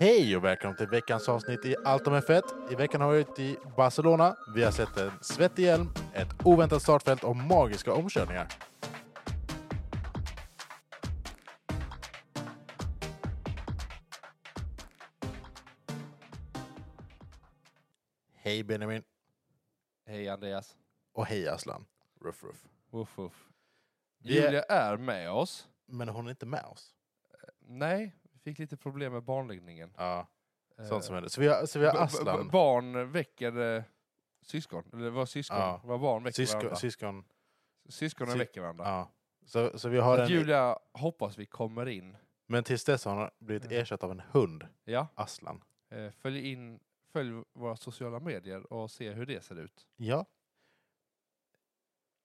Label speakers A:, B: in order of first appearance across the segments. A: Hej och välkommen till veckans avsnitt i Allt om F1. I veckan har vi varit i Barcelona. Vi har sett en svettig hjälm, ett oväntat startfält och magiska omkörningar. Hej Benjamin
B: Hej Andreas.
A: och hej Aslan. Ruff, ruff.
B: Woof, woof.
A: Vi är-
B: Julia är med oss.
A: Men hon är inte med oss.
B: Nej, vi fick lite problem med barnläggningen.
A: Ja,
B: Eh,
A: sånt som händer. Så vi har, så vi har
B: b- b-
A: Aslan,
B: Barn väcker eh, syskon. Eller var syskon.
A: Ja.
B: Var barn väcker
A: syskon.
B: varandra.
A: syskon
B: Syskonen
A: sy-
B: väcker varandra.
A: ja. så, så vi har
B: Att
A: en,
B: Julia hoppas vi kommer in.
A: men tills dess har hon blivit
B: Ja.
A: ersatt av en hund,
B: Ja,
A: Aslan.
B: eh, följ in Följ våra sociala medier och se hur det ser ut.
A: Ja.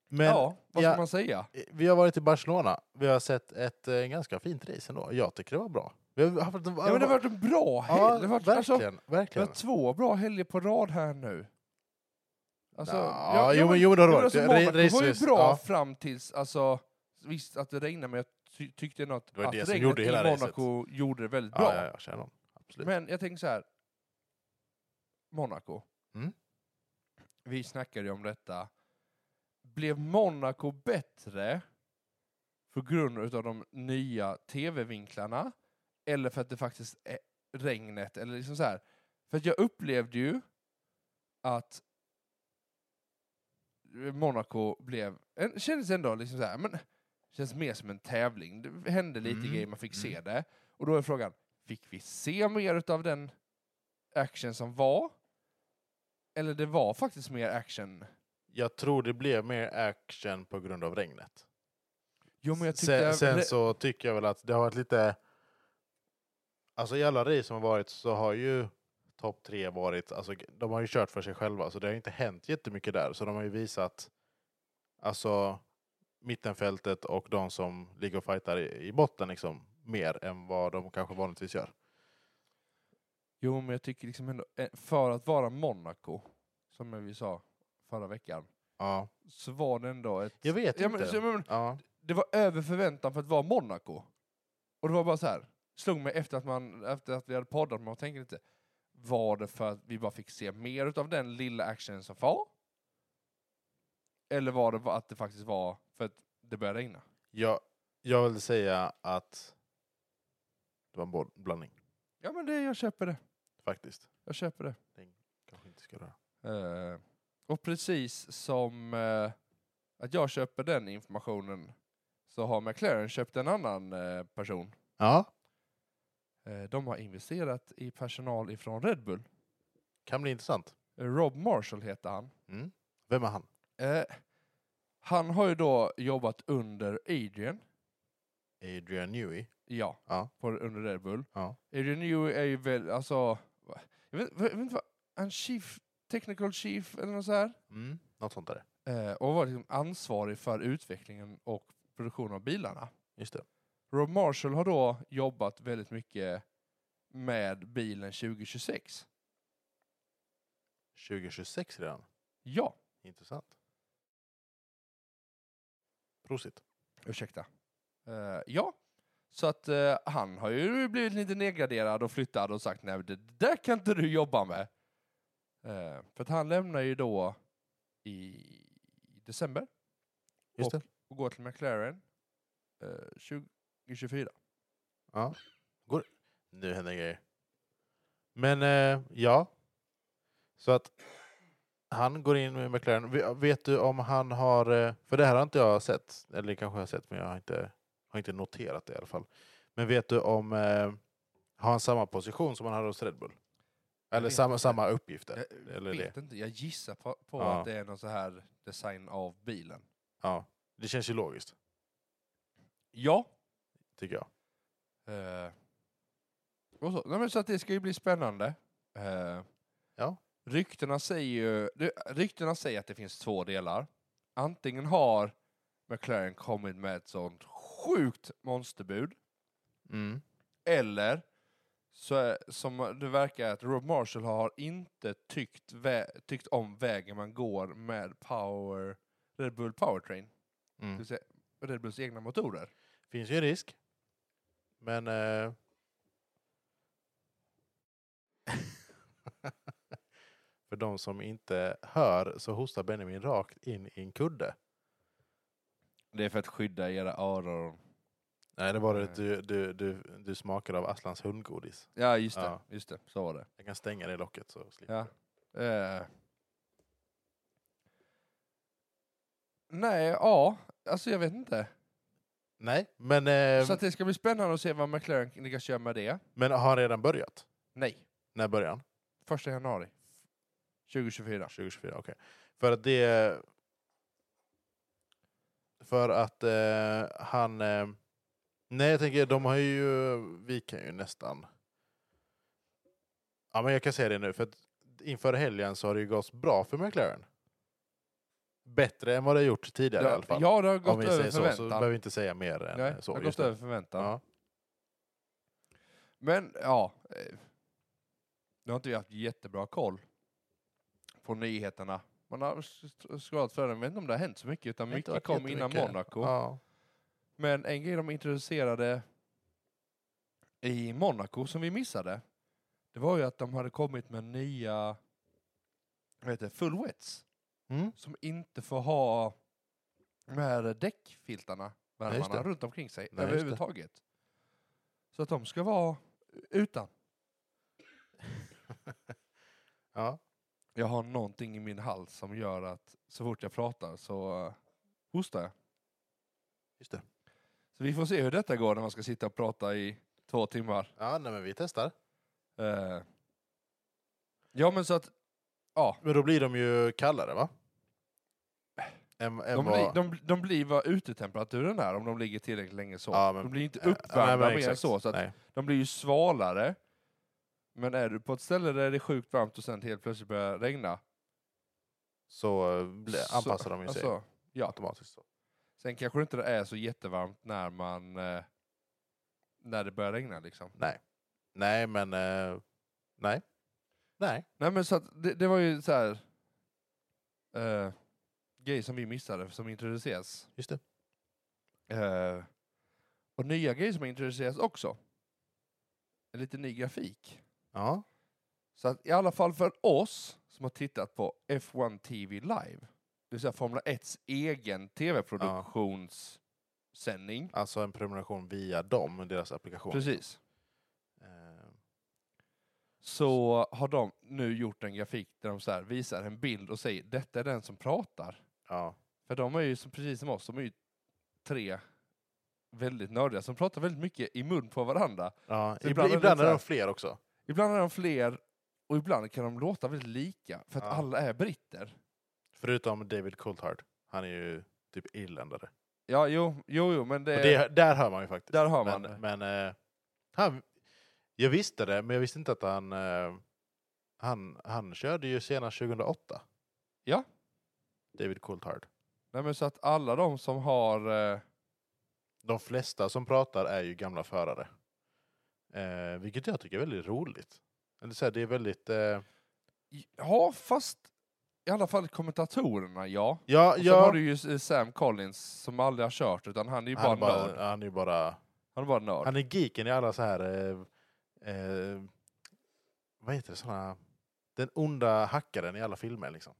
A: Men
B: ja, vad ska
A: ja.
B: man säga?
A: eh, vi har varit i Barcelona. Vi har sett ett eh, ganska fint race ändå. Jag tycker det var bra. Vi har haft en,
B: Ja, men det har varit en bra helg.
A: Ja,
B: det har varit, alltså,
A: verkligen.
B: vi har
A: verkligen.
B: två bra helger på rad här nu. Alltså,
A: Nja,
B: ja,
A: jo,
B: ja,
A: men, jo, det har det
B: Ja,
A: varit.
B: men alltså,
A: Re-
B: Monaco var ju
A: racevis,
B: bra
A: ja.
B: fram tills, alltså, visst att det regnade men jag ty tyckte ändå att,
A: Det var
B: att
A: det som
B: regnet
A: gjorde hela
B: i
A: racet.
B: Monaco gjorde det väldigt
A: Ja,
B: bra.
A: ja, jag känner dem. Absolut.
B: Men jag tänker så här. Monaco.
A: Mm.
B: Vi snackade ju om detta. Blev Monaco bättre på grund av de nya tv-vinklarna? Eller för att det faktiskt är regnet? Eller liksom så här. För att jag upplevde ju att Monaco blev, en- kändes ändå liksom så här, men känns mer som en tävling. Det hände lite
A: Mm,
B: grejer, man fick se
A: mm.
B: det. Och då är frågan, fick vi se mer av den action som var? Eller det var faktiskt mer action?
A: Jag tror det blev mer action på grund av regnet.
B: Jo, men jag
A: sen
B: tyckte...
A: sen
B: det-
A: så tycker jag väl att det har varit lite... Alltså i alla race som har varit så har ju topp tre varit... Alltså de har ju kört för sig själva så det har ju inte hänt jättemycket där. Så de har ju visat alltså mittenfältet och de som ligger och fightar i, i botten liksom mer än vad de kanske vanligtvis gör.
B: Jo, men jag tycker liksom ändå, eh, för att vara Monaco, som vi sa förra veckan,
A: Ja,
B: så var det ändå ett...
A: jag vet
B: Ja, men,
A: inte.
B: så, men,
A: ja.
B: det var över förväntan för att vara Monaco. Och det var bara så här, slog mig efter att, man, efter att vi hade poddat, man tänkte inte, var det för att vi bara fick se mer av den lilla actionen som var? Eller var det bara att det faktiskt var för att det började regna?
A: jag, jag vill säga att det var en bo- blandning
B: Ja men det, jag köper det.
A: faktiskt.
B: Jag köper det.
A: Kanske inte ska röra.
B: Eh, och precis som eh, att jag köper den informationen så har McLaren köpt en annan eh, person.
A: Ja,
B: Eh, de har investerat i personal ifrån Red Bull.
A: kan bli intressant.
B: Eh, Rob Marshall heter han.
A: Mm. Vem är han?
B: Eh, han har ju då jobbat under Adrian,
A: Adrian Newey.
B: ja,
A: Ja.
B: på, under Red Bull.
A: Ja.
B: Adrian Newey är ju väl, alltså, va- jag vet, jag vet inte vad, en chief, technical chief eller något så här.
A: Mm. Något sånt där.
B: Eh, och var liksom ansvarig för utvecklingen och produktionen av bilarna.
A: Just det.
B: Rob Marshall har då jobbat väldigt mycket med bilen 2026.
A: 2026 redan.
B: Ja,
A: Intressant. Prosit.
B: ursäkta. Eh, ja, så att eh, han har ju blivit lite nedgraderad och flyttad och sagt nej, det där kan inte du jobba med. Eh, för att han lämnar ju då i december
A: Just
B: och,
A: det.
B: och går till McLaren eh, 2024.
A: Ja. Går. Nu händer grejer. Men eh, ja. Så att han går in med McLaren. Ve- Vet du om han har, eh, för det här har inte jag sett, eller det kanske jag har sett men jag har inte, har inte noterat det i alla fall. Men vet du om, eh, har han samma position som han hade hos Red Bull?
B: Jag
A: Eller
B: vet
A: samma,
B: inte.
A: samma uppgifter?
B: Jag
A: Eller
B: vet inte, jag gissar på, på
A: Ja.
B: att det är någon så här design av bilen.
A: Ja, det känns ju logiskt,
B: Ja,
A: tycker jag.
B: Eh, och så. Nej, men så att det ska ju bli spännande. Eh,
A: Ja.
B: Ryktena säger ju det- ryktena säger att det finns två delar. Antingen har McLaren kommit med ett sånt sjukt monsterbud,
A: Mm. eller?
B: eller så är, som det verkar att Rob Marshall har inte tyckt, vä- tyckt om vägen man går med Power, Red Bull Powertrain, det
A: Mm.
B: vill säga Red Bulls egna motorer.
A: Finns ju en risk. Men... Eh... För de som inte hör så hostar Benjamin rakt in i en kudde.
B: Det är för att skydda era öron.
A: Nej, det var det.
B: Nej.
A: Du, du, du, du smakade av Aslans hundgodis.
B: Ja, just det.
A: Ja.
B: Just det. Så var det.
A: Jag kan stänga det locket så slipper
B: Ja.
A: du.
B: Eh. Nej, ja. Alltså jag vet inte.
A: Nej, men, eh,
B: Så att det ska bli spännande att se vad McLaren lyckas göra med det.
A: men har redan börjat?
B: Nej,
A: När börjar han?
B: första januari 2024.
A: 2024, okej. För att det... För att eh, han... Eh, nej, jag tänker, de har ju... Vi kan ju nästan... Ja, men jag kan säga det nu, för att inför helgen så har det ju gått bra för McLaren. Bättre än vad det har gjort tidigare i alla fall.
B: ja, det har
A: Om
B: gått
A: vi
B: över
A: säger så, så
B: förväntan.
A: behöver vi inte säga mer än
B: Nej,
A: så.
B: det har
A: just
B: gått
A: nu.
B: över förväntan.
A: Ja.
B: Men ja, eh, nu har inte vi haft jättebra koll på nyheterna. Man har sk- scrollat för den, jag vet inte om det har hänt så mycket, utan
A: Det har inte
B: mycket
A: varit
B: kom innan
A: jättemycket.
B: Monaco.
A: Ja.
B: Men en grej de introducerade i Monaco som vi missade, det var ju att de hade kommit med nya, vad heter det, full wets,
A: Mm.
B: som inte får ha de här däckfiltarna,
A: just
B: värmarna,
A: det.
B: runt omkring sig
A: Nej, just det.
B: överhuvudtaget. Så att de ska vara utan.
A: ja.
B: Jag har någonting i min hals som gör att så fort jag pratar så eh, hostar jag.
A: Just det.
B: Så vi får se hur detta går när man ska sitta och prata i två timmar.
A: Ja, nej, men vi testar.
B: Eh, Ja men så att, ja.
A: Men då blir de ju kallare, va? Än, än
B: De,
A: vad-
B: blir, de, de blir vad utetemperaturen är om de ligger tillräckligt länge så.
A: Ja, men-
B: de blir inte
A: Ja, nej,
B: uppvärmda
A: men
B: mer än
A: exakt.
B: så, så att
A: Nej.
B: de blir ju svalare. Men är du på ett ställe där det är sjukt varmt och sen helt plötsligt börjar regna.
A: Så eh, blir-
B: Så-
A: anpassar de ju sig
B: Alltså, ja.
A: automatiskt. Så.
B: Sen kanske det inte är så jättevarmt när man eh, när det börjar regna liksom.
A: Nej, men... eh, nej. Nej.
B: Nej men så att det, det var ju så här eh, grej som vi missade som introduceras.
A: Just det.
B: Eh, och nya grejer som introduceras också. En lite ny grafik.
A: Ja.
B: Så att i alla fall för oss som har tittat på F1 TV live, det vill säga Formel 1s egen tv-produktionssändning.
A: Alltså en prenumeration via dem, deras applikation.
B: Precis.
A: Eh,
B: så har de nu gjort en grafik där de så här visar en bild och säger detta är den som pratar.
A: ja.
B: För de är ju som, precis som oss, de är ju tre väldigt nördiga som pratar väldigt mycket i mun på varandra.
A: ja.
B: Så
A: Ibland,
B: ibland är
A: ibland,
B: det så
A: är
B: här-
A: de fler också.
B: Ibland är de fler och ibland kan de låta väldigt lika för att
A: Ja.
B: alla är britter.
A: Förutom David Coulthard. Han är ju typ irländare.
B: Ja, jo, jo, jo men det,
A: Och det, där hör man ju faktiskt.
B: där har man
A: Men,
B: det.
A: men eh, han, jag visste det, men jag visste inte att han... eh, han, han körde ju senast 2008.
B: Ja.
A: David Coulthard.
B: Nej, men så att alla de som har... Eh,
A: De flesta som pratar är ju gamla förare. Eh, vilket jag tycker är väldigt roligt. Eller så här, det är väldigt... Eh,
B: ja, fast i alla fall kommentatorerna, ja.
A: ja,
B: Och sen har
A: ja.
B: du ju eh, Sam Collins som aldrig har kört utan han är ju
A: han, är
B: bara nörd.
A: bara, han är ju bara...
B: Han är bara nörd.
A: Han är geeken i alla så här... Eh, eh, vad heter det? Såna, den onda hackaren i alla filmer liksom.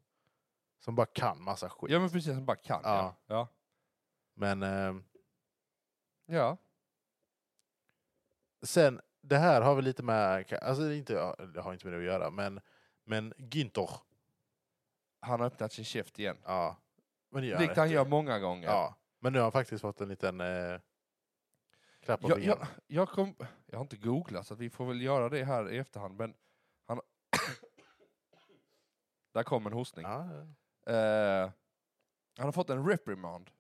A: Som bara kan massa skit.
B: Ja men precis, han bara kan. Ja. Ja.
A: Men... Eh,
B: ja.
A: Sen, det här har väl lite med, alltså det är inte, det har inte med det att göra, men, men Günther,
B: Han har öppnat sin käft igen.
A: ja. Men det gör
B: Likt
A: det.
B: han gör många gånger.
A: Ja. Men nu har han faktiskt fått en liten eh, klapp på
B: Jag,
A: fingrarna.
B: jag, jag, kom, jag har inte googlat så att vi får väl göra det här i efterhand men han... Där kom en hostning.
A: Ja, ja.
B: Eh, han har fått en reprimand.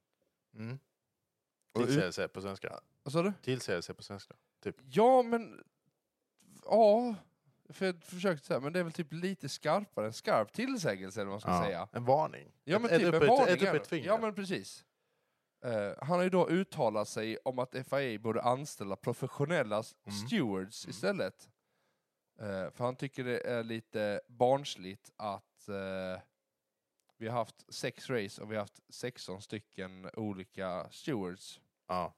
A: Mm.
B: Och ut-
A: Tillsägelse på svenska.
B: Vad sa du?
A: Tillsägelse på svenska.
B: Ja men... Ja. För jag försökte säga, men det är väl typ lite skarpare, en skarp tillsägelse eller vad man ska
A: Ja.
B: säga.
A: En varning.
B: Ja
A: Ett-
B: men
A: ett
B: typ
A: upp
B: en
A: ett-
B: varning.
A: ett upp
B: är
A: ett
B: det.
A: finger.
B: Ja men precis. Eh, han har ju då uttalat sig om att FIA borde anställa professionella s-
A: Mm.
B: stewards
A: Mm.
B: istället. Eh, för han tycker det är lite barnsligt att eh, vi har haft sex race och vi har haft 16 stycken olika stewards.
A: Ja.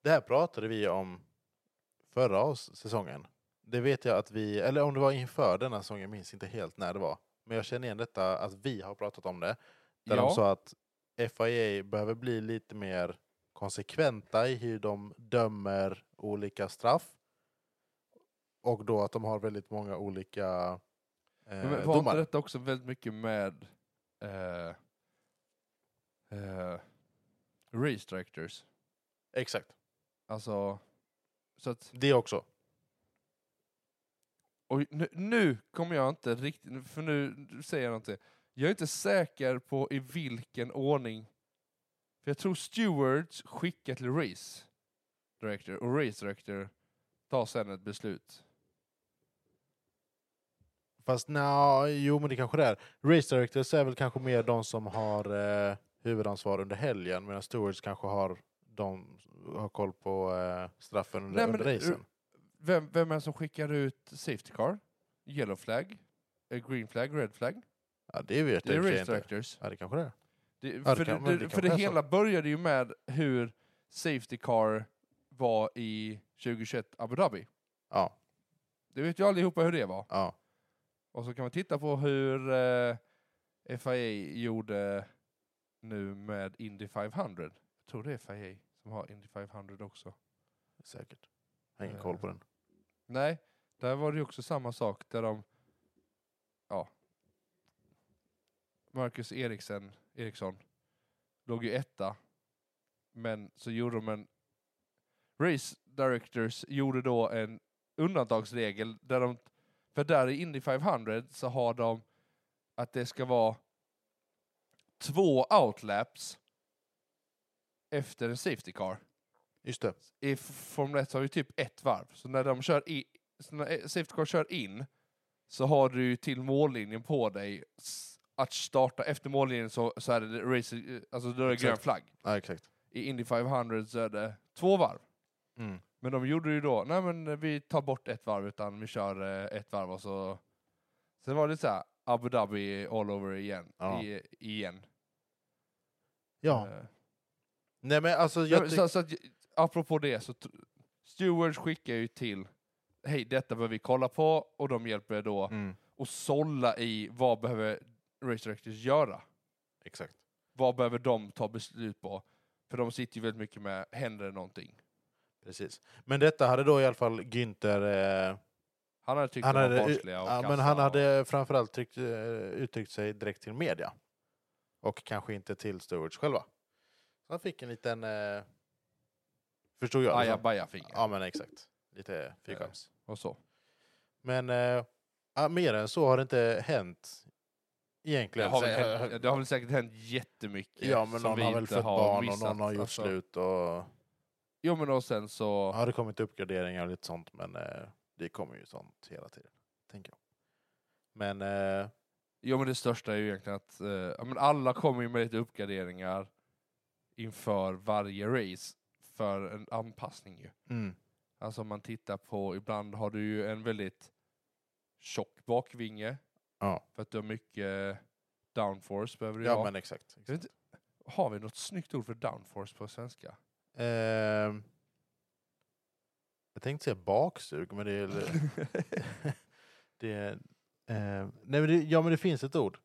A: Det här pratade vi om förra års- säsongen. Det vet jag att vi, eller om det var inför denna säsongen, jag minns inte helt när det var. Men jag känner igen detta att vi har pratat om det. Där de sa att FIA behöver bli lite mer konsekventa i hur de dömer olika straff. Och då att de har väldigt många olika eh,
B: Men var inte
A: domare.
B: detta också väldigt mycket med eh, eh, race directors?
A: Exakt.
B: Alltså, så att,
A: Det också.
B: och nu, nu kommer jag inte riktigt, för nu säger jag någonting. Jag är inte säker på i vilken ordning, för jag tror stewards skickar till race director och race director tar sen ett beslut.
A: Fast nja, jo men det kanske det är. Race directors är väl kanske mer de som har eh, huvudansvar under helgen medan stewards kanske har de har koll på eh, straffen under,
B: Nej, men
A: under
B: det-
A: racen.
B: Vem, vem är det som skickar ut safety car? Yellow flag? Eh, Green flag? Red flag?
A: Ja, det vet
B: Det
A: jag
B: är
A: i och för sig
B: race
A: inte.
B: directors.
A: Ja, det kanske det är.
B: Det,
A: det
B: för
A: kan-
B: det,
A: men
B: det,
A: det
B: för
A: kanske
B: det
A: är så.
B: hela började ju med hur Safety Car var i 2021 Abu Dhabi.
A: Ja,
B: Det vet ju allihopa hur det var.
A: ja.
B: Och så kan man titta på hur eh, FIA gjorde nu med Indy 500. Jag tror det är FIA som har Indy 500 också.
A: Säkert. Jag har ingen
B: Eh.
A: koll på den.
B: Nej, där var det ju också samma sak där de... Ja. Marcus Eriksen, Eriksson låg ju etta. Men så gjorde de en... Race Directors gjorde då en undantagsregel där de... För där i Indy 500 så har de att det ska vara två outlaps efter en safety car
A: Just det.
B: i Formel 1 har ju typ ett varv. Så när de kör i, så när Safety Car kör in så har du ju till mållinjen på dig s- att starta. Efter mållinjen så, så är det race, alltså då är det grön
A: Exakt.
B: flagg.
A: Ja, exakt.
B: I Indy 500 så är det två varv.
A: Mm.
B: Men de gjorde ju då, nej men vi tar bort ett varv utan vi kör eh, ett varv och så... Sen var det så här Abu Dhabi all over igen.
A: Ja.
B: I, igen.
A: Ja.
B: Eh,
A: Nej men alltså
B: Ja,
A: jag
B: men
A: tycker...
B: så, så att, apropå det, så t- stewards skickar ju till Hej, detta behöver vi kolla på och de hjälper då
A: Mm.
B: att sålla i vad behöver race directors göra?
A: Exakt.
B: Vad behöver de ta beslut på? För de sitter ju väldigt mycket med, händer det någonting?
A: Precis. Men detta hade då i alla fall Günther eh,
B: Han hade tyckt
A: Han
B: de var
A: hade,
B: barnsliga och
A: ja, men
B: kassa
A: han
B: och-
A: hade framförallt tryckt, eh, uttryckt sig direkt till media. Och kanske inte till Stewards själva. Så han fick en liten... Eh, förstod jag? det som.
B: ajabaja finger
A: ja, men exakt. Lite fyrkants.
B: och så.
A: Men eh, ja, mer än så har det inte hänt.
B: Det
A: Egentligen.
B: har,
A: Så,
B: väl
A: eh,
B: hänt, det har väl säkert hänt jättemycket
A: ja, men
B: som
A: någon
B: vi
A: har väl
B: inte
A: fått barn och
B: missat.
A: någon har gjort
B: Alltså,
A: slut. Och,
B: Jo men och sen så...
A: har det kommit uppgraderingar och lite sånt, men eh, det kommer ju sånt hela tiden. Tänker jag. Men... Eh,
B: Jo men det största är ju egentligen att eh, ja, men alla kommer ju med lite uppgraderingar inför varje race för en anpassning ju.
A: mm,
B: Alltså om man tittar på, ibland har du ju en väldigt tjock bakvinge
A: ja,
B: för att du har mycket downforce behöver du ju
A: ja,
B: ha.
A: men exakt. exakt.
B: Jag vet inte, har vi något snyggt ord för downforce på svenska?
A: Ehm, jag tänkte säga baksug, men det är... det är ehm, nej, men det, ja, men det finns ett ord.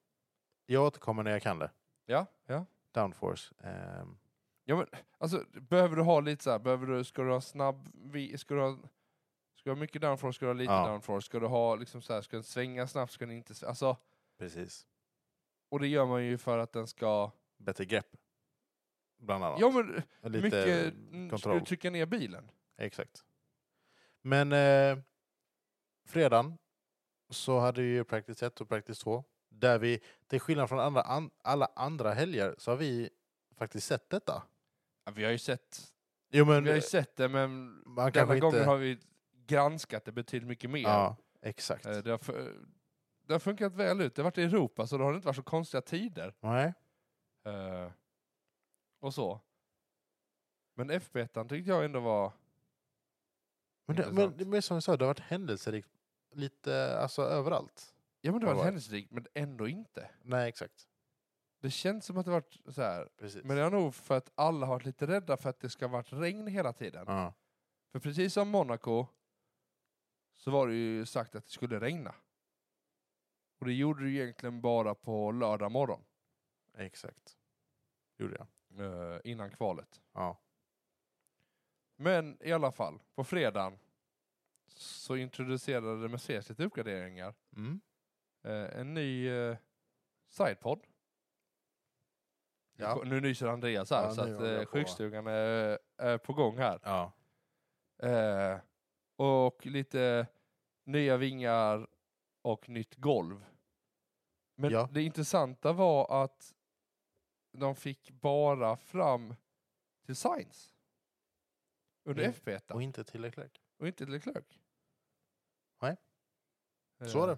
A: Jag återkommer när jag kan det.
B: ja, ja.
A: Downforce. Ehm,
B: Ja men alltså behöver du ha lite så här, behöver du, ska du ha snabb, vi, ska du ha Ska du ha mycket downforce, ska du ha lite
A: Ja.
B: downforce, ska du ha liksom så här, ska den svänga snabbt, ska den inte svänga? Alltså,
A: precis.
B: Och det gör man ju för att den ska...
A: Bättre grepp. Bland annat.
B: Ja men
A: Och Lite
B: mycket... Ska
A: kontroll.
B: du trycka ner bilen?
A: Exakt. Men eh, fredagen så hade vi ju practice 1 och practice 2. Där vi, till skillnad från andra, an, alla andra helger, så har vi faktiskt sett detta.
B: Ja, vi har ju sett
A: Jo, men, eh,
B: vi har ju sett det men
A: man
B: denna
A: kanske
B: gången
A: inte...
B: har vi granskat det betydligt mycket mer.
A: Ja, exakt.
B: Eh, Det, har fu- det har funkat väl ut. Det har varit i Europa så då har det inte varit så konstiga tider.
A: Nej.
B: Eh, Och så. Men FB1 tyckte jag ändå var...
A: Men, det, men,
B: Intressant.
A: det- men som jag sa, det har varit händelserikt lite alltså, överallt.
B: Ja men det
A: Vad
B: var
A: var det?
B: händelserikt men ändå inte.
A: Nej, exakt.
B: Det känns som att det varit så här.
A: Precis.
B: Men det är nog för att alla har varit lite rädda för att det ska ha varit regn hela tiden.
A: ja.
B: För precis som Monaco så var det ju sagt att det skulle regna. Och det gjorde det ju egentligen bara på lördag morgon.
A: Exakt. Gjorde jag.
B: eh, innan kvalet.
A: Ja.
B: Men i alla fall, på fredagen så introducerade Mercedes lite uppgraderingar.
A: Mm.
B: Eh, en ny eh, sidepod.
A: Ja.
B: Nu nyser Andreas här
A: Ja,
B: så
A: nu
B: att
A: håller
B: eh,
A: jag på.
B: sjukstugan är, är på gång här.
A: Ja.
B: Eh, och lite nya vingar och nytt golv. Men
A: Ja.
B: det intressanta var att de fick bara fram designs under
A: Mm.
B: FP1
A: Och inte tillräckligt.
B: och inte Leclerc.
A: Nej.
B: Eh,
A: Så är det.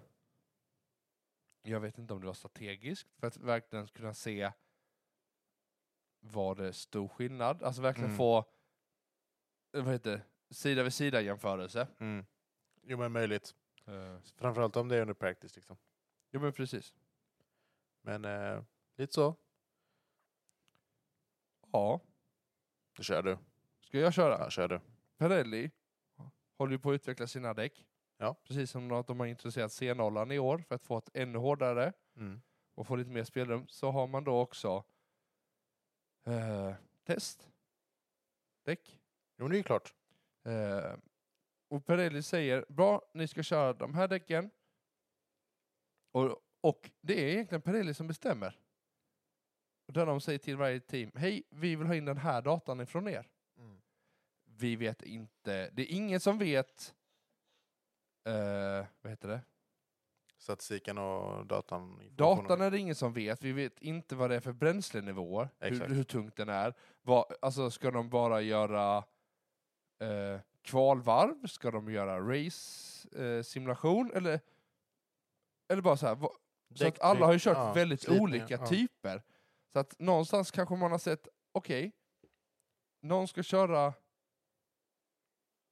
B: Jag vet inte om det var strategiskt för att verkligen kunna se var det stor skillnad. Alltså verkligen
A: Mm.
B: få eh, vad heter det, sida vid sida jämförelse.
A: Mm. Jo men möjligt.
B: Eh,
A: Framförallt om det är under practice liksom.
B: Jo men precis.
A: Men eh, lite så.
B: Ja,
A: Då kör du.
B: ska jag köra?
A: Ja, kör du.
B: Pirelli håller ju på att utveckla sina däck.
A: Ja.
B: Precis som att de har introducerat C0 i år för att få ett ännu hårdare
A: Mm.
B: och få lite mer spelrum så har man då också eh, test. Däck.
A: Jo men det är ju klart.
B: Eh, och Pirelli säger, bra, ni ska köra de här däcken. Och, och det är egentligen Pirelli som bestämmer. Och där de säger till varje team, hej, vi vill ha in den här datan ifrån er.
A: Mm.
B: Vi vet inte, det är ingen som vet, eh, vad heter det?
A: Statistiken och datan.
B: Datan är det ingen som vet, vi vet inte vad det är för bränslenivåer, hur,
A: Exakt.
B: hur tungt den är. Vad, alltså ska de bara göra eh, kvalvarv, ska de göra race eh, simulation eller, eller bara så här. va- Så att
A: Däcktryck,
B: alla har ju kört
A: ja,
B: väldigt
A: slitningar,
B: olika
A: ja.
B: typer. Så att någonstans kanske man har sett, okej, någon ska köra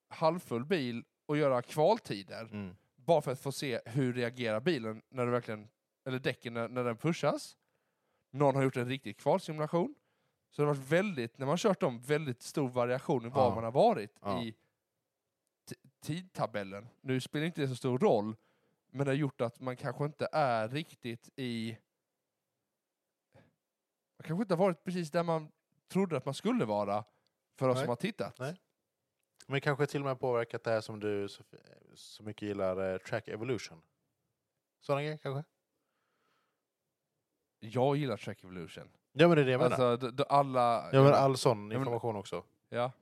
B: halvfull bil och göra kvaltider
A: Mm.
B: bara för att få se hur reagerar bilen när du verkligen, eller däcken när, när den pushas. Någon har gjort en riktig kvalsimulation. Så det har varit väldigt, när man kört dem, väldigt stor variation i var
A: Ja.
B: man har varit
A: Ja.
B: i t- tidtabellen. Nu spelar inte det så stor roll, men det har gjort att man kanske inte är riktigt i... Man kanske inte har varit precis där man trodde att man skulle vara för oss
A: Nej.
B: som har tittat.
A: Nej. Men kanske till och med påverkat det här som du så, så mycket gillar, eh, track evolution. Sådana grejer kanske?
B: Jag gillar Track Evolution.
A: Ja men det är det jag menar.
B: Alltså, d- d- alla...
A: ja men all sån
B: men-
A: information också.
B: Ja.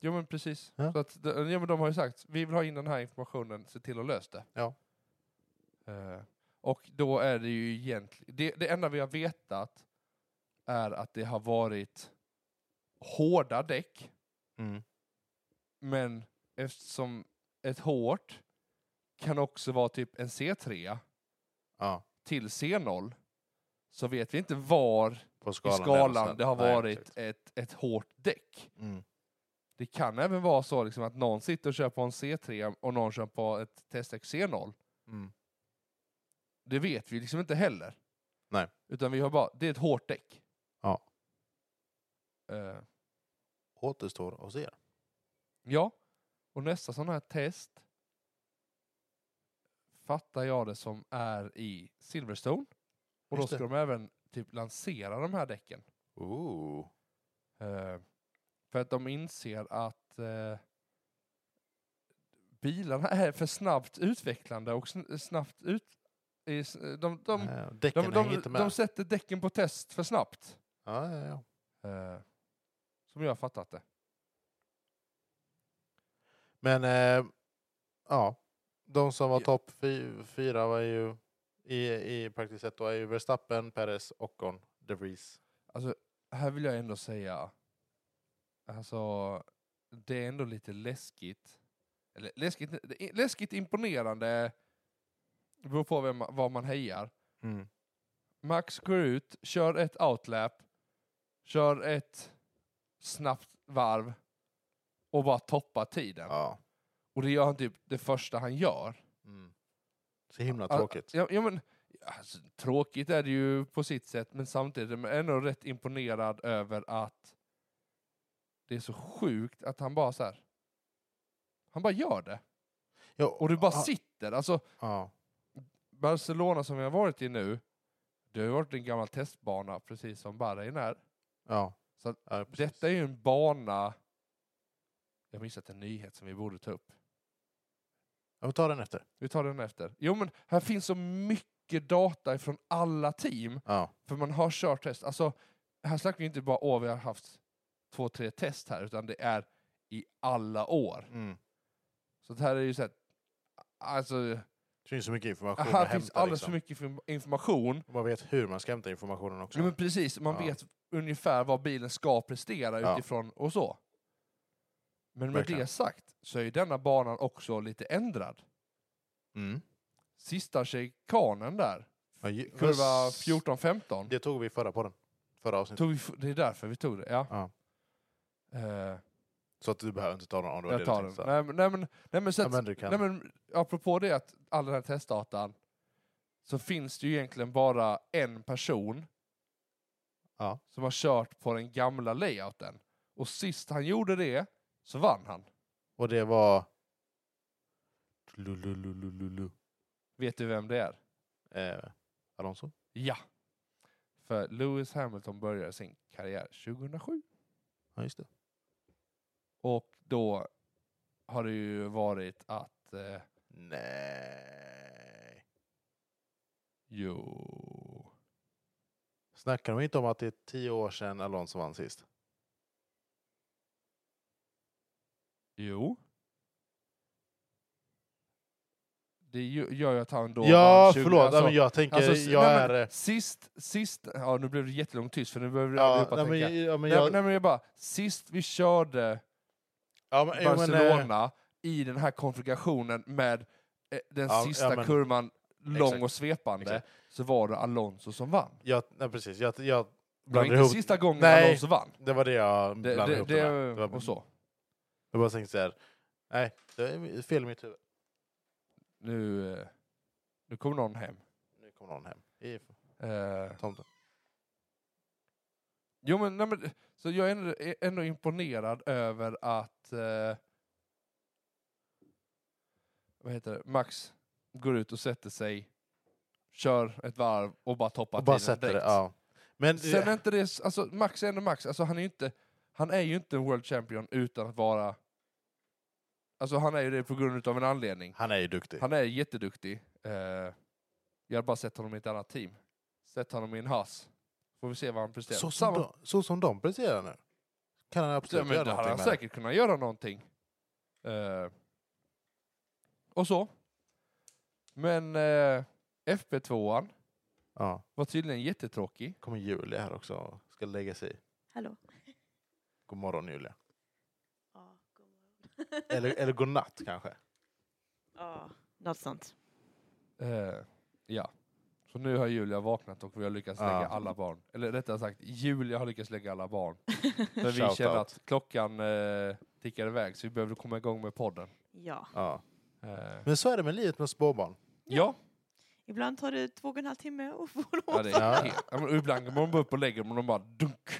B: Jo men precis.
A: Ja.
B: Så att, de- ja, men de har ju sagt, vi vill ha in den här informationen, se till att lösa det.
A: Ja.
B: Eh, och då är det ju egentligen, det, det enda vi har vetat är att det har varit hårda däck,
A: Mm.
B: men eftersom ett hårt kan också vara typ en C3
A: Ja,
B: till C0, så vet vi inte var
A: på
B: i
A: skalan. där
B: skalan
A: någonstans.
B: det har
A: Nej,
B: varit
A: exakt.
B: ett, ett hårt däck.
A: Mm.
B: Det kan även vara så liksom att någon sitter och kör på en C3 och någon kör på ett testdäck C0.
A: Mm.
B: Det vet vi liksom inte heller.
A: Nej.
B: Utan vi har bara, det är ett hårt däck.
A: Ja.
B: Eh,
A: Återstår att se.
B: ja. Och nästa sån här test fattar jag det som är i Silverstone. Och då
A: Just det.
B: ska de även typ lansera de här däcken.
A: Ooh.
B: Eh, för att de inser att eh, bilarna är för snabbt utvecklande och sn- snabbt ut... i s- De, de, de,
A: Ja,
B: de,
A: Däcken hänger
B: de,
A: inte med.
B: de sätter däcken på test för snabbt.
A: ja, ja, ja.
B: Eh, som jag har fattat det.
A: Men eh, ja, de som var
B: Ja.
A: topp fy, fyra var ju i, i praktiskt sett då är ju Verstappen, Perez, Ocon, De Vries.
B: Alltså, här vill jag ändå säga... Alltså, det är ändå lite läskigt. Eller läskigt, det är läskigt imponerande. Det beror på vem, vad man hejar. Mm. Max går ut, kör ett outlap, kör ett snabbt varv och bara toppar tiden.
A: Ja.
B: Och det gör han typ det första han gör.
A: Mm. Så himla
B: Ja,
A: tråkigt.
B: Ja, ja, men, alltså, tråkigt är det ju på sitt sätt, men samtidigt är man ändå rätt imponerad över att det är så sjukt att han bara så här. Han bara gör det.
A: Ja,
B: Och du bara
A: ja,
B: sitter. Alltså,
A: Ja,
B: Barcelona som vi har varit i nu, det har ju varit en gammal testbana, precis som Bahrain är.
A: ja.
B: Så att
A: ja, precis.
B: Detta är ju en bana... Jag har missat en nyhet som vi borde ta upp.
A: Jag får ta den efter.
B: Vi tar den efter. Jo, men här finns så mycket data från alla team,
A: Ja,
B: för man har kört test. Alltså, här snackar vi inte bara åh, vi har haft två, tre test här, utan det är i alla år.
A: mm.
B: Så det här är ju så här, alltså,
A: Det finns så mycket information
B: här
A: att
B: finns
A: hämta.
B: alldeles
A: Liksom.
B: för mycket inform- information.
A: Och Man vet hur man ska hämta informationen också.
B: Jo, men precis, man
A: Ja.
B: vet ungefär vad bilen ska prestera
A: Ja.
B: utifrån och så. Men med
A: Verkligen.
B: det sagt så är ju denna banan också lite ändrad.
A: Mm.
B: Sista chikanen där,
A: Ja, ju-
B: kurva
A: fast
B: 14-15,
A: Det tog vi i förra podden. Förra avsnittet.
B: tog vi f- det är därför vi tog det. Ja.
A: Ja.
B: Eh,
A: Så att du behöver inte ta den om det liksom var det
B: jag
A: du tänkte.
B: tar den.
A: säga.
B: Nej, men, nej, men, nej, men, så
A: Ja,
B: att,
A: men du kan.
B: nej, men apropå det att all den här testdatan, så finns det ju egentligen bara en person
A: Ja.
B: som har kört på den gamla layouten. Och sist han gjorde det så vann han.
A: Och det var... Lululululu.
B: Vet du vem det är?
A: Eh, Alonso?
B: Ja. För Lewis Hamilton började sin karriär 2007.
A: Ja, just det.
B: Och då har det ju varit att... Eh,
A: Nej.
B: jo...
A: Snackar de inte om att det är tio år sedan Alonso vann sist?
B: Jo. Det ju- gör ju att han då...
A: ja,
B: vann 20
A: förlåt.
B: alltså-
A: ja, men jag tänker...
B: alltså, s-
A: jag
B: nej,
A: är...
B: men
A: eh,
B: Sist, sist... Ja, nu blev det jättelångt tyst för nu behöver
A: Ja,
B: allihopa
A: nej,
B: tänka.
A: men, ja, men
B: Nej,
A: jag...
B: men- nej, men jag bara, sist vi körde
A: ja, men, jo, men, eh,
B: Barcelona i den här konfigurationen med eh, den
A: Ja,
B: sista
A: ja, men-
B: kurvan lång
A: exakt.
B: och svepande,
A: Exakt.
B: så var det Alonso som vann.
A: jag, nej, precis. Jag, jag
B: Det var
A: blandade
B: inte
A: ihop...
B: sista gången
A: Nej.
B: Alonso vann.
A: Det var det jag
B: Det,
A: blandade
B: det,
A: ihop. Det,
B: det,
A: med. det var,
B: och så.
A: Jag bara tänkte så här... Nej, det är fel i mitt huvud.
B: Nu, eh, nu kommer någon hem.
A: Nu kommer någon hem. I
B: Eh,
A: tomten.
B: Jo, men, nej, men så jag är ändå, är ändå imponerad över att eh, vad heter det? Max går ut och sätter sig, kör ett varv och bara toppar
A: Och bara
B: tiden
A: sätter det.
B: direkt.
A: Ja. Men...
B: Sen är inte det, s- alltså, Max är ändå Max, alltså, han, är ju inte, han är ju inte en world champion utan att vara... Alltså han är ju det på grund av en anledning.
A: Han är ju duktig.
B: Han är jätteduktig. Eh, jag har bara sett honom i ett annat team. Sett honom i en Haas. Får vi se vad han presterar.
A: Så som,
B: Samma-
A: de, så som de presterar nu. Kan han
B: Ja,
A: absolut
B: men
A: göra
B: det hade han
A: någonting med.
B: säkert kunnat göra någonting. Eh, och så. Men eh, FP2an
A: Ja.
B: var tydligen jättetråkig.
A: kommer Julia här också och ska lägga sig i.
C: Hallå?
A: God morgon Julia.
C: Ja, god morgon.
A: Eller, eller god natt kanske.
C: Ja, något sånt.
B: Eh, ja. Så nu har Julia vaknat och vi har lyckats
A: Ja.
B: lägga alla barn. Eller rättare sagt, Julia har lyckats lägga alla barn. För vi
A: Shout
B: känner
A: out.
B: att klockan eh, tickar iväg så vi behövde komma igång med podden.
C: Ja.
A: Ja.
B: Eh,
A: Men så är det med livet med småbarn.
B: ja.
C: Ibland tar det två och en halv timme att få
B: ja,
C: dem.
B: det
A: Ja.
B: är helt... ja, men ibland går man bara upp och lägger dem och de bara dunk.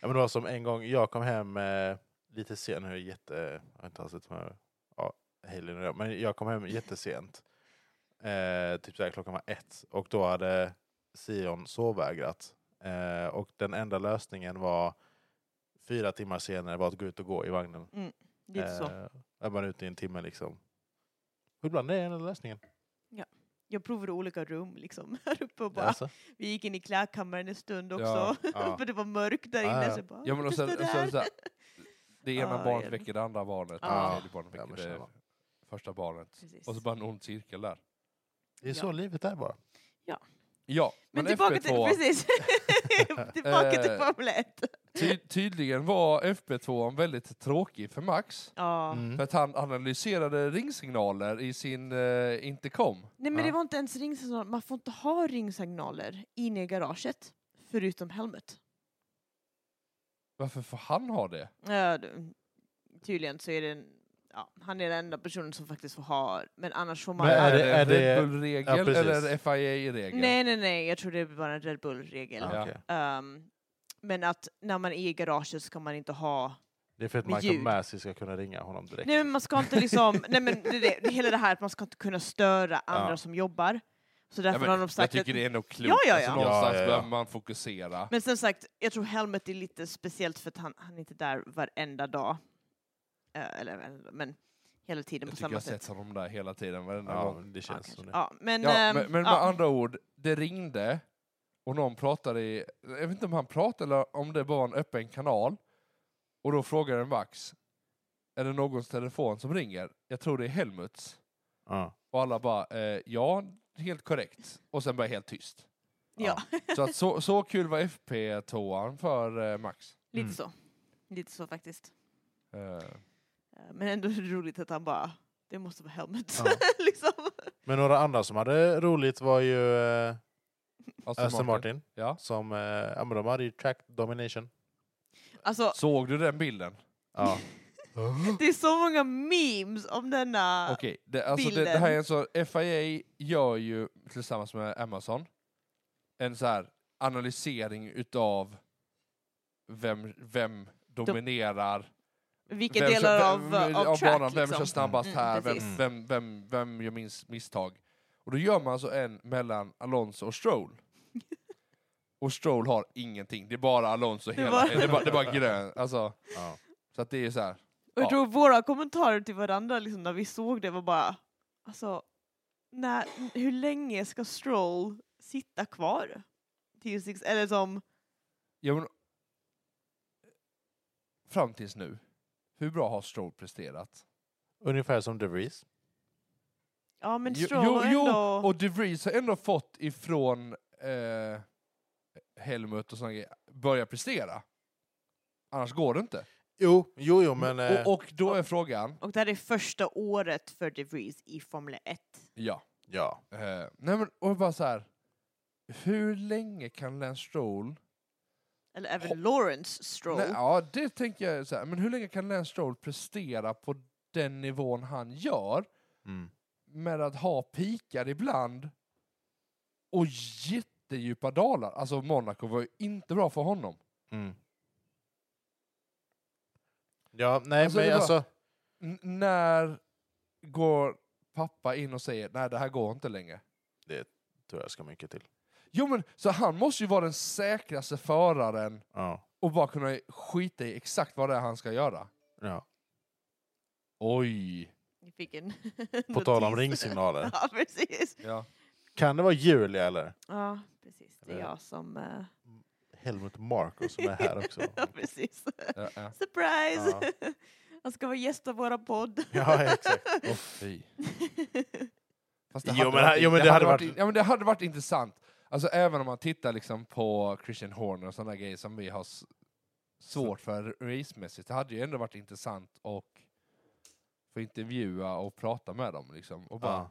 A: Ja, men det var som en gång jag kom hem eh, lite sent. Nu är det jätte... Jag har inte alls sett de här- ja, helgen och det, Men jag kom hem jättesent. Eh, typ så här, klockan var ett. Och då hade Sion sovvägrat. Eh, och den enda lösningen var fyra timmar senare var att gå ut och gå i vagnen.
C: Lite så.
A: Eh, är man ute i en timme liksom. Och ibland är det enda lösningen.
C: Jag provade olika rum liksom här uppe och bara.
A: Alltså,
C: Vi gick in i klädkammaren en stund också.
B: Ja,
A: ja.
C: För det var mörkt där
A: Ja,
C: inne.
A: ja.
C: Så jag bara,
B: Ja, men och sen,
C: testa
B: och sen
C: där.
B: så här, det ena
C: Ja,
B: barnet
C: igen.
B: väcker det andra barnet,
C: Ja.
B: det tredje barnet
A: Ja, men
B: väcker det
A: snälla.
B: första barnet.
C: Precis.
B: Och så bara en ond cirkel där.
A: det är så
C: Ja.
A: livet är bara.
B: Ja, men,
C: men tillbaka till,
B: FP2,
C: precis. tillbaka till
B: Eh.
C: Formel 1.
B: ty, tydligen var FP2 väldigt tråkig för Max.
C: Ja.
A: Mm.
B: För att han analyserade ringsignaler i sin eh, intercom.
C: Nej men
A: Ja.
C: det var inte ens ringsignaler. Man får inte ha ringsignaler inne i garaget. Förutom helmet.
B: Varför får han ha det?
C: Ja, du- tydligen så är det en, ja, han är den enda personen som faktiskt får ha, men annars får man...
A: Men är
B: är
A: det-
B: det
A: är
B: en Red
A: det-
B: Bull-regel
A: ja, precis.
B: eller en FIA-regel?
C: nej, nej, nej, jag tror det är bara en Red Bull-regel.
A: Ja,
B: Ja.
A: okej.
C: Ehm, men att när man är i garaget ska man inte ha...
A: Det är för att
C: Med
A: Michael
C: ljud.
A: Massey ska kunna ringa honom direkt.
C: Nej men man ska inte liksom... nej men det, det, det, hela det här att man ska inte kunna störa andra som jobbar. Så därför
B: Ja, men
C: har de
B: jag
C: sagt... att-
B: tycker det är nog klokt.
C: Ja, ja,
B: Alltså,
C: ja.
B: någonstans
A: Ja, ja, ja.
B: behöver man fokusera.
C: Men som sagt, jag tror Helmet är lite speciellt för att han, han är inte där varenda dag. Eh, eller, varenda dag, men hela tiden
B: Jag
C: på
B: tycker
C: samma
B: jag
C: sätt.
B: sett honom där hela tiden, varenda
A: Ja,
B: gång.
A: men det
C: Ja,
A: känns som
C: kanske.
A: det.
C: ja, men,
B: Ja,
C: ehm,
B: men, men med
C: ja.
B: andra ord, det ringde och någon pratade i, jag vet inte om han pratade eller om det var en öppen kanal, och då frågade en vax, är det någons telefon som ringer? Jag tror det är Helmuts.
A: Ja.
B: Och alla bara, eh, ja, helt korrekt. Och sen bara helt tyst.
C: ja,
B: Så, att så, så kul var FP-toan för eh, Max.
C: lite
A: Mm.
C: så. Lite så faktiskt.
B: Eh,
C: Eh, Men ändå är det roligt att han bara, det måste vara Helmet.
A: Ja.
C: liksom.
A: Men några andra som hade roligt var ju eh,
B: Aston
A: Aston
B: alltså Martin.
A: Martin.
B: Ja.
A: Som, eh, ja, men de hade ju track domination.
C: Alltså,
B: Såg du den bilden?
A: Ja.
C: det är så många memes om denna.
B: Okej, det, alltså det, det här är en så FIA gör ju tillsammans med Amazon en så här analysering utav vem, vem dominerar,
C: Vilka
B: vem,
C: delar
B: kör-
C: av, av, track
B: banan, vem
C: liksom.
B: kör snabbast
C: Mm,
B: här, vem,
C: precis.
B: vem, vem, vem gör minst misstag. Och då gör man alltså en mellan Alonso och Stroll. och Stroll har ingenting, det är bara Alonso
C: Det är
B: hela
C: bara-
B: det är bara, det är bara grön. Alltså,
A: ja.
B: så att det är så här.
C: Och
B: Ja.
C: jag tror våra kommentarer till varandra liksom, när vi såg det var bara, alltså, när, hur länge ska Stroll sitta kvar? Tills, ex- eller som,
B: Ja, men... eh, Fram tills nu, hur bra har Stroll presterat?
A: Ungefär som De Vries.
C: ja men
B: Jo-
C: Stroll
B: jo,
C: var
B: jo,
C: ändå...
B: Och De Vries har ändå fått ifrån eh, Helmut och såna grejer, börja prestera. Annars går det inte.
A: Jo, jo, jo men... eh,
B: Mm. och, och då är frågan,
C: Och det här är första året för De Vries i Formel 1.
B: ja.
A: Ja.
B: Eh, nej men, och bara så här. hur länge kan Lance Stroll...
C: Eller även Lawrence Stroll.
B: Nej, ja, det tänker jag så här. men hur länge kan Lance Stroll prestera på den nivån han gör
A: Mm.
B: med att ha pikar ibland och jättedjupa dalar. Alltså Monaco var ju inte bra för honom.
A: Mm. Ja, nej
B: Alltså, det
A: men
B: var-
A: alltså...
B: N- när går pappa in och säger nej det här går inte längre?
A: Tror jag ska mycket till.
B: Jo men så han måste ju vara den säkraste föraren
A: Ja.
B: och bara kunna skita i exakt vad det är han ska göra.
A: ja.
B: Oj!
C: Jag fick en
A: På tal om
C: notis.
A: ringsignaler.
C: Ja, precis.
B: Ja.
A: Kan det vara Julia eller
C: Ja, precis. Det är
A: Eller-
C: jag som... eh,
A: Helmut Marko som är här också?
C: ja, precis.
B: Ja, ja.
C: Surprise! Han ska vara gäst av våra podd.
A: Ja, exakt.
B: Åh, fy. Fast
A: Jo, men
B: varit-
A: här- jo, men det hade varit-
B: Ja, men det hade varit intressant. Alltså även om man tittar liksom på Christian Horner och sådana grejer som vi har s- svårt för racemässigt, det hade ju ändå varit intressant att få intervjua och prata med dem liksom. Och, bara,
A: Ja.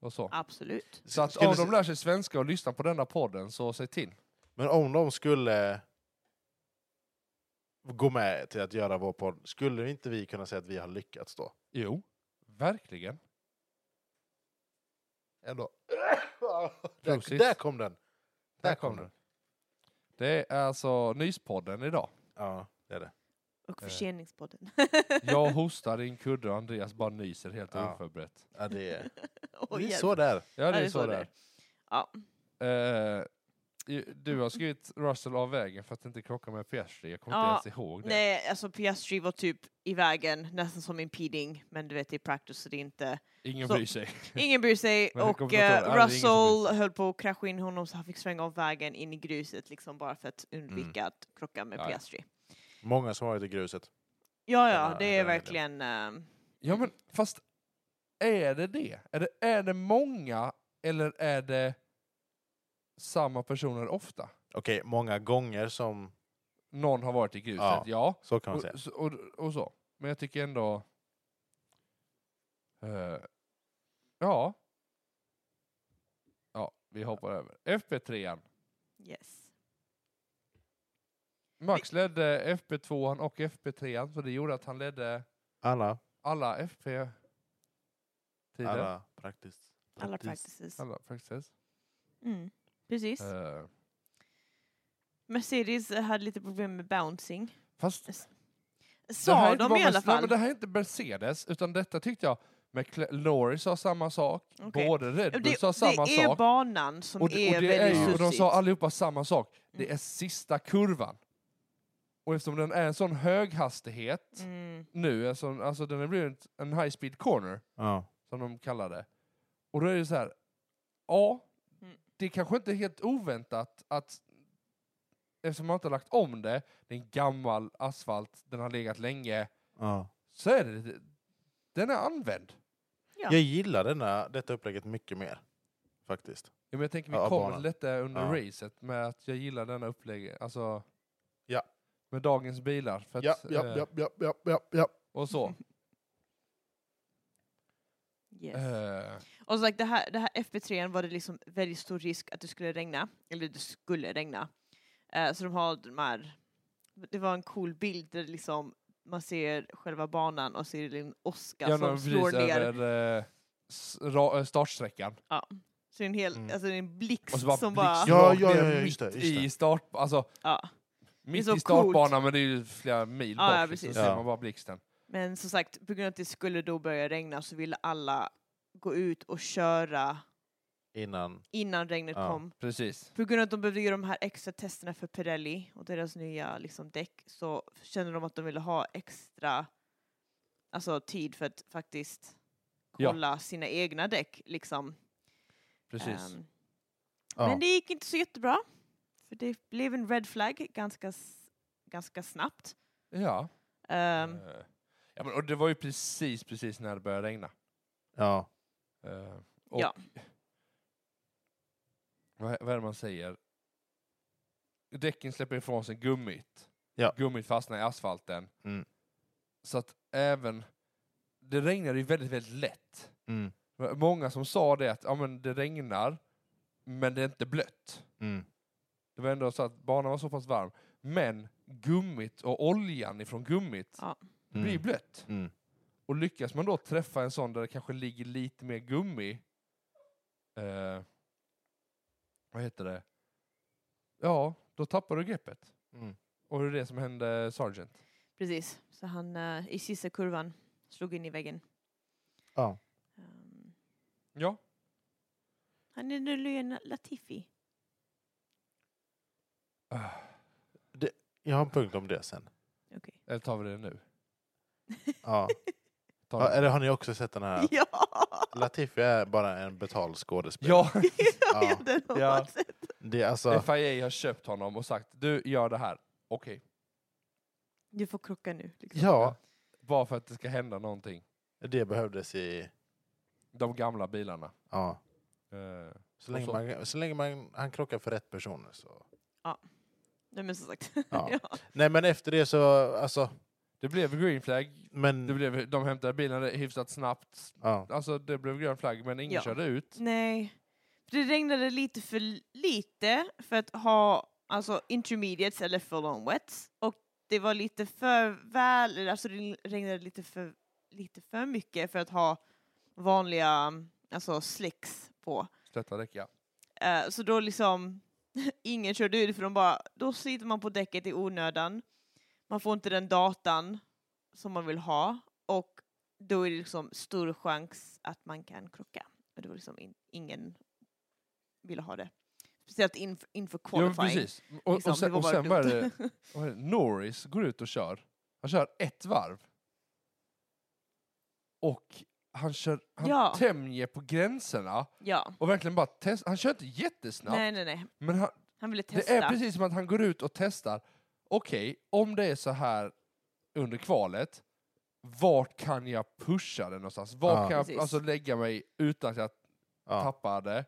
B: och så.
C: Absolut.
B: Så att
A: Skulle-
B: om de lär sig svenska och lyssnar på denna podden, så säg till.
A: Men om de skulle gå med till att göra vår podd, skulle inte vi kunna säga att vi har lyckats då?
B: Jo, verkligen.
A: Ändå.
B: Prosit.
A: där, där kom den! Där kom den.
B: Det är alltså Nyspodden idag.
A: Ja, det är det.
C: Och
B: Eh.
C: förseningspodden.
B: Jag hostar i en kudde och Andreas bara nyser helt
A: Ja.
B: oförberett.
A: Ja, det är,
C: Och
A: det är
C: hjälp.
A: så där.
B: Ja, det är så där.
C: Ja.
B: Eh, ju- du har skrivit Russell av vägen för att inte krocka med Piastri. Jag kommer
C: Ja,
B: inte ens ihåg det.
C: Nej, alltså Piastri var typ i vägen, nästan som impeding, men du vet i practice så det är inte.
B: Ingen
C: så-
B: bryr sig.
C: Ingen bryr sig
B: Men det
C: och
B: kommer att ta-
C: eh,
B: ja, det är ingen som bryr
C: Russell höll på att krascha in honom så han fick svänga av vägen in i gruset liksom bara för att
A: Mm.
C: undvika att krocka med
B: Ja, ja.
C: Piastri.
A: Många som har varit i gruset.
C: Ja,
A: Den
C: ja,
A: här-
C: det
A: den
C: är
A: här
C: verkligen... ehm,
B: Ja, men fast är det det? Är det, är det många eller är det samma personer ofta?
A: Okej, många gånger som...
B: Någon har varit i gruset, ja.
A: Ja, Så kan man
B: och,
A: säga.
B: så- och, och så. Men jag tycker ändå... eh, ja. Ja, vi hoppar över. FP3an.
C: yes.
B: Max ledde FP2an och FP3an, så det gjorde att han ledde
A: Alla
B: alla FP-tider.
A: Alla praktiskt.
C: Alla practices.
B: Alla practices.
C: Mm. Precis.
B: Eh,
C: Mercedes hade lite problem med bouncing.
B: fast Det här är
C: Sa
B: inte
C: de
B: bara
C: i
B: Merce-
C: alla
B: Nej,
C: fall.
B: men det här är inte Mercedes, utan detta tyckte jag. McLe- Lorry sa samma sak,
C: Okej.
B: både Red
C: Det,
B: Bull sa samma
C: det är
B: sak.
C: banan som
B: Och, det-
C: är
B: och, det är
C: väldigt Mm.
B: ju, och de
C: susigt.
B: sa allihopa samma sak. Det är sista kurvan. Och eftersom den är en sån hög hastighet
C: Mm.
B: nu, alltså, alltså den har blivit en high speed corner,
A: Ja.
B: som de kallar det. Och då är det så här, ja,
C: Mm.
B: det kanske inte är helt oväntat att eftersom man inte har lagt om det, det är en gammal asfalt, den har legat länge,
A: Ja.
B: så är det. Den är använd.
C: Ja.
A: Jag gillar denna, detta upplägget mycket mer. Faktiskt.
B: Ja, men jag tänker vi
A: Ja,
B: kommer
A: banan.
B: till detta under
A: Ja.
B: racet med att jag gillar denna upplägg. Alltså,
A: Ja.
B: Med dagens bilar. För att,
A: Ja, ja,
B: eh,
A: ja, ja, ja, ja, ja.
B: Och så.
C: Yes.
B: Eh,
C: Och som sagt, det här, det här FP3 var det liksom väldigt stor risk att det skulle regna. Eller det skulle regna. Eh, så de har de här, det var en cool bild där liksom man ser själva banan och ser en åska
B: jag har
C: som
B: precis
C: slår ner.
B: över eh, s- ra- eh, startsträckan.
C: Så det är en hel,
A: Mm.
C: alltså det är en blixt
B: Och så bara
C: som bara...
B: blixt
A: Ja,
B: rakt
A: ja,
B: ner
A: ja, ja, just
B: mitt
A: det, just
B: i
A: det.
B: start... Alltså,
C: Ja.
B: mitt
C: så
B: i
C: coolt.
B: startbanan, men det är ju flera mil
C: Ja,
B: bort.
C: ja,
B: liksom,
C: precis.
B: så ser
A: Ja.
B: man bara blixten.
C: Men som sagt, på grund av att det skulle då börja regna så ville alla gå ut och köra
A: Innan.
C: innan regnet
A: Ja.
C: kom.
B: Precis.
C: På grund av att de behövde göra de här extra testerna för Pirelli och deras nya liksom, däck så kände de att de ville ha extra alltså, tid för att faktiskt
B: Ja.
C: kolla sina egna däck. Liksom.
B: precis.
C: Ehm,
A: Ja.
C: Men det gick inte så jättebra. För det blev en red flag ganska, s- ganska snabbt.
B: ja.
C: Ehm,
B: Eh, ja men, och det var ju precis, precis när det började regna.
A: Ja.
B: Eh, och
C: Ja.
B: vad, vad är det man säger? Däcken släpper ifrån sig gummit.
A: Ja.
B: Gummit fastnar i asfalten.
A: Mm.
B: Så att även... Det regnade ju väldigt, väldigt lätt.
A: Mm.
B: Det var Många som sa det att ja, men det regnar, men det är inte blött.
A: Mm.
B: Det var ändå så att banan var så pass varm. Men gummit och oljan ifrån gummit
C: Ja.
B: blir
A: Mm.
B: blött.
A: Mm.
B: Och lyckas man då träffa en sån där det kanske ligger lite mer gummi, eh, vad heter det? Ja, då tappar du greppet.
A: Mm.
B: Och det är det som hände Sargent.
C: Precis, så han eh, i sista kurvan slog in i väggen.
A: Ja.
C: Ehm,
B: Ja,
C: han är nu Lena Latifi.
A: Jag har en punkt om det sen.
B: eller tar vi det nu?
A: Ja.
B: Tar
A: Ja,
B: vi-
A: eller har ni också sett den här?
C: Ja!
A: Latifi är bara en betald skådespelare.
B: ja.
C: ja,
A: Ja.
C: den har
B: Ja.
C: man sett.
A: Det är alltså...
B: FIA har köpt honom och sagt du gör det här, okej.
C: Du får krocka nu. Liksom.
A: Ja,
B: Bara för att det ska hända någonting.
A: det behövdes i...
B: De gamla bilarna.
A: Ja.
B: Eh,
A: Så länge,
B: Och så-
A: man, så länge man, han krockar för rätt personer så...
C: Nej, men som sagt.
A: Ja.
C: Ja.
A: Nej men efter det så, alltså...
B: det blev green flag,
A: Men...
B: det blev, de hämtade bilen hyfsat snabbt.
A: ja.
B: Alltså det blev grön flagg men ingen
C: Ja.
B: körde ut.
C: Nej. För Det regnade lite för lite för att ha alltså, intermediates eller full-on wets. Och det var lite för väl, eller alltså det regnade lite för, lite för mycket för att ha vanliga alltså, slicks på.
B: Slätta däck ja.
C: Eh, så då liksom, ingen körde ut för de bara, då sliter man på däcket i onödan. Man får inte den datan som man vill ha och då är det liksom stor chans att man kan krocka. Och det var liksom in, ingen ville ha det. Speciellt inf, inför
B: Ja, men
C: qualifying.
B: precis. Och,
C: liksom.
B: och sen, och
C: bara
B: sen var det,
C: dumt.
B: vad är det, Norris går ut och kör. Han kör ett varv. Och han kör, han
C: Ja.
B: tämjer på gränserna
C: ja,
B: och verkligen bara testar. Han kör inte jättesnabbt,
C: nej nej nej.
B: men han,
C: Han ville
B: det
C: testa.
B: är precis som att han går ut och testar. Okej, om det är så här under kvalet, vart kan jag pusha den någonstans? Var
A: Ja.
B: kan jag
C: Precis.
B: alltså, lägga mig utan att jag
A: ja.
B: tappade.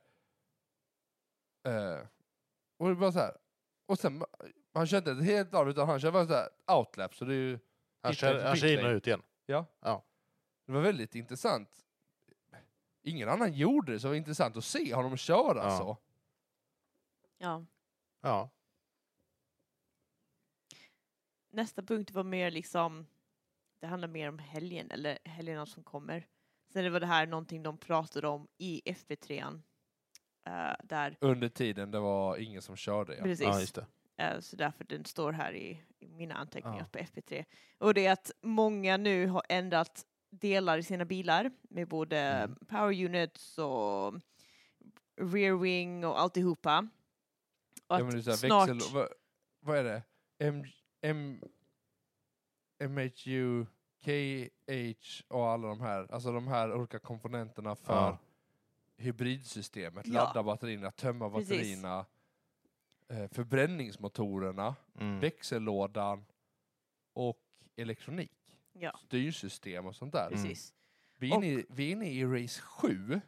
B: Eh, och det var så här. Och sen, han kör inte ett helt av utan han kör bara så här outlap. Så det, är ju,
A: Han,
B: Hitler
A: kör,
B: till
A: han kör in och
B: Hitler.
A: ut igen.
B: det var väldigt intressant. Ingen annan gjorde det, så det var intressant att se honom köra
A: Ja.
B: så.
C: ja.
A: Ja.
C: Nästa punkt var mer liksom Det handlar mer om helgen, eller helgerna som kommer. Sen det var det här någonting de pratade om i FP3. an eh, där,
B: Under tiden det var ingen som körde. Ja.
C: precis.
A: Ja, just det.
C: Eh, så därför den står här i, i mina anteckningar
A: Ja.
C: på FP3. Och det är att många nu har ändrat delar i sina bilar med både
A: Mm.
C: power units och rear wing och alltihopa. Och
B: Ja,
C: att
B: men det är så här,
C: snart...
B: växel, vad, vad är det? M, M, MHU, KH och alla de här, alltså de här olika komponenterna för
A: Ja.
B: hybridsystemet.
C: Ja.
B: Ladda batterierna, tömma
C: Precis.
B: batterierna, eh, förbränningsmotorerna,
A: Mm.
B: växellådan och elektronik.
C: Ja,
B: Styrsystem och sånt där.
A: Mm.
C: precis.
B: Vi är, inne, i- vi är inne i race 7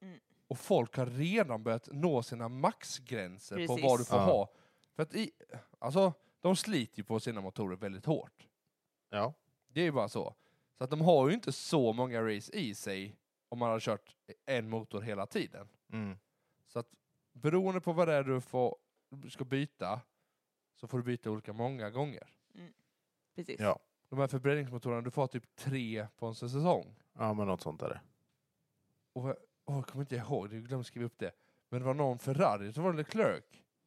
C: Mm.
B: och folk har redan börjat nå sina maxgränser på
C: Precis.
B: vad du får
A: Ja.
B: ha. För att i, alltså, de sliter ju på sina motorer väldigt hårt.
A: Ja.
B: Det är ju bara så. Så att de har ju inte så många race i sig om man har kört en motor hela tiden.
A: Mm.
B: Så att beroende på vad det är du får, ska byta så får du byta olika många gånger.
C: precis.
A: Ja.
B: De här förbränningsmotorerna, du får ha typ tre på en säsong.
A: ja, men något sånt är det.
B: och jag, åh, jag kommer inte ihåg, jag glömde skriva upp det. Men det var någon Ferrari, så var det Leclerc.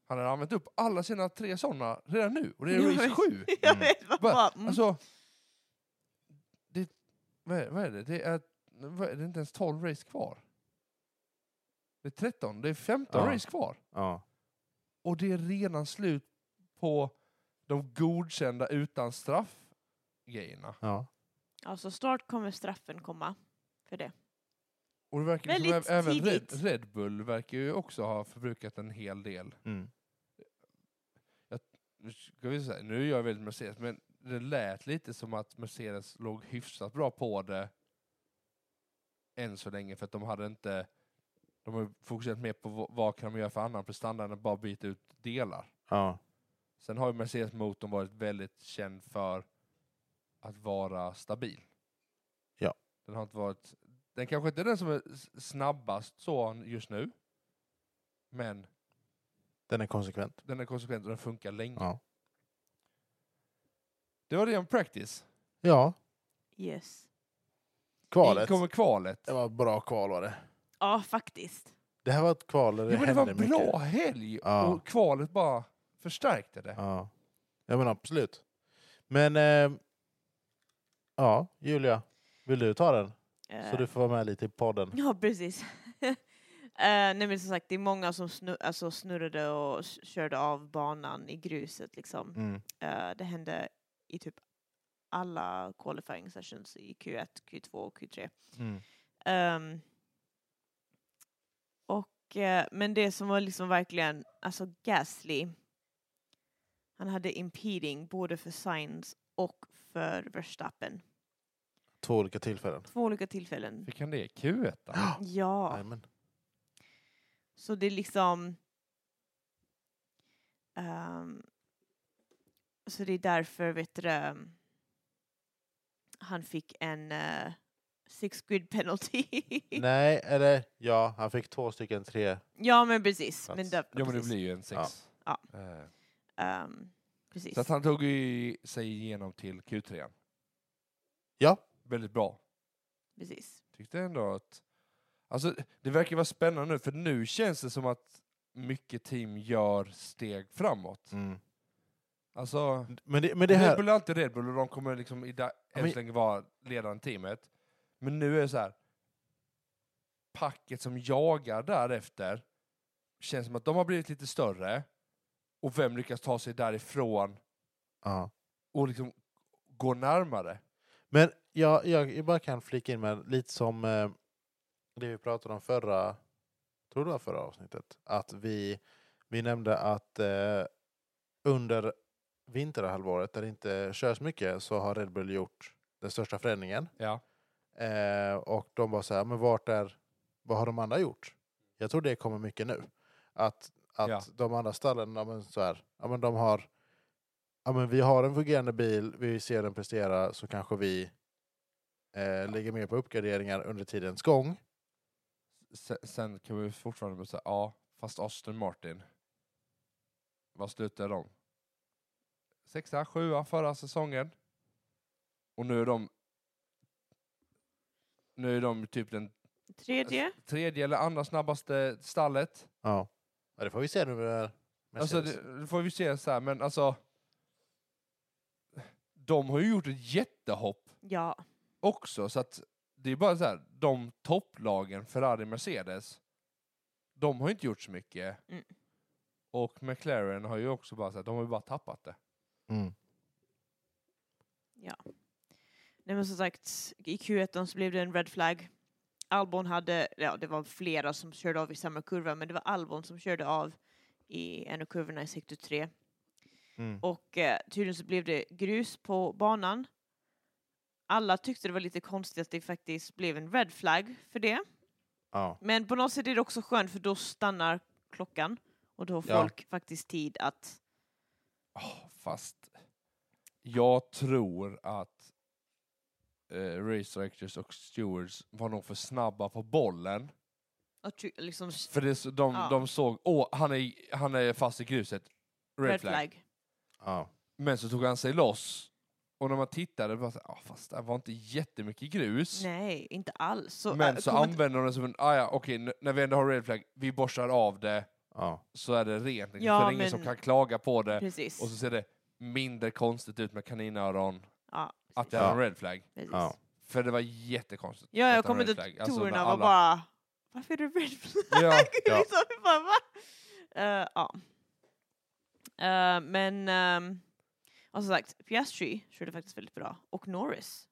B: Han hade använt upp alla sina tre sådana redan nu, och det är
C: Ja,
B: race
C: men-
B: 7.
C: Jag
A: Mm.
C: vet vad
B: Bara,
C: mm.
B: Alltså, det, vad, är, vad är det? Det är, vad är det är inte ens 12 race kvar. Det är 13, det är 15
A: Ja.
B: race kvar.
A: Ja.
B: Och det är redan slut på de godkända utan straff-grejerna.
A: ja.
C: Alltså snart kommer straffen komma för det.
B: Och det verkar ju som
C: Väldigt
B: ä- även Red,
C: tidigt.
B: Red Bull verkar ju också ha förbrukat en hel del
A: Mm.
B: nu ska vi säga, nu är jag väldigt Mercedes, men det lät lite som att Mercedes låg hyfsat bra på det än så länge, för att de hade inte, de har ju fokuserat mer på vad- vad kan de göra för annan prestanda än att bara byta ut delar.
A: Ja.
B: Sen har ju Mercedes-motorn varit väldigt känd för att vara stabil.
A: Ja.
B: Den har inte varit, den kanske inte är den som är s- snabbast så just nu, men
A: Den är konsekvent.
B: den är konsekvent och den funkar länge.
A: Ja.
B: Det var det om practice.
A: Ja.
C: Yes.
A: Kvalet.
B: In kommer kvalet.
A: Det var ett bra kval var det.
C: Ja, faktiskt.
A: Det här var ett kval där det
B: Jo, men det var
A: hände
B: en
A: mycket.
B: bra helg
A: Ja.
B: och kvalet bara förstärkte det.
A: Ja. ja, men absolut. Men... ehm, ja, Julia. Vill du ta den? Så
C: Eh,
A: du får vara med lite i podden.
C: Ja, precis. uh, nej, men som sagt, det är många som snu- alltså, snurrade och s- körde av banan i gruset. Liksom.
A: Mm.
C: Eh, det hände i typ alla qualifying sessions i Q1, Q2 och Q3.
A: Mm.
C: Ehm, och, eh, men det som var liksom verkligen, alltså Gasly, han hade impeding både för Sainz och för Verstappen.
A: Två olika tillfällen.
C: Två olika tillfällen.
B: Fick han det? Q1? då?
C: Ja,
A: Jajamän.
C: så det är liksom... ehm, så det är därför, vet du det, han fick en eh, six grid penalty.
A: Nej, eller ja, han fick två stycken tre.
C: ja, men precis. Men
A: Plats.
C: där,
B: Ja, men det
C: precis.
B: blir ju en sex.
C: Ja.
B: Eh,
C: Ehm, precis.
B: Så att han tog ju sig igenom till Q3.
A: Ja.
B: Väldigt bra.
C: precis.
B: Tyckte ändå att... Alltså, det verkar vara spännande nu, för nu känns det som att mycket team gör steg framåt. Alltså,
A: Men, det, men det
B: Red
A: här...
B: Bull Mm. är alltid Red Bull och de kommer liksom i da- än
A: men-
B: så länge vara ledande teamet. Men nu är det så här. Packet som jagar därefter känns som att de har blivit lite större och vem lyckas ta sig därifrån
A: Ja.
B: och liksom gå närmare.
A: Men jag, jag, jag bara kan flika in med lite som eh, det vi pratade om förra, tror det var förra avsnittet, att vi, vi nämnde att eh, under vinterhalvåret där det inte körs mycket så har Red Bull gjort den största förändringen.
B: Ja.
A: Eh, och de var så här, men vart är, vad har de andra gjort? Jag tror det kommer mycket nu. Att, att
B: Ja.
A: de andra stallen, ja, men så här, ja, men de har, ja, men vi har en fungerande bil, vi ser den prestera så kanske vi eh, lägger mer på uppgraderingar under tidens gång.
B: Sen, sen kan vi fortfarande bara säga, ja, fast Aston Martin. Vad slutade de? Sexa, sjua förra säsongen. Och nu är de... Nu är de typ den
C: Tredje?
B: Alltså, tredje eller andra snabbaste stallet.
A: Ja. ja, det får vi se nu med det här
B: Alltså,
A: Mercedes.
B: det, det får vi se så här, men alltså... De har ju gjort ett jättehopp
C: Ja.
B: också, så att det är bara så här, de topplagen, Ferrari, Mercedes, de har ju inte gjort så mycket.
C: Mm.
B: Och McLaren har ju också bara så här, de har ju bara tappat det.
A: Mm.
C: Nej men som sagt, i Q1 så blev det en red flag. Albon hade, ja det var flera som körde av i samma kurva, men det var Albon som körde av i en av kurvorna i sektor 3.
A: Mm.
C: Och eh, tydligen så blev det grus på banan. Alla tyckte det var lite konstigt att det faktiskt blev en red flag för det.
A: Ja.
C: Men på något sätt är det också skönt för då stannar klockan och då har
A: Ja.
C: folk faktiskt tid att...
B: Ah, fast jag tror att eh, race directors och stewards var nog för snabba på bollen.
C: att ty- liksom s-
B: För det, är så- de,
C: Ja.
B: de såg, åh, han är, han är fast i gruset. Red,
C: red
B: flag.
C: flag.
A: ja.
B: Men så tog han sig loss. Och när man tittade, bara så, här, ah, fast det var inte jättemycket grus.
C: Nej, inte alls. Så,
B: Men
C: äh,
B: så
C: komment-
B: använder de det som en, ah, ja, okej, n- när vi ändå har red flag, vi borstar av det,
A: ja.
B: så är det rent. liksom.
C: Ja,
B: så är det ingen som
C: men-
B: kan klaga på det.
C: Precis.
B: Och så ser det mindre konstigt ut med kaninöron,
C: ja,
B: att det
C: precis.
B: är
A: Ja.
B: en red flag.
C: precis.
A: Ja.
C: Ja.
B: För det var jättekonstigt. att
C: jag
B: det var
C: kommer
B: red
C: till
B: flag.
C: att
B: Alltså, när
C: tornen var
B: alla-
C: bara... Varför är det red flag?
B: Ja,
A: ja.
C: liksom, jag bara, va? Eh, ja. Eh, men... ehm, och som sagt, Piastri körde faktiskt väldigt bra. Och Norris.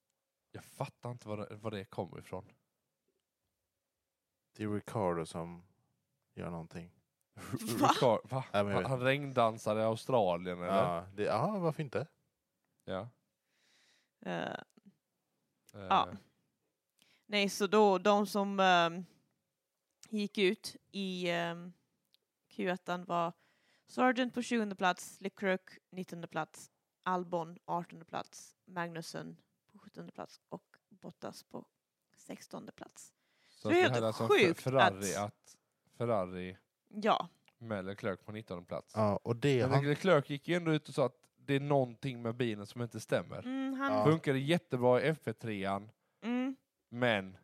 B: jag fattar inte var det, var det kommer ifrån.
A: Det är Ricardo som gör någonting.
C: Va?
B: Ricard- Va?
A: Ja, men jag
B: Han,
A: vet
B: han regndansade i Australien eller? Ja.
A: Ja, det, ja, varför inte?
C: Eh,
B: Eh,
C: Ja. Nej, så då de som ehm, gick ut i um, Q1 var Sargent på 20 plats, LeClerc 19 plats, Albon 18 plats, Magnussen på 17 plats och Bottas på 16 plats.
B: Så
C: det är
B: vi
C: helt
B: hade alltså
C: sjukt
B: Fer- Ferrari
C: att-
B: att... Ferrari
C: Ja,
B: med Leclerc på 19 plats.
A: Ja, och det
B: Men
A: han...
B: Leclerc gick ju ändå ut och sa att det är någonting med bilen som inte stämmer.
C: mm, han...
A: Ja.
B: Funkade jättebra i FP3an,
C: Mm,
B: men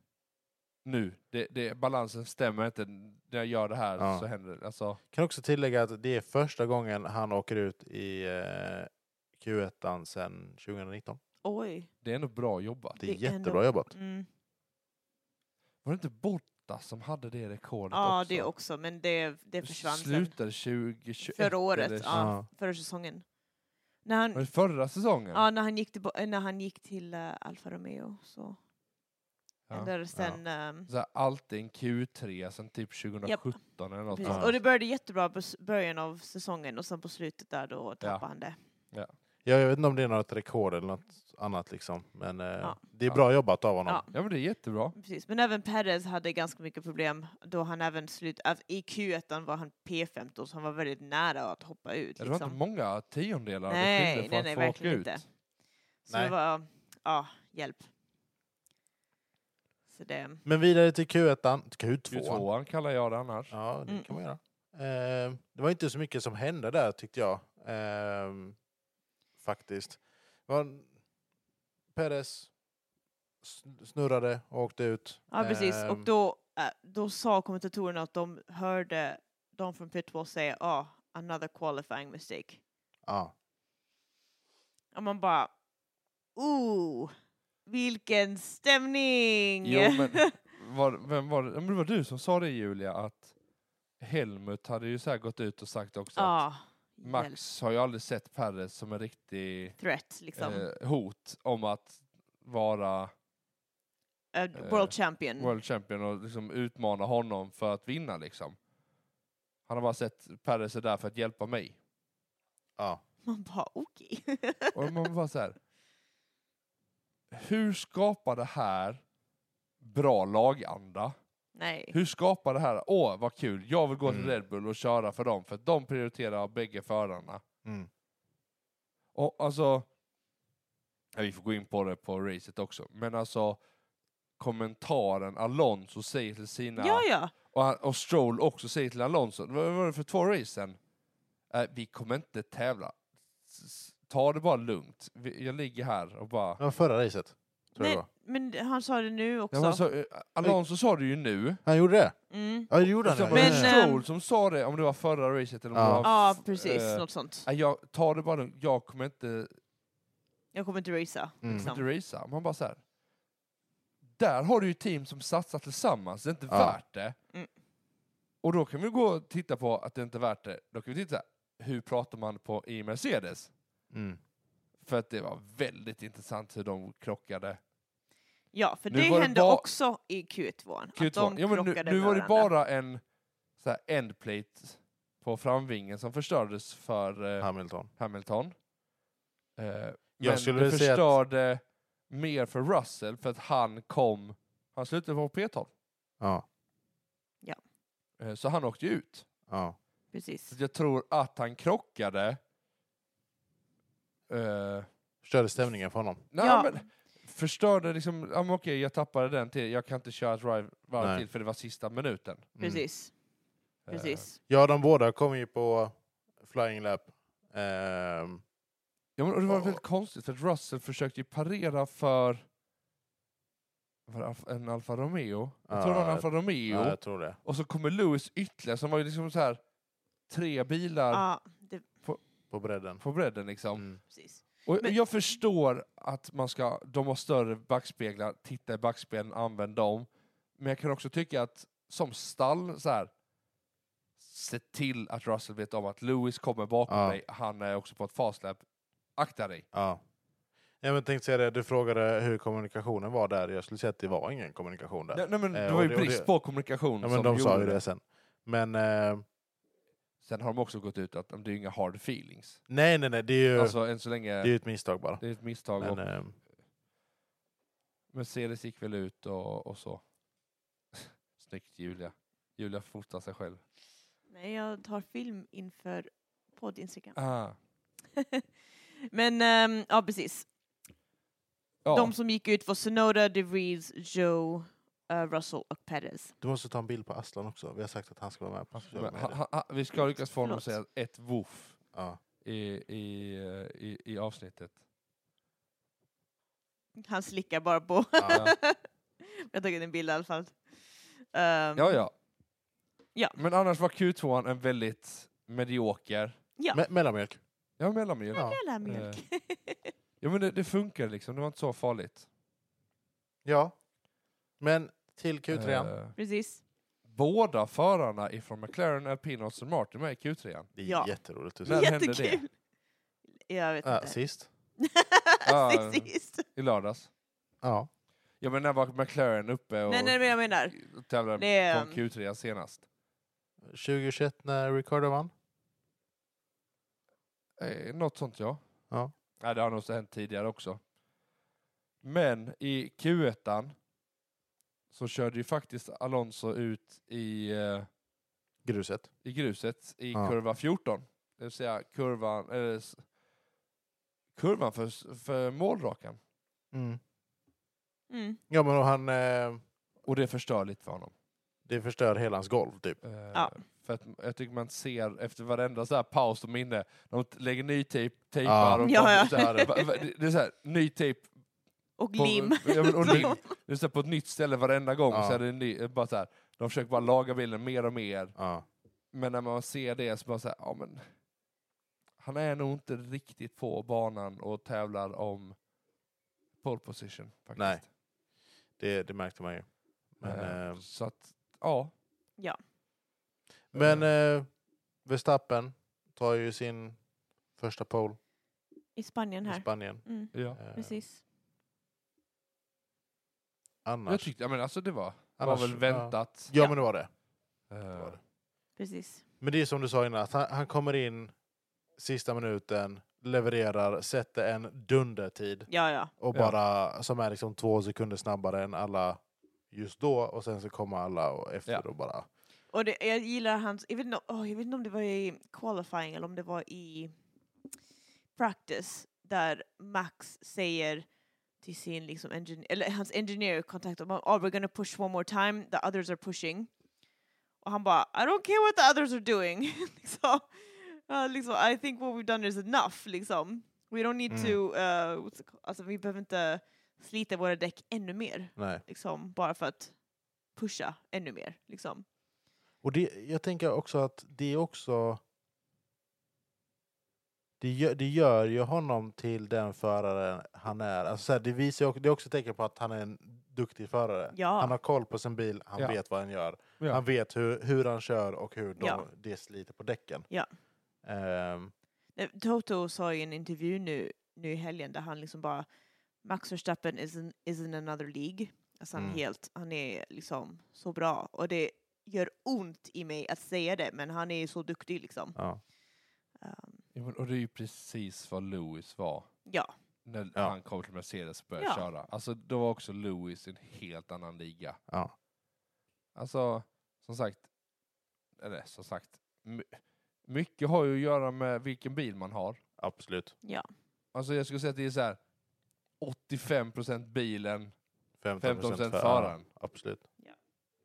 B: nu, det, det, balansen stämmer inte. När jag gör det här
A: Ja.
B: så händer det. Alltså,
A: Kan också tillägga att det är första gången han åker ut i eh, Q1 sedan 2019.
C: oj.
B: det är ändå bra jobbat.
A: Det är
C: Det är ändå-
A: jättebra jobbat.
C: Mm.
B: Var det inte Bottas som hade det rekordet
C: Ja,
B: också?
C: det också, men det, det försvann sen.
B: Slutade 2021?
C: Förra
B: eller-
C: året,
A: Ja.
C: ja, förra säsongen. När han,
B: Var det förra säsongen?
C: Ja, när han gick till, bo- eh, när han gick till eh, Alfa Romeo så
B: Ja.
C: eller sen... ehm,
B: Så här, alltid en Q3 sen typ 2017 eller något.
C: precis.
A: Ja.
C: Och det började jättebra på s- början av säsongen och sen på slutet där då tappade han det.
A: Ja, jag vet inte om det är något rekord eller något annat liksom. Men eh,
C: Ja.
A: det är bra jobbat av honom.
C: Ja,
B: Ja men det är jättebra.
C: precis. Men även Perez hade ganska mycket problem då han även slut... att I Q1 var han P15 så han var väldigt nära att hoppa ut.
B: Det var inte
C: Liksom.
B: många tiondelar
C: Nej,
B: det skilde
C: nej,
B: för
C: nej,
B: att få åka
C: verkligen
B: ut.
C: inte. Så
A: Nej.
C: det var... Ja, hjälp. Så det...
A: Men vidare till Q1, till Q2.
B: Q2 kallar jag det annars.
A: Ja, det
C: Mm.
A: kan man göra. Eh, det var inte så mycket som hände där tyckte jag. Ehm, faktiskt. Det Var, Perez sn- snurrade och åkte ut.
C: Ja, precis. Och
A: Ehm,
C: då, eh, då sa kommentatorerna att de hörde de från P2 säga ah, another qualifying mistake.
A: ja.
C: Och man bara, ooh, vilken stämning!
B: Jo, men var, vem var det? Ja, men det var du som sa det Julia att Helmut hade ju så här gått ut och sagt också att
C: ja,
B: Max
C: hjälp.
B: har ju aldrig sett Perez som en riktig
C: Threat, liksom.
B: eh, hot om att vara
C: Eh,
B: eh,
C: world champion.
B: world champion och liksom utmana honom för att vinna liksom. Han har bara sett Perez är där för att hjälpa mig.
A: ja.
C: Man bara, okej.
B: Och man bara så här. Hur skapar det här bra laganda?
C: Nej.
B: Hur skapar det här, åh vad kul, jag vill gå till
A: Mm.
B: Red Bull och köra för dem, för att de prioriterar bägge förarna.
A: Mm.
B: Och alltså, ja, vi får gå in på det på racet också, men alltså kommentaren Alonso säger till sina
C: Ja, ja.
B: Och, han, och Stroll också säger Äh, till Alonso, vad var det för två race sen? Eh, vi kommer inte tävla. S- s- ta det bara lugnt. Vi- Jag ligger här och bara...
A: Det var förra racet. Tror jag det
C: Nej,
A: var.
C: men det- han sa det nu också.
B: Ja, men alltså, eh, Alonso sa det ju nu.
A: Han gjorde det?
C: mm.
A: Ja, det gjorde
B: Och
A: han.
B: sen
A: ja.
B: var det
C: Men, eh,
B: Stroll som sa det, om det var förra racet eller om
A: Ja.
B: det var...
C: Ja,
B: f-
C: precis.
B: eh,
C: Något sånt.
B: nej, jag tar det bara lugnt. Jag kommer inte,
C: Jag kommer inte racea.
A: Mm.
C: Liksom.
B: inte racea. Man bara så här. Där har du ju team som satsar tillsammans, det är inte
A: Ja.
B: värt det.
C: Mm.
B: Och då kan vi gå och titta på att det inte är värt det. Då kan vi titta, hur pratar man på i Mercedes?
A: Mm.
B: För att det var väldigt intressant hur de krockade.
C: Ja, för
B: Nu var
C: det
B: det
C: hände
B: bara-
C: också i Q2.
B: Q2.
C: Att de
B: ja, men nu,
C: krockade
B: nu
C: med
B: var det
C: varandra.
B: bara en så här, endplate på framvingen som förstördes för eh,
A: Hamilton.
B: Hamilton. Eh,
A: Jag
B: men
A: skulle
B: det
A: vilja säga att-
B: förstörde mer för Russell för att han kom, han slutade på P12.
A: Ja.
B: Eh, så han åkte ju ut.
A: ja.
C: Precis.
B: Så jag tror att han krockade. Eh,
A: Förstörde stämningen för honom. Mm.
B: nej,
C: Ja.
B: men förstörde liksom, ja men okej jag tappade den till, jag kan inte köra ett varv- varv
A: Nej.
B: till för det var sista minuten.
A: Mm.
C: Precis.
B: Eh,
C: Precis.
A: Ja, de båda kom ju på flying lap. Ehm,
B: Ja, men, och det var
A: Och-
B: väldigt konstigt för att Russell försökte ju parera för för Alf- en Alfa Romeo. Jag
A: Ja,
B: tror det var en
A: jag-
B: Alfa Romeo.
A: ja, Ah, jag tror det.
B: Och så kommer Lewis ytterligare som var ju liksom så här tre bilar
C: Ja, det,
A: På bredden.
B: på bredden liksom.
A: Mm.
C: precis.
B: Och
C: Men-
B: jag förstår att man ska, de har större backspeglar, titta i backspegeln, använd dem. Men jag kan också tycka att som stall så här se till att Russell vet om att Lewis kommer bakom
A: Ja.
B: dig, han är också på ett fastlap. Akta dig.
A: Ja. Ja, men tänkte säga det, du frågade hur kommunikationen var där. Jag skulle säga att det var ingen kommunikation där.
B: Nej, nej, men
A: Eh,
B: det
A: och
B: var ju
A: det- och
B: brist
A: det-
B: på kommunikation
A: ja, men
B: som
A: de sa
B: gjorde
A: ju det sen. Men eh,
B: Sen har de också gått ut att det är inga hard feelings.
A: nej, nej, nej, det är ju
B: Alltså än så länge,
A: det är ju ett misstag bara.
B: det är ett misstag.
A: Men,
B: och
A: eh,
B: Mercedes gick väl ut och, och så. Snyggt Julia. Julia fotar sig själv.
C: Nej, jag tar film inför podd-Instagram.
B: Ah.
C: Men ehm, ja, precis.
B: Ja.
C: De som gick ut var Sonoda, DeVries, Joe, eh, Russell och Perez.
A: du måste ta en bild på Aslan också. Vi har sagt att han ska vara med. På sociala
B: Alltså, Men ha,
A: medier.
B: ha, ha, vi ska lyckas få honom att säga
C: Förlåt.
B: ett woof
A: ja.
B: i, i, eh, i, i avsnittet.
C: Han slickar bara på.
A: Ja.
C: jag har tagit en bild i alla fall. Ehm,
B: Ja, ja.
C: Ja.
B: Men annars var Q2 en väldigt medioker.
C: Ja.
A: Me- mellanmjölk.
B: Ja, mellanmjölk.
A: Ja.
C: Jävla mjölk.
B: Eh. Ja, men det, det funkar liksom. Det var inte så farligt.
A: ja. Men till Q3.
B: Eh,
C: precis.
B: båda förarna ifrån McLaren, Alpine och Aston Martin med i Q3.
A: Det är
C: ja.
A: jätteroligt. att se.
B: När hände det? Ah,
C: Jättekul. Jag vet
A: Ja,
C: inte.
A: sist.
B: Ja.
C: Sist.
B: I lördags.
A: Ja.
B: Ja, men när var McLaren uppe och
C: Nej, nej, men jag menar.
B: tävlade
C: Det är,
B: på
C: ehm,
B: Q3 senast?
A: 2021 när Ricardo vann.
B: Eh, något sånt ja.
A: Ja.
B: Nej, det har nog hänt tidigare också. Men i Q1 så körde ju faktiskt Alonso ut i, eh,
A: Gruset.
B: i gruset i
A: Ja.
B: kurva 14. Det vill säga kurvan, eller, s- kurvan för, s- för målrakan.
C: Mm.
A: Ja, men och han... Eh,
B: Och det förstör lite för honom.
A: det förstör hela hans golv, typ.
B: Eh,
C: Ja.
B: För att jag tycker man ser efter varenda så här paus och minne, de t- lägger ny tejp, tejpar och
C: Ja,
B: kommer
C: ja.
B: Så här, va- va- det- det är så här, ny tejp
C: Och
B: På-
C: lim.
B: ja, men, och
C: Så-
B: lim. Det är så här på ett nytt ställe varenda gång.
A: Ja.
B: Så är det en ny, eh, bara så här, de försöker bara laga bilden mer och mer.
A: Ja.
B: Men när man ser det så bara så här, ja men... Han är nog inte riktigt på banan och tävlar om pole position. Faktiskt.
A: Nej. Det, det märkte man ju. Men,
B: Eh,
A: eh,
B: så att, ja.
C: Ja.
A: men
B: Eh,
A: eh, Verstappen tar ju sin första pole
C: I Spanien
A: i
C: här.
A: Spanien.
C: Mm,
B: ja.
A: Eh,
C: precis.
B: Jag
A: annars.
B: tyckte, ja men alltså det var,
A: annars-
B: var väl väntat.
A: Ja. ja,
C: Ja.
A: men det var det.
B: Eh,
A: var det.
C: Precis.
A: Men det är som du sa innan, att han, han kommer in sista minuten, levererar, sätter en dundertid
C: Ja, ja.
A: och
B: Ja.
A: bara som är liksom två sekunder snabbare än alla just då och sen så kommer alla och efter
B: Ja.
A: och bara
C: Och det, jag gillar hans... Jag vet, inte, om- åh, jag vet inte om det var i qualifying eller om det var i practice där Max säger till sin liksom engineer, eller hans engineer kontakt om oh, we're gonna push one more time, the others are pushing. Och han bara I don't care what the others are doing. liksom. Ja, liksom, I think what we've done is enough. Liksom. We don't need
A: Mm.
C: to, eh, what's it called? alltså vi behöver inte slita våra däck ännu mer,
A: Nej.
C: liksom, bara för att pusha ännu mer. Liksom.
A: Och det, jag tänker också att det är också... Det gör, det gör ju honom till den föraren han är. Alltså så här, det, visar ju, också- det är också ett tecken på att han är en duktig förare.
C: Ja.
A: Han har koll på sin bil, han
B: Ja.
A: vet vad han gör.
B: Ja.
A: Han vet hur, hur han kör och hur de,
C: Ja.
A: det sliter på däcken.
C: Ja.
A: Ehm,
C: Eh, Toto sa i en intervju nu, nu i helgen där han liksom bara Max Verstappen is in, is in another League. Alltså han,
A: Mm.
C: helt, han är liksom så bra och det gör ont i mig att säga det men han är så duktig liksom.
A: ja.
C: Ehm,
B: Ja, men- Och det är ju precis vad Lewis var
C: ja,
B: när
A: Ja.
B: han kom till Mercedes och började
C: Ja.
B: köra. Alltså då var också Lewis i en helt annan liga.
A: Ja.
B: Alltså, som sagt, eller som sagt, my- mycket har ju att göra med vilken bil man har.
A: Absolut.
B: Alltså jag skulle säga att det är så här 85% bilen,
A: 15,
B: 15%
A: för-
B: föraren.
A: Ja, absolut.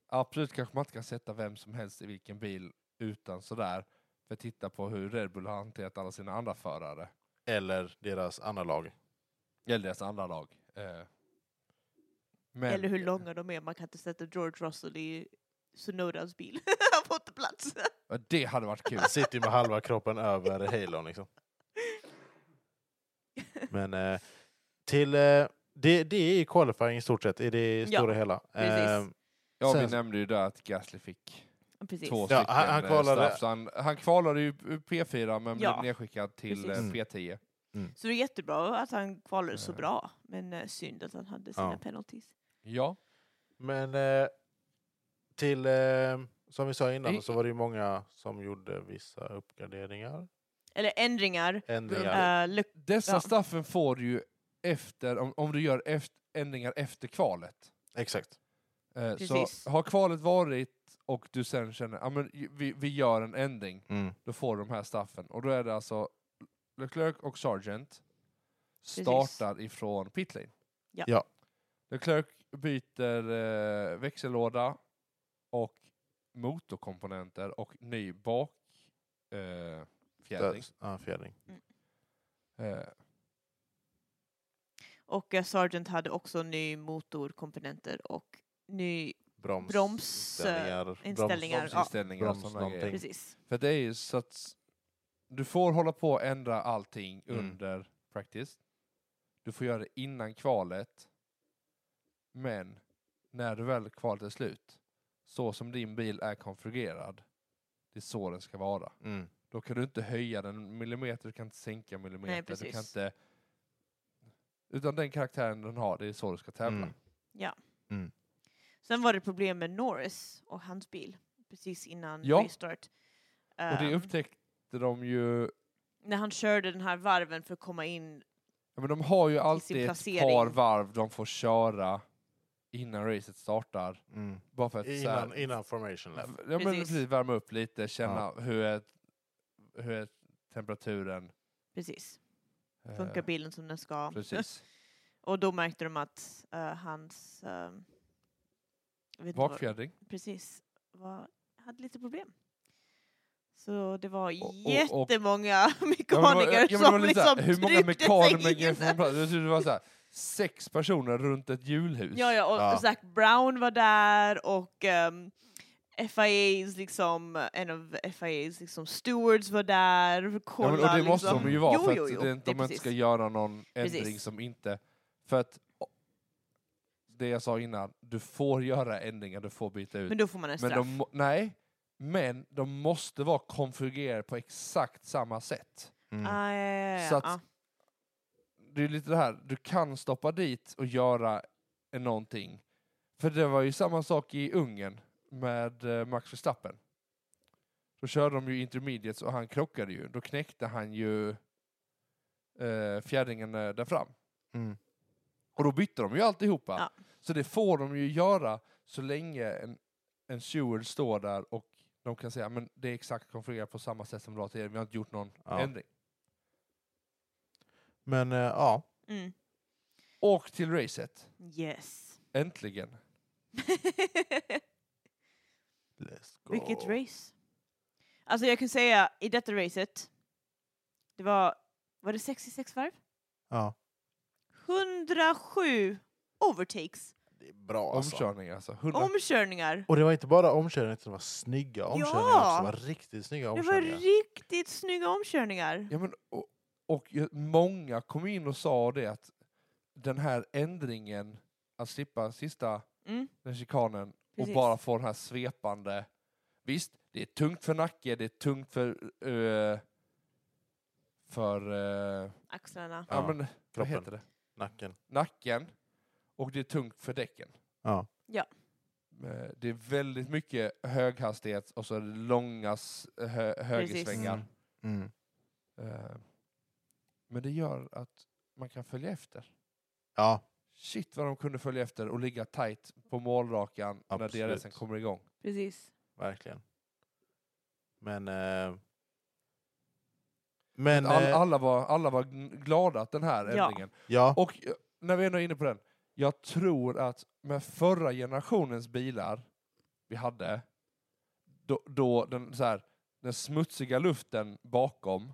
B: Absolut kanske man inte kan sätta vem som helst i vilken bil utan sådär. För titta på hur Red Bull har hanterat alla sina andra förare.
A: Eller deras analog.
B: Eller deras andra lag. Eh, men-
C: eller hur långa de är. Man kan inte sätta George Russell i Sunodas bil på inte plats.
B: Ja, Det hade varit kul.
A: Han sitter ju med halva kroppen över Halon liksom. Men eh, till... Eh, det, det är ju qualifying i stort sett, i det
C: Ja,
A: stora hela. Eh,
C: precis.
B: Ja, vi
A: Sen-
B: nämnde ju där att Gasly fick
C: Precis.
B: två
A: Ja,
B: stycken
A: han- han
B: eh,
A: kvalade-
B: straff. Så han, han kvalade ju ur P4 men
C: Ja,
B: blev nedskickad till eh,
C: precis.
A: Mm.
B: P10.
C: Så det är jättebra att han kvalade så
B: Eh.
C: bra men eh, synd att han hade sina
A: Ja.
C: penalties.
B: Ja,
A: men eh, till... Eh, som vi sa
B: I-
A: innan så var det ju många som gjorde vissa uppgraderingar.
C: Eller ändringar.
A: Ändringar.
C: Ja. Uh,
B: dessa
C: Ja.
B: straffen får du ju efter, om, om du gör efter, ändringar efter kvalet.
C: Äh.
A: Exakt.
B: Eh, så
C: Precis.
B: har kvalet varit och du sen känner att men vi, vi gör en ändring,
A: Mm.
B: då får du de här straffen. Och då är det alltså Leclerc och Sargent
C: Precis.
B: startar ifrån pitlane.
C: Ja.
A: Ja.
B: Leclerc byter eh, växellåda och motorkomponenter och ny bak eh, fjädring.
A: Där- Ja, fjädring.
B: Eh,
C: Och eh, Sargent hade också ny motorkomponenter och ny...
A: Broms.
C: Broms, eh,
A: inställningar,
C: inställningar,
A: Broms,
C: ja.
B: inställningar och
A: Broms
B: sådana
A: någonting.
B: grejer.
C: Precis.
B: För det är ju så att s- du får hålla på och ändra allting
A: Mm.
B: under practice. Du får göra det innan kvalet. Men när du väl kvalet är slut, så som din bil är konfigurerad, det är så den ska vara.
A: Mm.
B: Då kan du inte höja den en millimeter, du kan inte sänka en
C: Nej,
B: millimeter. du
C: precis.
B: kan inte... Utan den karaktären den har, det är så du ska tävla.
A: Mm.
C: Sen var det problem med Norris och hans bil precis innan
B: Ja.
C: restart.
B: Och det
C: Ehm,
B: upptäckte de ju...
C: när han körde den här varven för att komma in.
B: Ja, men de har ju
C: sin
B: alltid ett
C: placering.
B: par varv de får köra innan racet startar.
A: Mm.
B: Bara för att så här-
A: Innan, innan formation lap.
B: ja, men
C: Precis.
B: precis, värma upp lite, känna hur, är, hur är temperaturen.
C: Precis.
B: eh,
C: Funkar bilen som den ska.
B: Precis.
C: Och då märkte de att eh, hans... eh, jag vet inte vad-
B: Bakfjädring.
C: Precis. Var, hade lite problem. Så det var
B: och- och-
C: jättemånga
B: Ja, men det var-
C: mekaniker
B: ja, men det var
C: som
B: lite såhär,
C: liksom
B: Hur många
C: tryckte sig
B: mekaniker
C: in.
B: från plats? Jag trodde det var såhär, sex personer runt ett julhus.
C: Ja, ja, och
A: Ja.
C: Zac Brown var där och um, FIAs liksom, eh, en av FIAs liksom stewards var där och
B: Ja, men,
C: kollade.
B: och det måste
C: liksom.
B: de ju vara
C: Jo,
B: för
C: jo,
B: att
C: jo,
B: det, är inte-
C: det är
B: de inte ska
C: precis.
B: göra någon
C: Precis.
B: ändring som inte... För att o- det jag sa innan, du får göra ändringar, du får byta ut.
C: Men då får man en
B: Men
C: straff.
B: de, må- nej, men de måste vara konfigurerade på exakt samma sätt.
A: Mm.
C: Ah, ja, ja, ja,
B: Så
C: ja.
B: att- Det är lite det här, du kan stoppa dit och göra någonting. För det var ju samma sak i Ungern med eh, Max Verstappen. Då körde de ju intermediates och han krockade ju. Då knäckte han ju eh, fjädringen eh, där fram.
A: Mm.
B: Och då bytte de ju alltihopa.
C: Ja.
B: Så det får de ju göra så länge en, en steward står där och de kan säga men det är exakt konfigurerat på samma sätt som det var tidigare, vi har inte gjort någon
A: Ja.
B: ändring.
A: Men eh, ja,
C: Mm.
B: Och till racet,
C: Yes.
B: äntligen.
A: let's go.
C: Vilket race. Alltså jag kan säga, i detta racet, det var var det 66 varv?
A: Ja.
C: 107 overtakes.
A: Det är bra alltså.
B: Omkörning alltså. 100.
C: Omkörningar.
A: Och det var inte bara omkörningar, utan det var snygga omkörningar
C: Ja.
A: också. Det var riktigt snygga
C: Det var
A: omkörningar.
C: riktigt snygga omkörningar.
B: Ja, men, och, och ju- många kom in och sa det att den här ändringen, att slippa sista
C: Mm,
B: den chikanen
C: precis.
B: och bara få den här svepande... Visst, det är tungt för Nacke, det är tungt för... eh, för... eh,
C: Axlarna.
B: ja,
A: Ja,
B: men, vad
A: kroppen.
B: heter det?
A: Nacken.
B: Nacken. Och det är tungt för däcken.
A: Ja.
B: Eh, Det är väldigt mycket höghastighet och så är det långa s- hö- högersvängar.
A: Mm.
B: Eh, Men det gör att man kan följa efter.
A: Ja,
B: Shit vad de kunde följa efter och ligga tight på målrakan när
A: Absolut.
B: DRSen kommer igång.
C: Precis.
A: verkligen. Men... Eh, men...
B: All,
A: eh,
B: alla, var, alla var gn- glada att den här
C: Ja.
B: ändringen.
A: ja.
B: Och eh, när vi ändå är inne på den, jag tror att med förra generationens bilar vi hade, då, då den, så här, den smutsiga luften bakom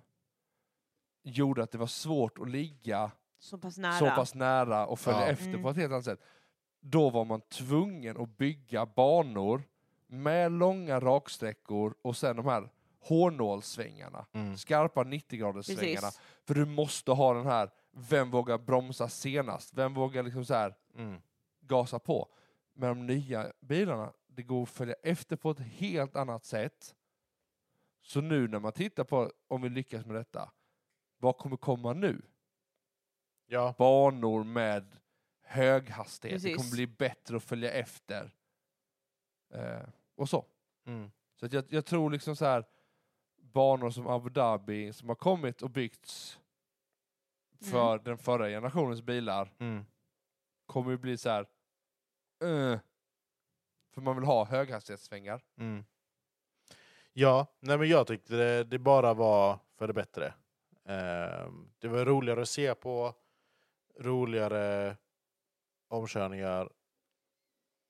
B: gjorde att det var svårt att ligga
C: Så pass nära.
B: så pass nära och följa
A: Ja.
B: efter
C: Mm.
B: på ett helt annat sätt. Då var man tvungen att bygga banor med långa raksträckor och sen de här hårnålssvängarna,
A: Mm.
B: skarpa 90-graderssvängarna.
C: Precis.
B: För du måste ha den här, vem vågar bromsa senast? Vem vågar liksom så här
A: Mm.
B: gasa på? Med de nya bilarna, det går att följa efter på ett helt annat sätt. Så nu när man tittar på om vi lyckas med detta, vad kommer komma nu?
A: Ja.
B: banor med hög hastighet. Det
C: Precis.
B: kommer bli bättre att följa efter. Eh, och så.
A: Mm.
B: Så att jag, jag tror liksom så här banor som Abu Dhabi som har kommit och byggts för
C: Mm.
B: den förra generationens bilar
A: Mm.
B: kommer ju bli så här eh, för man vill ha höghastighetssvängar.
A: Mm. Ja, nej men jag tyckte det, det bara var för det bättre. Ehm, det var roligare att se på, roligare omkörningar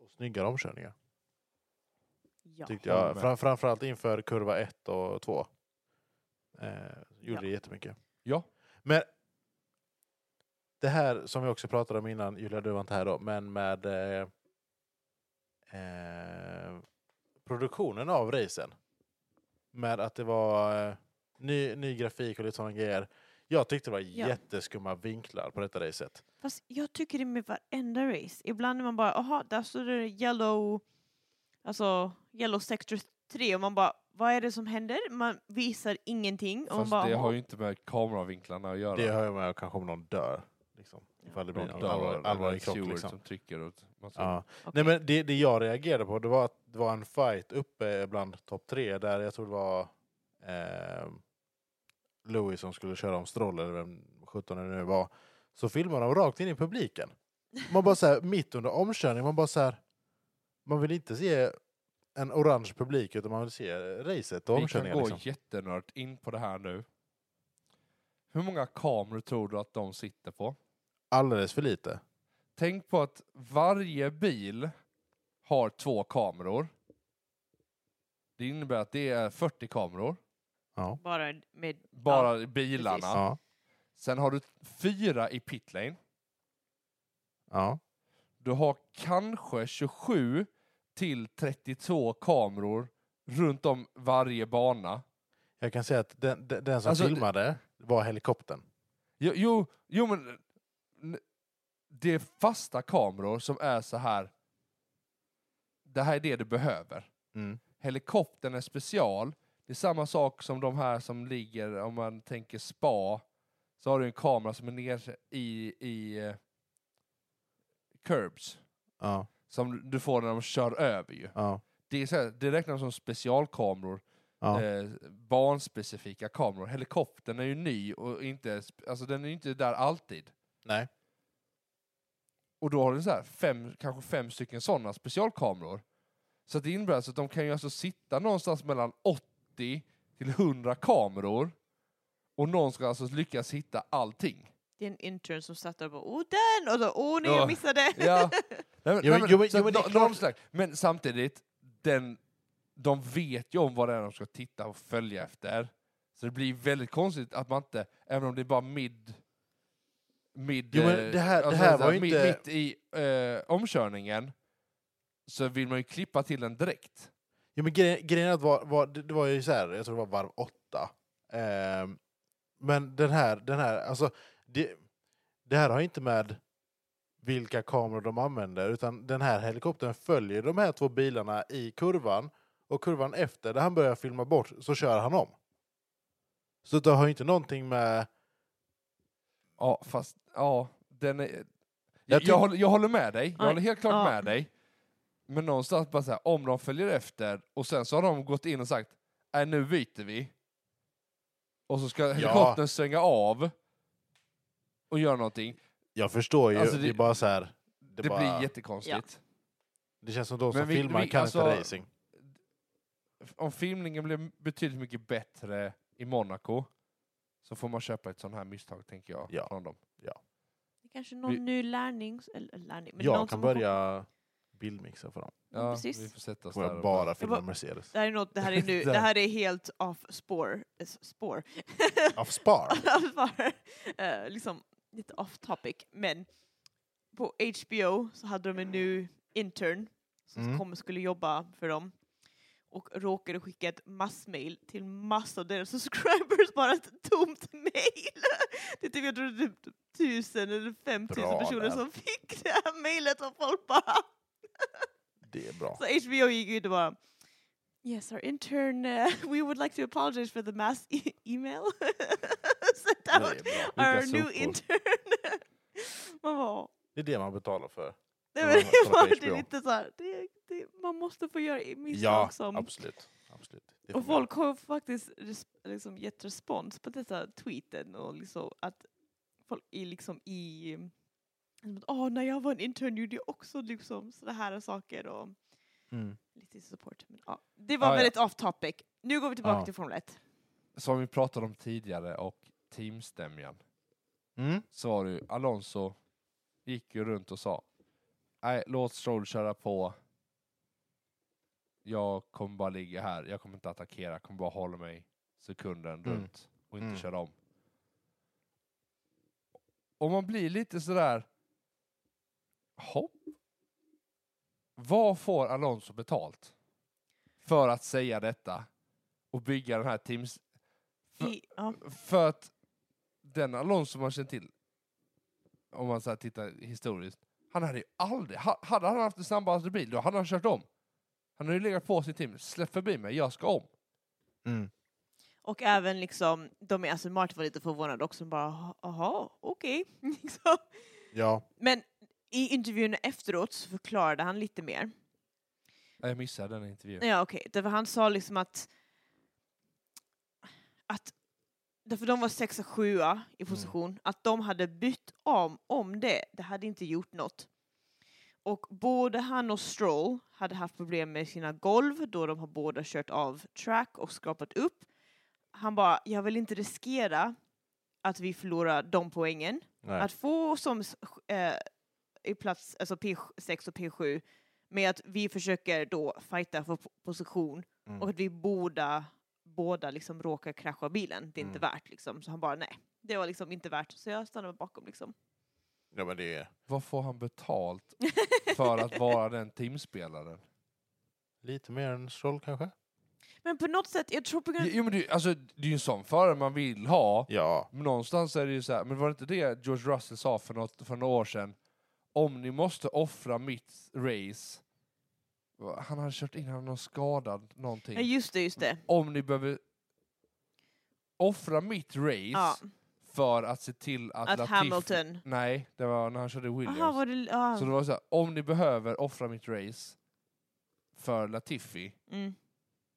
A: och snyggare omkörningar.
C: Ja.
A: tyckte
B: håller
A: jag.
B: med.
A: Fram, framförallt inför kurva 1 och 2. Eh, gjorde det jättemycket.
B: Ja.
A: Men det här som vi också pratade om innan, Julia du var inte här då, men med eh, eh, produktionen av racen. Med att det var eh, ny, ny grafik och lite sådana grejer. Jag tyckte det var
C: Ja.
A: jätteskumma vinklar på detta racet.
C: Fast jag tycker det med varenda race. Ibland är man bara, aha, där står det yellow, alltså yellow sector 3 och man bara, vad är det som händer? Man visar ingenting. Och man
B: Fast
C: bara,
B: det
C: "Aha."
B: har ju inte med kameravinklarna att göra.
A: Det hör jag med kanske om någon dör. Liksom. Ifall det blir
B: Någon
A: någon
B: dörr
A: allvarlig,
B: eller
A: allvarlig
B: en
A: krock.
B: steward
A: Liksom.
B: som trycker åt massa
A: Ja.
C: Okej.
A: Nej, men det, det jag reagerade på det var att det var en fight uppe bland topp tre där jag tror det var eh, Louis som skulle köra om Stroll eller vem 17 det nu var. Så filmade de rakt in i publiken. Man bara så här, mitt under omkörning, man bara så här, man vill inte se en orange publik utan man vill se racet och
B: Vi kan
A: omkörningen.
B: gå
A: Liksom.
B: jättenört in på det här nu. Hur många kameror tror du att de sitter på?
A: Alldeles för lite.
B: Tänk på att varje bil har två kameror. Det innebär att det är 40 kameror,
A: Ja.
C: Bara med,
B: bara i bilarna.
C: precis.
A: Ja.
B: Sen har du fyra i pitlane.
A: Ja.
B: Du har kanske 27 till 32 kameror runt om varje bana.
A: Jag kan säga att den, den, den som
B: Alltså, det-
A: filmade var helikoptern.
B: Jo, jo, jo men... n- Det är fasta kameror som är så här... Det här är det du behöver.
A: Mm.
B: Helikoptern är special. Det är samma sak som de här som ligger, om man tänker spa, så har du en kamera som är ner i, i eh, curbs,
A: Ja.
B: som du får när de kör över ju.
A: Ja.
B: Det, är så här, det räknas som specialkameror
A: Ja.
B: eh, barnspecifika kameror. Helikoptern är ju ny och inte, sp- alltså den är ju inte där alltid.
A: Nej.
B: Och då har den så här fem, kanske fem stycken sådana specialkameror. Så att det innebär alltså att de kan ju alltså sitta någonstans mellan 80 till 100 kameror och någon ska alltså lyckas hitta allting.
C: det är en intern som satt där och bara, oh den! Och då, oh nej,
B: Ja.
C: jag missade!
B: Ja. Nej, men,
A: Jo,
B: nej, men,
A: jo, men-
B: så
A: jo, men
B: att
A: det är
B: nå-
A: klart.
B: någon slags, men samtidigt, den, de vet ju om vad det är de ska titta och följa efter. Så det blir väldigt konstigt att man inte, även om det är bara mid... mid
A: Jo, men
B: eh,
A: det här- det här var ju
B: mi-
A: inte-
B: Mitt i eh, omkörningen så vill man ju klippa till den direkt.
A: Ja, men gre grejen är att var, var, det, det var ju så här, jag tror det var varv åtta. Ehm, men den här, den här, alltså det, det här har inte med vilka kameror de använder utan den här helikoptern följer de här två bilarna i kurvan och kurvan efter, där han börjar filma bort, så kör han om. Så det har ju inte någonting med...
B: Ja, fast ja, den är...
A: Jag
B: Jag,
A: tyck-
B: jag, håller, jag håller med dig, jag
C: Aj.
B: håller helt klart
C: Ja.
B: med dig. Men någonstans bara så här, om de följer efter och sen så har de gått in och sagt nej nu byter vi. Och så ska helikoptern svänga av och göra någonting.
A: Jag förstår ju,
B: Alltså,
A: det,
B: det-
A: är bara så här... Det,
B: Det,
A: bara,
B: blir jättekonstigt.
A: det känns som de
B: Men
A: som
B: vi-
A: filmar
B: vi-
A: kan
B: alltså-
A: inte racing.
B: Om filmningen blir betydligt mycket bättre i Monaco så får man köpa ett sånt här misstag, tänker jag.
A: Ja.
B: Från dem.
C: Det är kanske någon
B: Vi-
C: ny lärning, eller lärning, men någon
A: Jag
C: som
A: kan
C: har kommit-
A: börja bildmixa för dem.
C: Ja, precis.
B: vi får sätta oss
A: Kommer
B: där.
A: jag
B: och
A: bara filma
C: bara-
A: Mercedes.
C: Det här är något, det här är nu,
B: Där.
C: det här är helt off spår, eh, spår.
A: Av Spar.
C: Off spår. Eh, liksom lite off topic, men på HBO så hade de en ny intern som
A: Mm.
C: kom och skulle jobba för dem och råkade skicka ett massmail till massa av deras subscribers, bara ett tomt mail. Det är typ, jag tror det är typ tusen eller fem tusen
A: Bra
C: personer
A: där.
C: som fick det här mailet och folk bara
A: Det är bra.
C: Så HBO gick ut och bara Yes, our intern, uh, we would like to apologize for the mass e- email sent
A: Det är,
C: out.
A: bra.
C: Our
B: Vilka
C: new
B: sopor.
C: intern. man bara,
A: det är det man betalar för.
C: nej,
A: man
C: men det,
A: kollar på
C: var, det är
A: HBO.
C: lite så här, det, det, man måste få göra i misstag
A: Ja,
C: som...
A: absolut. absolut. Det
C: Och
A: får man.
C: folk har faktiskt res, liksom gett respons på dessa tweeten och liksom att folk är liksom i... liksom Åh, när jag var en intern gjorde jag också liksom sådana här saker och...
A: Mm.
C: lite support. Men, ja. Det var
B: Ah, ja.
C: väldigt off topic. Nu går vi tillbaka
A: Ja.
C: till Formel 1.
B: Som vi pratade om tidigare och teamstämjan.
A: Mm.
B: så var det ju, Alonso gick ju runt och sa Nej, låt Stroll köra på. Jag kommer bara ligga här, jag kommer inte attackera, jag kommer bara hålla mig sekunden runt och inte
A: Mm.
B: köra om. Och man blir lite sådär, hopp. Vad får Alonso betalt för att säga detta och bygga den här teams, För-
C: I, ja.
B: för att den Alonso man känner till, om man så här tittar historiskt, han hade ju aldrig, ha- hade han haft en snabbare bil, då hade han kört om. Han hade ju legat på sin team, släpp förbi mig, jag ska om.
A: Mm.
C: Och även liksom, de i Aston Martin var lite förvånade också. De bara, jaha, okej. Liksom.
A: Ja,
C: Men i intervjun efteråt så förklarade han lite mer.
B: Ja, Jag missade den intervjun.
C: Ja, okej. Därför han sa liksom att... att därför de var sexa, sjua i position. Att de hade bytt om, om det, det hade inte gjort något. Och både han och Stroll hade haft problem med sina golv då de har båda kört av track och skapat upp. Han bara, jag vill inte riskera att vi förlorar de poängen.
A: nej.
C: Att få som s- eh, i plats, alltså P6 och P7 med att vi försöker då fighta för po- position
A: Mm.
C: och att vi båda, båda liksom råkar krascha bilen. Det är inte
A: Mm.
C: värt liksom. Så han bara nej, det var liksom inte värt. Så jag stannade bakom liksom.
A: Ja, men det är
B: Vad får han betalt för att vara den teamspelaren?
A: lite mer än Stroll kanske?
C: Men på något sätt, jag tror på grund
B: Jo men det, är- alltså, det är ju en sån förare man vill ha.
A: Ja.
B: Men någonstans är det ju så här, men var det inte det George Russell sa för, något, för några år sedan? Om ni måste offra mitt race, Va, han hade kört in, han hade någon skadad någonting.
C: Ja, just det, just det.
B: Om ni behöver offra mitt race
C: Ja,
B: för att se till att,
C: att
B: Latifi-
C: Hamilton...
B: Nej, det var när han körde Williams.
C: Aha, var det... Ja.
B: Så det var så här, om ni behöver offra mitt race för Latifi,
C: Mm.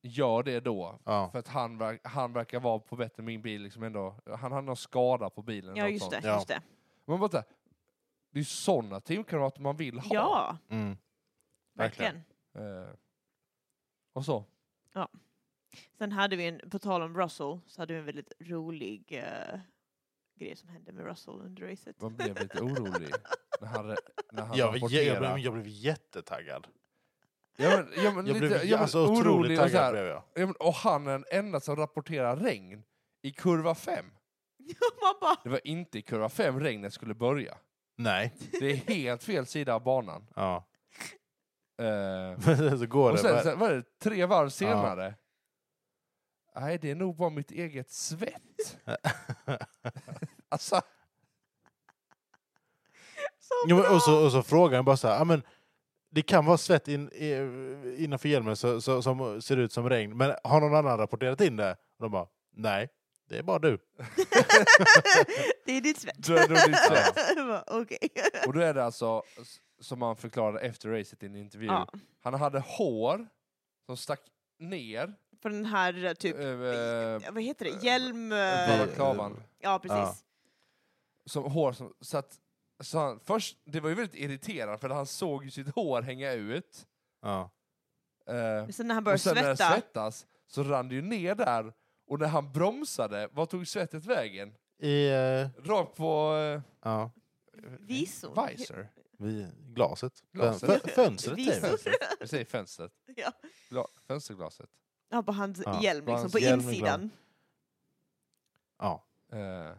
B: gör det då.
A: ja.
B: För att han, verk, han verkar vara på bättre än min bil. Liksom ändå. Han hade någon skada på bilen.
C: ja,
B: något
C: just
B: sånt.
C: det.
A: Ja.
C: Just det.
B: Man bara, så här, det är sådana teamkamrater man vill ha.
C: Ja,
A: Mm. Verkligen.
C: verkligen.
B: Eh, och så.
C: Sen hade vi en, på tal om Russell, så hade vi en väldigt rolig eh, grej som hände med Russell under racet.
B: Man blev lite orolig när han, re- när han
A: Jag, blev- jag,
B: rapporterade.
A: blev, jag blev jättetaggad.
B: Ja, men, ja, men
A: Jag
B: lite,
A: blev
B: ja, men
A: alltså, otroligt
B: orolig och så
A: taggad.
B: här.
A: Blev jag.
B: Ja, men, och han är den enda som rapporterar regn. i kurva 5.
C: Man bara,
B: Det var inte i kurva 5 regnet skulle börja.
A: Nej.
B: Det är helt fel sida av banan.
A: Ja.
B: Eh,
A: så går
B: och
A: det.
B: sen,
A: bara-
B: sen var det tre varv senare. Nej, det är nog bara mitt eget svett. alltså,
C: så
A: Jo, men,
C: bra.
A: och, så, och så frågar han bara så här, "Ja, men det kan vara svett in, i, innanför hjälmen så, så, som ser ut som regn, men har någon annan rapporterat in det? Och de bara, nej, det är bara du.
C: det är ditt svett.
B: då är det nog ditt svett.
C: Jag bara, Okej.
B: Och då är det alltså, s- som han förklarade efter racet i en intervju,
C: Ja,
B: han hade hår som stack ner.
C: för den här typ,
B: över-
C: vad heter
B: eh,
C: det, hjälm... eh,
B: Balaklavan.
C: Ja, precis.
B: som hår som så att, så han, först, det var ju väldigt irriterande för han såg ju sitt hår hänga ut.
A: Ja.
B: Eh,
C: Men Sen när han började
B: och sen när det
C: svetta,
B: svettas så rann det ju ner där och när han bromsade, vad tog svettet vägen?
A: I, eh,
B: Rakt på eh,
A: ja,
C: visor.
B: visor.
A: vid glaset.
B: Glaset.
A: Fön- fö- Fönstret
C: Visor.
A: säger vi.
B: Vi säger fönstret.
C: Ja.
B: Gla, fönsterglaset.
C: Ja, på hans
A: Ja,
C: hjälm,
B: på
C: liksom,
B: hans
C: på
A: hjälm i
C: insidan.
A: Ja.
B: Eh,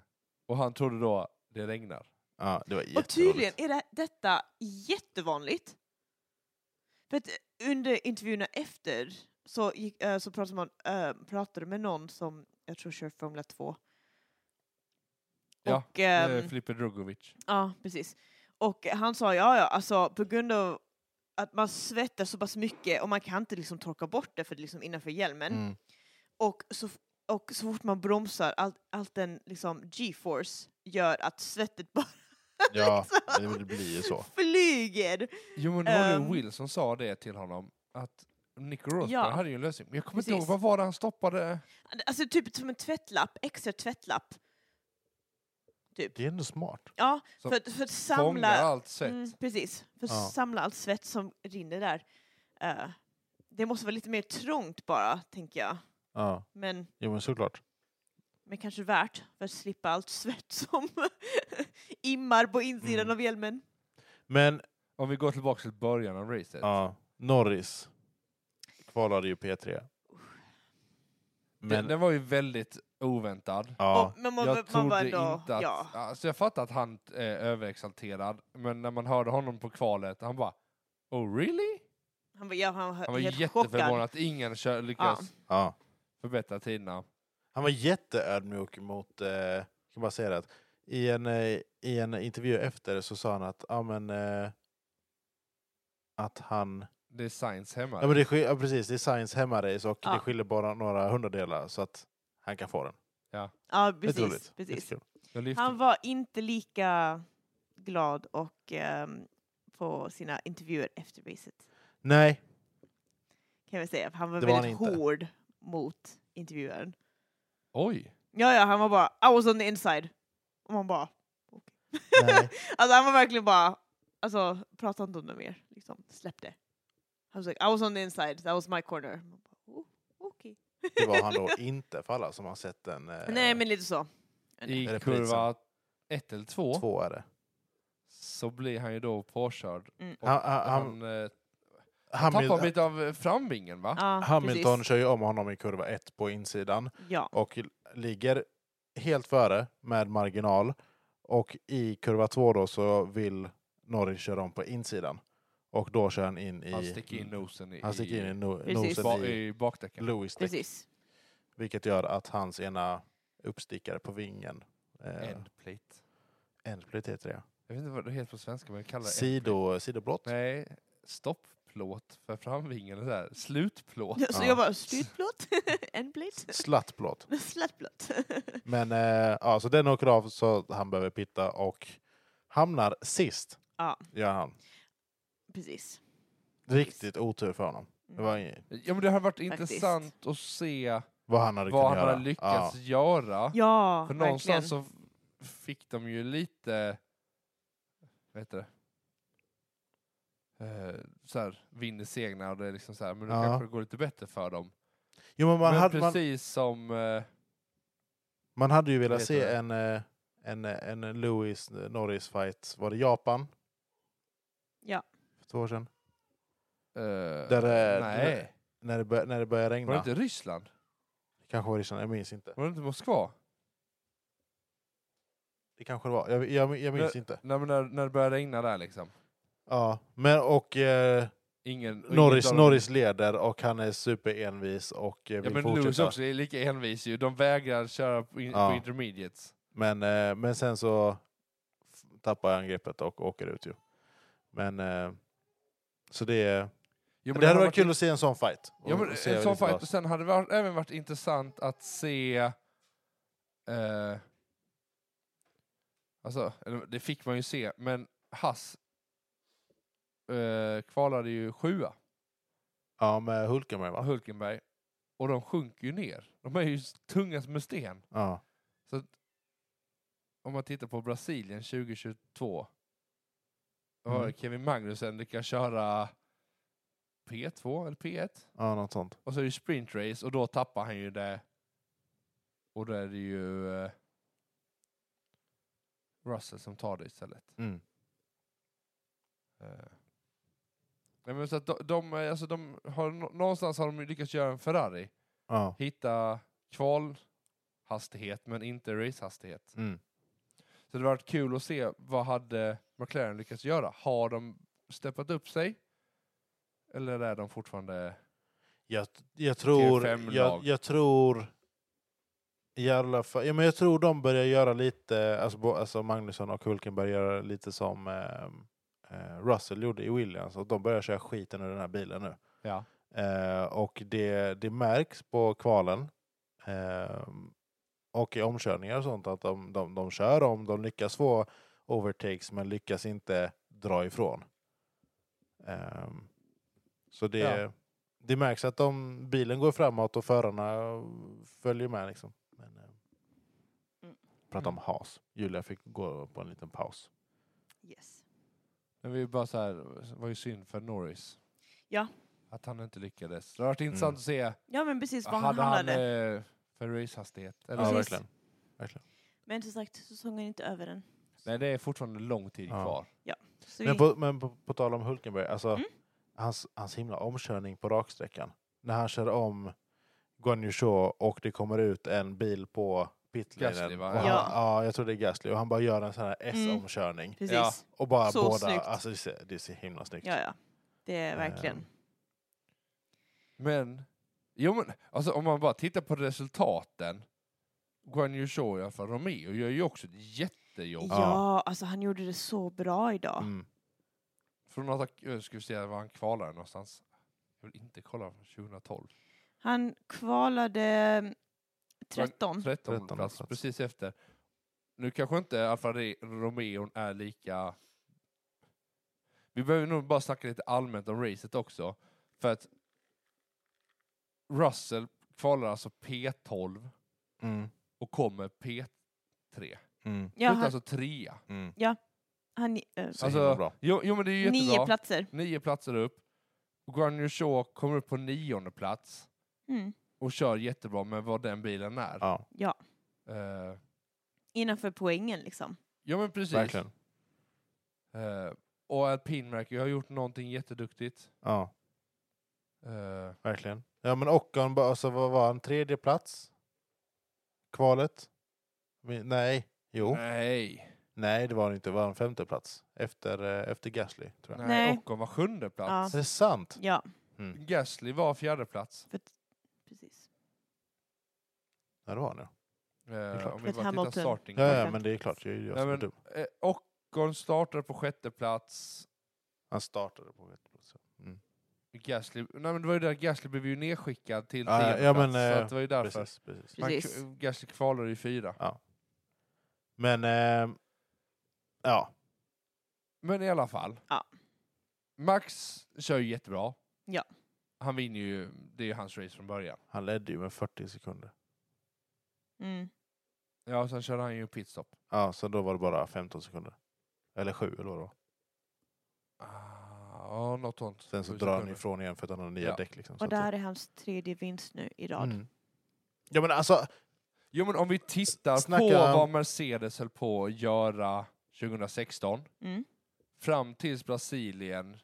B: och han trodde då det regnar.
A: ja, det var
C: Och
A: jätteroligt.
C: tydligen är det, detta jättevanligt. För att eh, under intervjuerna efter så, gick, eh, så pratade man eh, pratade med någon som jag tror kör Formel 2.
B: Ja,
C: och, ehm,
B: Eh, Filipe Drogovic.
C: Ja, precis. Och han sa ja, ja, alltså på grund av att man svettas så pass mycket och man kan inte liksom torka bort det för det är liksom innanför hjälmen.
A: Mm.
C: Och, så, f- och så fort man bromsar, allt, allt den liksom G-force gör att svettet bara liksom
A: Ja, det det blir ju så.
C: flyger.
B: Jo men det var
C: ehm,
B: ju Will som sa det till honom, att Nico Rosberg
C: Ja.
B: hade ju en lösning. Men jag kommer inte
C: Precis.
B: ihåg, vad var det han stoppade?
C: Alltså typ som en tvättlapp, extra tvättlapp.
A: Det är ändå smart.
C: Ja,
B: Som
C: för, att- för att
B: Fångar
C: samla...
B: allt svett.
C: Mm, precis, för att
A: Ja.
C: samla allt svett som rinner där. Eh, det måste vara lite mer trångt bara, tänker jag.
A: Ja,
C: Men...
A: jo men såklart.
C: Men kanske värt för att slippa allt svett som immar på insidan
A: Mm.
C: av hjälmen.
A: Men
B: Om vi går tillbaka till början av racet.
A: ja, Norris kvalade ju P3.
B: Den,
A: Men
B: den var ju väldigt oväntad.
A: ja,
C: Och, men man,
B: jag
C: man
B: trodde
C: var ändå,
B: inte att...
C: ja.
B: Alltså jag fattar att han är överexalterad, men när man hörde honom på kvalet, han bara Oh really?
C: Han var, ja, han var
B: Han var
C: helt
B: jätteförvånad
C: chockad.
B: att ingen kö- lyckas
A: ja.
B: förbättra tiderna.
A: Han var jätteödmjuk mot, eh, jag kan bara säga det, att i en, eh, i en intervju efter så sa han att, ja men, eh, att han,
B: Det är Sainz hemma.
A: ja men det, skil- ja, precis, det är Science hemmarace och
C: Ja.
A: det skiljer bara några hundradelar så att han kan få den.
C: Ja, precis.
A: Jätteroligt.
C: precis.
A: Jättekul.
B: jag lyfte,
C: Han var inte lika glad och, ehm, på sina intervjuer efter racet.
A: Nej,
C: Kan jag säga. för Han var
A: Det var
C: väldigt
A: han inte.
C: hård mot intervjuaren.
B: Oj!
C: Ja, ja, han var bara I was on the inside. Och man bara...
A: nej.
C: Alltså han var verkligen bara, alltså prata inte om det mer. Liksom, släpp det. Han was like, I was on the inside, that was my corner. Man bara, oh, okej.
A: det var han då inte för alla som har sett den. Eh,
C: Nej men lite så.
B: I
A: Reprisen.
B: kurva ett eller två,
A: Två är det.
B: så blir han ju då påkörd.
C: Mm.
B: Och
A: Han, han,
B: han
A: han,
B: eh,
A: Hamil-
B: tappar lite av eh, framvingen va?
C: Ja,
A: Hamilton kör ju om honom i kurva ett på insidan.
C: precis. Ja.
A: och l- ligger helt före med marginal. Och i kurva två då så vill Norris köra om på insidan. Och då kör han in i...
B: Han sticker in nosen i,
A: Han sticker in i no,
C: Precis.
A: nosen
B: ba,
A: i
B: i bakdäcken.
A: Lewis däck,
C: Precis.
A: vilket gör att hans ena uppstickare på vingen, eh,
B: Endplate.
A: endplate heter det,
B: Jag vet inte vad det heter på svenska, men jag kallar det
A: Sido,
B: endplate.
A: sidoblått.
B: Nej, stoppplåt för framvingen. eller Så här. Slutplåt.
C: Så
A: Ja.
C: jag bara, styrplåt, en plate,
A: Slattblått.
C: slattplåt.
A: Men eh, ja, så den åker av så att han behöver pitta och hamnar sist.
C: Ja.
A: Gör han.
C: precis. Mm.
A: Riktigt otur för honom. Det var ing-
B: Ja, men det har varit
C: Faktiskt.
B: intressant att se
A: vad han hade
B: vad
A: kunnat
B: han
A: göra.
B: har lyckats göra.
C: Ja,
B: för
C: verkligen.
B: någonstans så f- fick de ju lite, vad heter det? Eh, så här, vinner segna och det är liksom så här, men nu
A: Ja.
B: kanske det går lite bättre för dem.
A: Jo, men man,
B: men
A: hade, man,
B: precis som, eh,
A: man hade ju
B: Vad
A: velat
B: heter
A: se
B: det?
A: en, eh, en, eh, en Lewis eh, Norris fight. Var det Japan?
C: Ja.
A: För två år sedan.
B: eh,
A: Där är-
B: nej,
A: När det, bör, när det började regna.
B: var det inte Ryssland?
A: Det Kanske var Ryssland, jag minns inte.
B: Var det inte Moskva?
A: Det kanske det var, jag, jag, jag minns
B: Nej.
A: inte.
B: Nej, men när, när det började regna där liksom.
A: Ja, men och eh,
B: Ingen, och
A: Norris,
B: ingen av dem-
A: Norris leder och han är superenvis och eh,
B: Ja,
A: vill
B: men Lewis
A: fortsätta.
B: också är lika envis ju. De vägrar köra på, in,
A: Ja.
B: på intermediates.
A: Men, eh, men sen så f- tappar han greppet och åker ut ju. Men eh, så det är...
B: Jo, men
A: det hade
B: hade
A: varit kul att se en sån fight. och-
B: Ja, men
A: och se
B: en sån
A: lite
B: fight.
A: vad-
B: Och sen hade det varit, även varit intressant att se... Eh, alltså, eller det fick man ju se, men Hass eh, kvalade ju sjua,
A: Ja, med Hulkenberg va?
B: Hulkenberg, och de sjunker ju ner. De är ju s- tunga som en sten.
A: Ja.
B: Om man tittar på Brasilien 2022, då har
A: Mm.
B: Kevin Magnussen lyckats köra P2 eller P1.
A: ja, något sånt.
B: Och så är det sprintrace och då tappar han ju det. Och då är det ju eh, Russell som tar det istället.
A: Mm.
B: Eh. Nej, men så att de, de, eh, alltså de har, nå- någonstans har de ju lyckats göra en Ferrari.
A: Ja.
B: Hitta kvalhastighet men inte racehastighet.
A: Mm.
B: Så det var varit kul att se vad hade McLaren lyckats göra. Har de steppat upp sig? Eller är de fortfarande...
A: Jag, jag tror...
B: fem
A: Jag,
B: lag.
A: jag tror... I alla fall, ja, men jag tror de börjar göra lite, alltså, bo- alltså Magnusson och Hulkenberg göra lite som eh, eh, Russell gjorde i Williams. Att de börjar köra skiten ur den här bilen nu.
B: Ja.
A: Eh, och det, det märks på kvalen eh, och i omkörningar och sånt att de, de, de kör om, de lyckas få overtakes men lyckas inte dra ifrån. Eh, så det,
B: Ja.
A: det märks att de, bilen går framåt och förarna följer med. Liksom. Men, eh,
C: Mm.
A: Prata om has. Julia fick gå på en liten paus.
C: Yes.
B: Men vi är bara så här, var ju synd för Norris.
C: Ja.
B: Att han inte lyckades. Det har varit
A: Mm.
B: intressant att se.
C: Ja men precis, var han
B: Hade han
C: hamnade.
B: eh, Ferraris-hastighet? Eller
A: Ja,
C: Precis.
A: verkligen. verkligen.
C: Men som sagt, säsongen är inte över än.
B: Nej, det är fortfarande lång tid
A: Ja.
B: kvar.
C: Så
A: Men,
C: vi-
A: på, men på, på tal om Hulkenberg, alltså,
C: Mm.
A: hans, hans himla omkörning på raksträckan. När han kör om Guan Yu Zhou och det kommer ut en bil på
B: Gasly,
A: pitlinen.
B: va?
A: och han-
C: Ja.
A: ja, jag tror det är Gasly. Och han bara gör en sån här S-omkörning.
C: precis.
B: Ja.
A: Och bara
C: Så
A: båda,
C: snyggt.
A: alltså det ser, det ser himla snyggt.
C: Ja, ja. Det är verkligen.
A: Ehm.
B: Men, jo men, alltså om man bara tittar på resultaten. Guan Yu Zhou, ja, för Romeo gör ju också ett jättejobb.
A: Ja.
C: ja. alltså han gjorde det så bra idag.
A: Mm.
B: Från att ha- eh, ska vi se var han kvalade någonstans. Jag vill inte kolla från 2012.
C: Han kvalade mm,
B: 13
C: 13.
A: 13
B: plats,
A: plats.
B: precis efter. Nu kanske inte Alfa Re- Romeon är lika... Vi behöver nog bara snacka lite allmänt om racet också. För att Russell kvalar alltså P12
A: Mm.
B: och kommer P3.
A: Mm.
C: Ja,
B: Slutar
C: han,
B: alltså trea.
A: Mm.
C: han, eh,
A: Så himla
B: Alltså,
A: bra.
B: jo, jo men det är ju
C: nio
B: jättebra.
C: platser.
B: Nio platser upp. Guan Yu Zhou kommer upp på nionde plats
C: Mm.
B: och kör jättebra med vad den bilen är.
A: Ja,
C: Ja,
B: Eh,
C: innanför poängen liksom.
B: ja men precis.
A: verkligen.
B: Eh, och alpin verkar ju ha gjort någonting jätteduktigt.
A: Ja,
B: Eh,
A: verkligen. Ja, men Ockon, bara- alltså, vad var han? Tredje plats? Kvalet? Vi- Nej, jo. Nej,
B: nej,
A: det var han inte. Det var han femte plats? Efter, eh, efter Gasly, tror jag.
B: nej.
C: Nej.
B: Ocon var sjunde plats.
A: Är det sant?
C: Ja,
B: Gasly var fjärde plats.
C: precis.
A: Ja, det var han ja.
B: Eh,
A: klart.
B: om vi bara
C: För
B: tittar
C: Hamilton.
B: starting.
A: Ja, ja
C: Perfekt.
A: men det är klart. Jag, jag
B: Nej,
A: som är
B: men-
A: dum.
B: Eh, Ocon startade på sjätte plats.
A: Han startade på rätt plats.
B: Mm, Gasly, nej men det var ju där Gasly blev ju nedskickad till
A: Ja,
B: tionde
A: ja, men,
B: plats. så
A: eh,
B: att det var ju därför.
A: Precis, precis.
B: Man,
C: Precis.
B: k- Gasly kvalade i fyra.
A: Men eh, ja,
B: Men i alla fall.
C: Ja.
B: Max kör ju jättebra.
C: Ja.
B: Han vinner ju, det är ju hans race från början.
A: han ledde ju med 40 sekunder.
C: Mm.
B: Ja, och sen körde han ju pitstop.
A: Ja, så då var det bara 15 sekunder. Eller 7 eller vad det var.
B: Ah, Ja, något sånt.
A: Sen så
B: Sju
A: drar han
B: sekunder.
A: ifrån igen för att han har nya
B: Ja.
A: däck. Liksom, så
C: Och
A: att-
C: där är hans tredje vinst nu i rad.
A: Mm. Ja men alltså,
B: Jo men om vi tittar
A: S- snacka-
B: på vad Mercedes höll på att göra 2016
C: Mm.
B: fram tills Brasilien,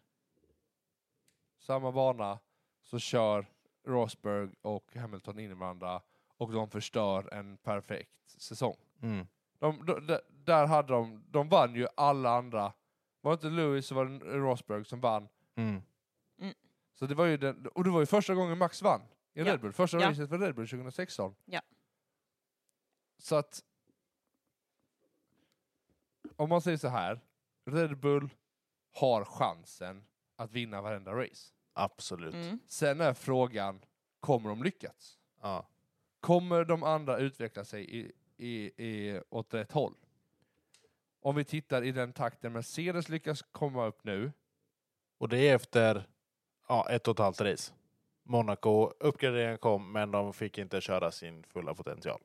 B: samma bana, så kör Rosberg och Hamilton in i varandra och de förstör en perfekt säsong.
A: Mm.
B: De, de, de, där hade de, de vann ju alla andra. Var det inte Lewis så var det Rosberg som vann.
A: Mm.
B: Så det var ju den, och det var ju första gången Max vann i
C: Ja.
B: Red Bull. Första
C: Ja.
B: racet för Red Bull 2016.
C: Ja.
B: Så att... Om man säger så här. Red Bull har chansen att vinna varenda race.
A: Absolut.
C: Mm.
B: Sen är frågan, kommer de lyckas?
A: Ja.
B: Kommer de andra utveckla sig i, i, i, åt rätt håll? Om vi tittar i den takten Mercedes lyckas komma upp nu.
A: Och det är efter ja, ett och ett halvt race. Monaco, uppgraderingen kom, men de fick inte köra sin fulla potential.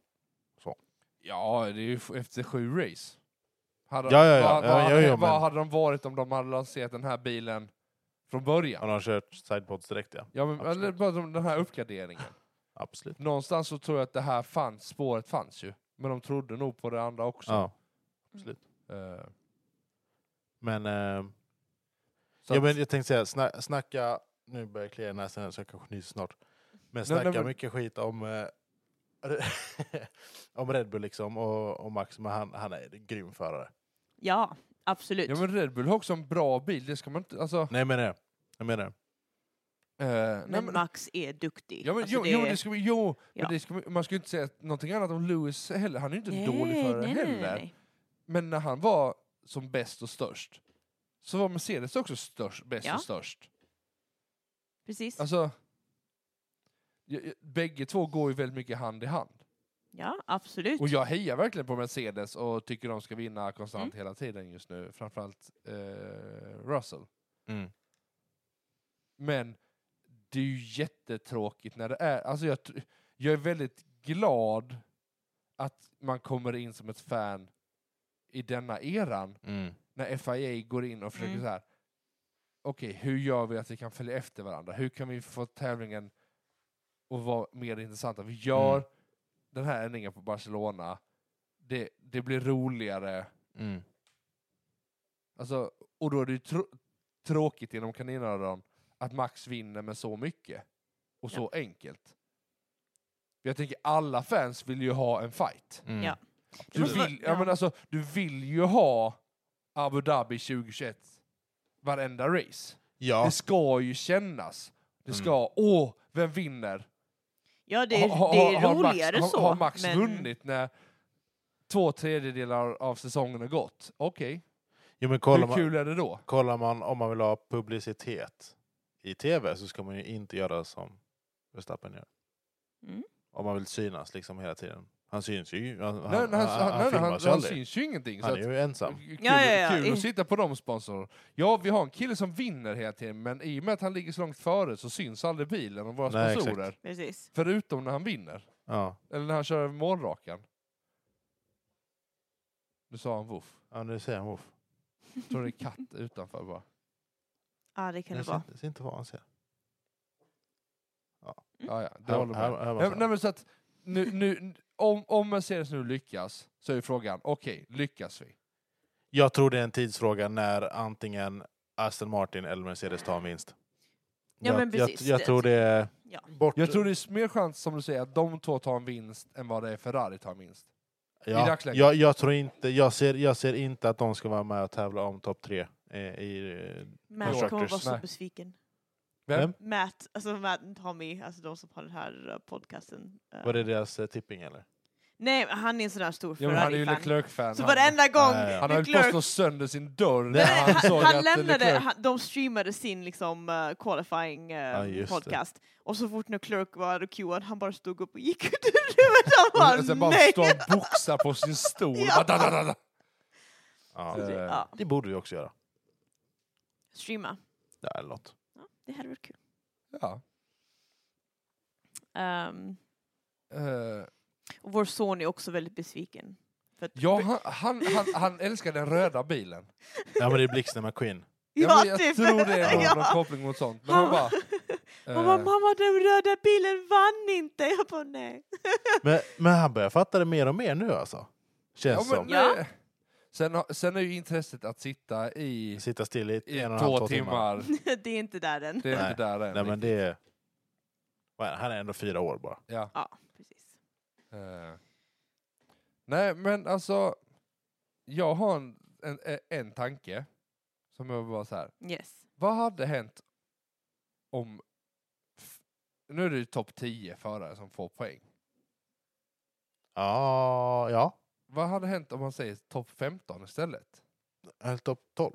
B: Ja, det är ju f- efter sju race. Hade,
A: Ja, ja, ja.
B: Vad,
A: Ja,
B: vad,
A: ja,
B: hade,
A: ja,
B: vad
A: men-
B: hade de varit om de hade lanserat den här bilen från
A: Har
B: början?
A: de kört sidepods direkt? Ja,
B: Ja, men,
A: absolut.
B: eller bara de- den här uppgraderingen.
A: absolut.
B: Någonstans så tror jag att det här fanns, spåret fanns ju. Men de trodde nog på det andra också.
A: Ja.
B: Eh,
A: Men, eh,
B: så
A: ja,
B: att-
A: men jag tänkte säga, sna snacka, nu börjar jag klia i näsan här, så jag kanske nyser snart. Men snacka
B: nej, men-
A: mycket skit om, eh, om Red Bull liksom och, och Max, men han, han är en grym förare.
C: Ja, absolut.
B: ja, men Red Bull har också en bra bil. Det ska man inte... Alltså,
A: Nej, jag menar det. Jag menar det.
B: eh, nej,
C: men,
B: men-
C: Max är duktig.
B: Ja, men,
C: Alltså,
B: jo,
C: det
B: jo,
C: är-
B: men det ska, vi- jo
C: Ja.
B: men det ska, vi- man ska ju inte säga någonting annat om Lewis heller. Han är ju inte en dålig förare heller. Men när han var som bäst och störst så var Mercedes också störst, bäst
C: Ja.
B: och störst.
C: Precis.
B: Alltså, j- j- bägge två går ju väldigt mycket hand i hand.
C: ja, absolut.
B: Och jag hejar verkligen på Mercedes och tycker de ska vinna konstant hela tiden just nu. Framförallt eh, Russell.
A: Mm.
B: Men det är ju jättetråkigt när det är... Alltså jag, tr- jag är väldigt glad att man kommer in som ett fan i denna eran
A: Mm.
B: när FIA går in och försöker
C: Mm.
B: så här. Okej, hur gör vi att vi kan följa efter varandra? Hur kan vi få tävlingen att vara mer intressanta? Vi gör
A: Mm.
B: den här ändringen på Barcelona. Det, det blir roligare.
A: Mm.
B: Alltså, och då är det ju tr- tråkigt genom kaninöron att Max vinner med så mycket. Och så enkelt. Jag tänker alla fans vill ju ha en fight.
A: Mm.
C: Ja. Det
B: Du
C: måste vara-
B: vill, ja. men alltså, du vill ju ha Abu Dhabi 2021 varenda race.
A: ja. Mm.
B: Det ska ju kännas. Det ska, åh, vem vinner?
C: ja, det är,
B: Ha- ha-
C: det är
B: har
C: roligare
B: Max,
C: så.
B: Har, har Max
C: men-
B: vunnit när två tredjedelar av säsongen har gått? Okej,
A: Jo, men kollar
B: hur
A: man,
B: kul är det då?
A: kollar man om man vill ha publicitet i tv så ska man ju inte göra som Verstappen gör.
C: Mm.
A: Om man vill synas liksom hela tiden. Han syns ju. Han,
B: Nej,
A: han,
B: nej,
A: han,
B: han, han, nej, nej,
A: filmas
B: han,
A: ju
B: han
A: aldrig.
B: syns ju ingenting.
A: han
B: så
A: är
B: att,
A: ju ensam.
B: kul
C: Ja, ja, ja.
B: kul
C: I-
B: att sitta på de sponsorerna. Ja, vi har en kille som vinner hela tiden, men i och med att han ligger så långt före så syns aldrig bilen och våra
A: Nej, exakt.
B: sponsorer.
C: Precis.
B: Förutom när han vinner.
A: Ja.
B: Eller när han kör över målrakan. Nu sa han voff.
A: ja, nu ser han Wolf.
B: Jag tror det är katt utanför bara.
C: Ja, det kan det
A: Jag ser,
C: vara.
A: inte- ser inte vad han ser.
B: Ja, ja, det
A: Här,
B: håller med.
A: här, här var
B: Nej,
A: så här.
B: nej, men så att nu, nu, om, om Mercedes nu lyckas så är ju frågan, okej, lyckas vi?
A: Jag tror det är en tidsfråga när antingen Aston Martin eller Mercedes tar en vinst.
C: Ja,
A: jag,
C: men precis.
A: Jag, jag tror det är
C: Ja.
A: bort...
B: Jag tror det är mer chans, som du säger, att de två tar en vinst än vad det är Ferrari tar en vinst.
A: Ja,
B: I dagsläget.
A: Jag, jag, tror inte, jag, ser, jag ser inte att de ska vara med och tävla om topp tre. Eh, i, eh,
C: Matt kommer
A: Constructors.
C: vara så
B: Nej.
C: besviken.
B: Vem?
A: Vem?
C: Matt, alltså Matt och Tommy, alltså de som har den här eh, podcasten. eh,
A: var det deras eh, tipping eller?
C: Nej, han är en sån där stor
B: Jo, men han är ju
C: Ferrari-fan.
B: Leclerc-fan.
C: Så
B: Han, han
C: varenda gång
A: Ja, ja, ja.
B: höll på att
C: Leclerc
B: slå sönder sin dörr när
A: Nej,
B: han,
C: han,
B: såg
C: han
B: att
C: lämnade,
B: Leclerc
C: han, de streamade sin liksom, eh, qualifying eh,
A: Ja, just det.
C: podcast och så fort när Clerk var cuad han bara stod upp och gick ut ur rummet. Han bara,
B: Och sen alltså, bara
C: nej!
B: står och boxar på sin stol.
C: Ja.
B: Da, da, da, da.
A: Ja.
C: Så det-
B: Eh.
C: Ja,
A: Det borde vi också göra.
C: streama,
A: Ja, eller något.
C: det hade varit kul.
B: Ja.
C: Ehm,
B: Eh,
C: och vår son är också väldigt besviken. För att,
B: ja, han, han, han, han älskar den röda bilen.
A: Ja, men det är Blixten McQueen.
B: Ja, men jag
C: typ.
B: tror det är någon, någon
C: ja.
B: koppling mot sånt. Men
C: Han
B: han bara...
C: Han bara,
B: eh,
C: mamma den röda bilen vann inte! Jag bara, nej.
A: Men, men han börjar fatta det mer och mer nu alltså. Känns
B: ja, men,
A: som.
C: Ja.
B: eh, sen, har- sen är ju intresset att sitta i,
A: Sitta still i,
B: i
A: en och en halv,
B: två
A: två timmar.
B: timmar.
C: det är inte där än.
B: Det är
A: Nej.
B: inte där än.
A: Nej, men det är... Vad är han? Han är ändå fyra år bara.
B: ja.
C: Ja, precis.
B: Eh, nej, men alltså, jag har en, en, en tanke som jag bara så här.
C: Yes.
B: Vad hade hänt om... f- Nu är det ju topp 10 förare som får poäng.
A: Ja, ja.
B: Vad hade hänt om man säger topp 15 istället?
A: Eller Topp 12.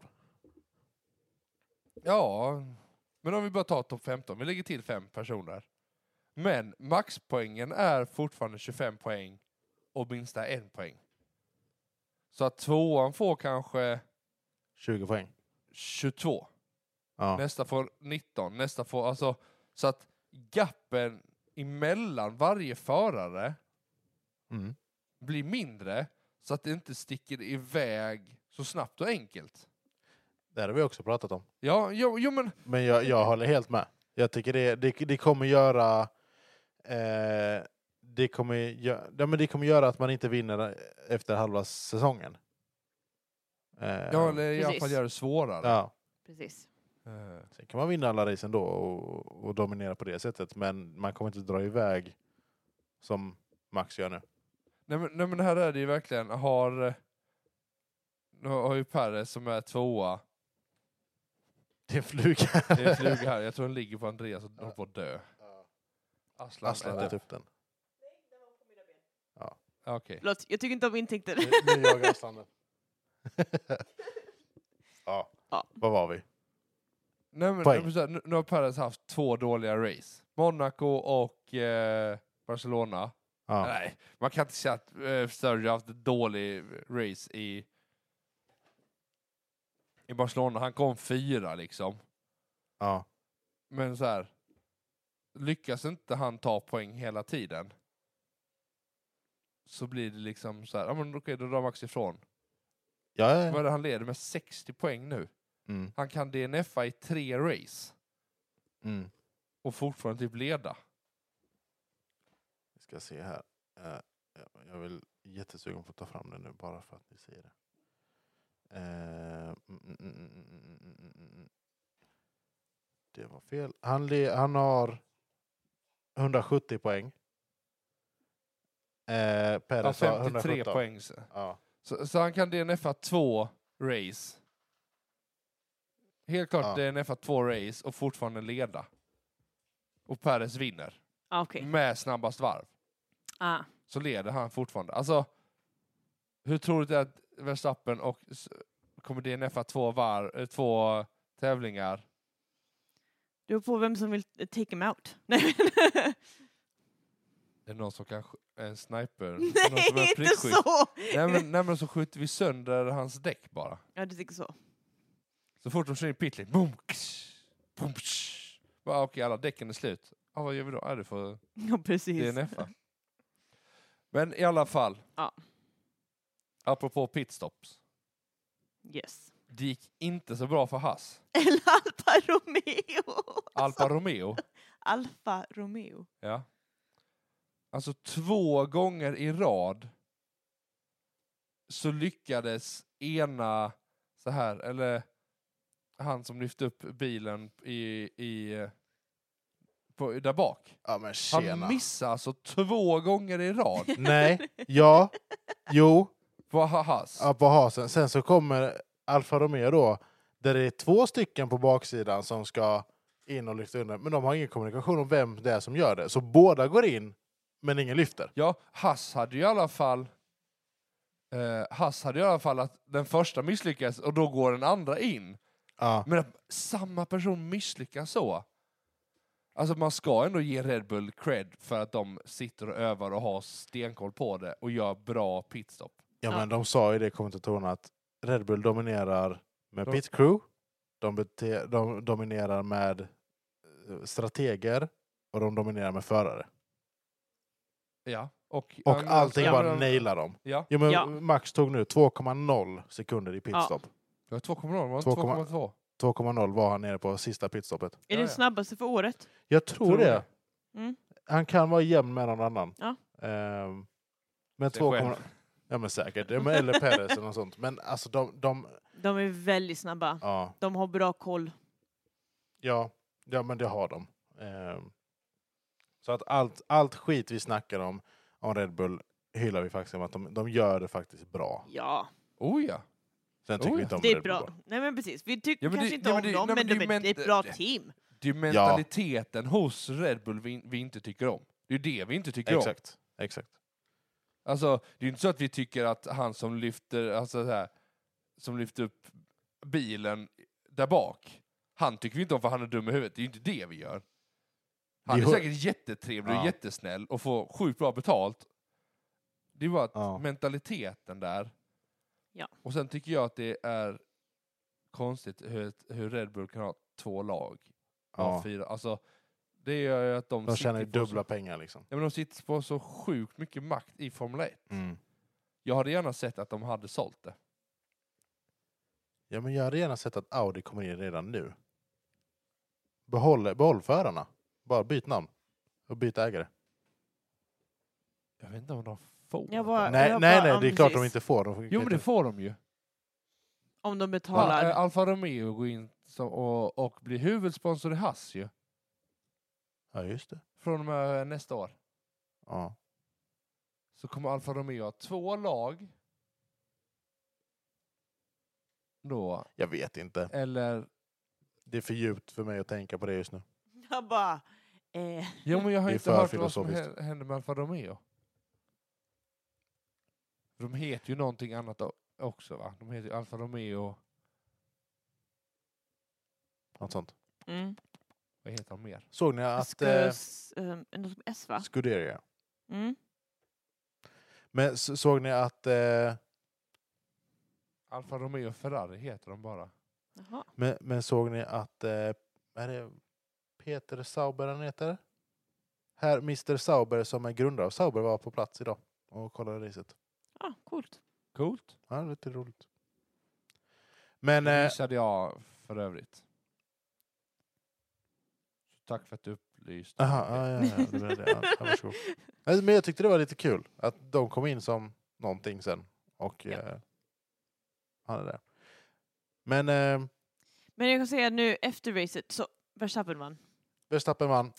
B: Ja, men om vi bara tar topp 15, vi lägger till fem personer. Men maxpoängen är fortfarande 25 poäng och minsta en poäng. Så att tvåan får kanske
A: 20 poäng.
B: 22,
A: Ja.
B: nästa får 19, nästa får... Alltså, så att gappen emellan varje förare
A: Mm.
B: blir mindre så att det inte sticker iväg så snabbt och enkelt.
A: Det här har vi också pratat om.
B: Ja, jo, jo men
A: Men jag, jag håller helt med. Jag tycker det, det, det kommer göra... Eh, det, kommer, gö- ja, men det kommer göra att man inte vinner efter halva säsongen. Eh,
B: ja, eller i alla
C: Precis.
B: fall gör det svårare.
A: ja.
C: Precis.
B: Eh,
A: Sen kan man vinna alla race ändå och, och dominera på det sättet, men man kommer inte dra iväg som Max gör nu.
B: Nej men, nej men här är det ju verkligen, har... Nu har ju Perres som är tvåa,
A: Det är en fluga.
B: det är en fluga här, jag tror den ligger på Andreas och håller på att dö. Aslan,
A: Aslan typ-
B: äter-
A: äter upp den.
B: Ja, Okej.
C: Förlåt, jag tycker inte om intäkter.
A: Nu, nu jagar Aslan den. ja,
C: Ja.
A: vad var vi?
B: Nej men,
A: Poäng.
B: nej, men så här, nu, nu har Perres haft två dåliga race. Monaco och eh, Barcelona.
A: Ja.
B: Nej, man kan inte säga att eh, Sturridge har haft ett dålig race i, i Barcelona. Han kom fyra liksom.
A: Ja.
B: Men så här, lyckas inte han ta poäng hela tiden så blir det liksom så här, ja men okej då drar Max ifrån.
A: Ja,
B: Vad är
A: ja.
B: det han leder med 60 poäng nu?
A: Mm.
B: Han kan DNFa i tre race
A: Mm.
B: och fortfarande typ leda.
A: Vi ska se här. Eh, jag- Jag vill jättesugen på att ta fram det nu bara för att ni säger det. Eh, mm, mm, mm, mm, mm, mm, mm, mm. Det var fel. Han, le, han har 170 poäng. Eh,
B: Ja,
A: Perez har
B: 53
A: 117.
B: poäng. Så,
A: Ja.
B: så, så han kan DNFa två race. Helt klart
A: Ja.
B: DNFa två race och fortfarande leda. Och Perez vinner
C: Ah, Okej.
B: med snabbast varv.
C: Ah.
B: så leder han fortfarande. Alltså, hur troligt är det att Verstappen och s- kommer DNFa två, var, eh, två tävlingar?
C: Det beror på vem som vill eh, take him out. Nej, men-
B: Är det någon som kan sk- en sniper? någon som är
C: Nej inte
B: prickskytt?
C: så!
B: Nej men, nej men så skjuter vi sönder hans däck bara.
C: Ja, du tycker så.
B: Så fort de kör in pitling, boom, ksh, boom, ksh. Bara, okej, alla däcken är slut. Ja, vad gör vi då? Är det för
C: Ja, precis.
B: DNFa? Men i alla fall.
C: Ja.
B: Apropå pitstops.
C: Yes.
B: Det gick inte så bra för Haas.
C: Eller Alfa Romeo!
B: Alfa Romeo.
C: Alfa Romeo.
B: Ja. Alltså två gånger i rad så lyckades ena så här, eller han som lyfte upp bilen i, i på, där bak.
A: ja, men
B: Han
A: tjena.
B: missade alltså två gånger i rad
A: Nej, ja, jo,
B: på Hahas.
A: ja, på hasen. Sen så kommer Alfa Romeo då, där det är två stycken på baksidan som ska in och lyfta undan. Men de har ingen kommunikation om vem det är som gör det. Så båda går in, men ingen lyfter.
B: Ja, Hass hade ju i alla fall eh, Hass hade ju i alla fall att den första misslyckas och då går den andra in.
A: Ja.
B: Men att samma person misslyckas så. Alltså man ska ändå ge Red Bull cred för att de sitter och övar och har stenkoll på det och gör bra pitstop.
A: Ja,
C: Ja.
A: men de sa ju det, kommentatorerna, att Red Bull dominerar med
B: De-
A: pit crew, de, bete- de dominerar med eh, strateger och de dominerar med förare.
B: Ja. Och,
A: Och
B: men
A: allting
B: alltså,
A: bara
B: men-
A: nailar dem.
B: Ja,
A: Jo, men
C: Ja.
A: Max tog nu 2,0 sekunder i
C: Ja.
A: pitstop.
B: det var 2,0 var det inte
A: 2,0?
B: 2,2?
A: 2,0 var han nere på sista pitstoppet.
C: Är
B: Ja,
C: det
B: ja.
C: snabbaste för året?
A: Jag tror,
B: Tror
A: det.
C: det. Mm.
A: Han kan vara jämn med någon annan.
C: Ja.
A: Ehm, men
B: Sig
A: 2,0...
B: själv.
A: Ja men säkert. Ja, men Eller Perez eller något sånt. Men alltså de... de
C: De är väldigt snabba.
A: ja,
C: De har bra koll.
A: ja, ja, men det har de. Ehm, så att allt, allt skit vi snackar om, om Red Bull hyllar vi faktiskt om att de, de gör det faktiskt bra.
C: Ja,
B: Oh ja.
A: Sen tycker
B: Oh
A: vi
B: ja.
A: inte om
C: det är
A: Red
C: bra.
A: Bull.
C: Nej men precis, vi tycker
B: Ja, men det-
C: kanske inte
B: ja,
C: om
B: men det- nej,
C: dem, men,
B: men det är
C: de är,
B: men-
C: det är ett bra team.
B: Det är ju mentaliteten hos Red Bull vi, vi inte tycker om. Det är ju det vi inte tycker om.
A: Exakt. Exakt.
B: Alltså, det är ju inte så att vi tycker att han som lyfter, alltså så här, som lyfter upp bilen där bak, han tycker vi inte om för han är dum i huvudet. Det är ju inte det vi gör. Han
A: Vi
B: är
A: hör-
B: säkert jättetrevlig och
A: Ja.
B: jättesnäll och får sjukt bra betalt. Det är bara att
A: Ja.
B: mentaliteten där.
C: Ja.
B: Och sen tycker jag att det är konstigt hur, ett- hur Red Bull kan ha två lag. Ja.
A: Ja.
B: Fyra. Alltså, det gör ju att de,
A: De tjänar ju
B: sitter på
A: dubbla
B: Så,
A: pengar liksom.
B: ja, men de sitter på så sjukt mycket makt i Formel 1.
A: Mm.
B: Jag hade gärna sett att de hade sålt det.
A: Ja, men jag hade gärna sett att Audi kommer in redan nu. Behåll, behåll förarna. Bara byt namn. Och byt ägare.
B: Jag vet inte om de får.
C: Jag bara- Ja,
A: nej,
C: jag
A: nej,
C: bara-
A: nej,
C: ja,
A: det är klart de
C: precis.
A: inte får. De får
B: Jo men det får de ju.
C: Om de
B: Al-
C: betalar.
B: eh, Alfa Romeo går in som, och, och blir huvudsponsor i Haas ju.
A: Ja, just det.
B: Från och med eh, nästa år.
A: Ja.
B: Så kommer Alfa Romeo ha två lag. Då.
A: Jag vet inte.
B: Eller...
A: Det är för djupt för mig att tänka på det just nu.
C: Jag bara... Eh,
B: Jo men jag har
A: Det är
B: inte
A: för
B: hört vad som
A: filosofiskt.
B: hä- händer med Alfa Romeo. De heter ju någonting annat o- också va? De heter ju Alfa Romeo...
A: Något sånt.
C: mm.
B: Vad heter de mer?
A: Såg ni att... Eh,
C: Skus, eh, något med S va?
A: Scuderia.
C: Mm.
A: Men så- såg ni att... Eh,
B: Alfa Romeo Ferrari heter de bara.
C: Jaha.
A: men, men såg ni att... Eh, är det Peter Sauber han heter? Här, Mr Sauber som är grundare av Sauber var på plats idag och kollade racet.
C: Ah, coolt.
B: Coolt.
A: Ja, lite roligt. Men...
B: Det
A: Eh,
B: missade jag för övrigt. Så tack för att du upplyste. mig om
A: aha,
B: det.
A: ja, ja, ja, det var det. Ja, ja, varsågod. Nej, Men jag tyckte det var lite kul att de kom in som någonting sen och
C: Ja.
A: eh, han är där. Men eh,
C: Men jag kan säga nu efter racet så Verstappen vann.
A: Verstappen vann.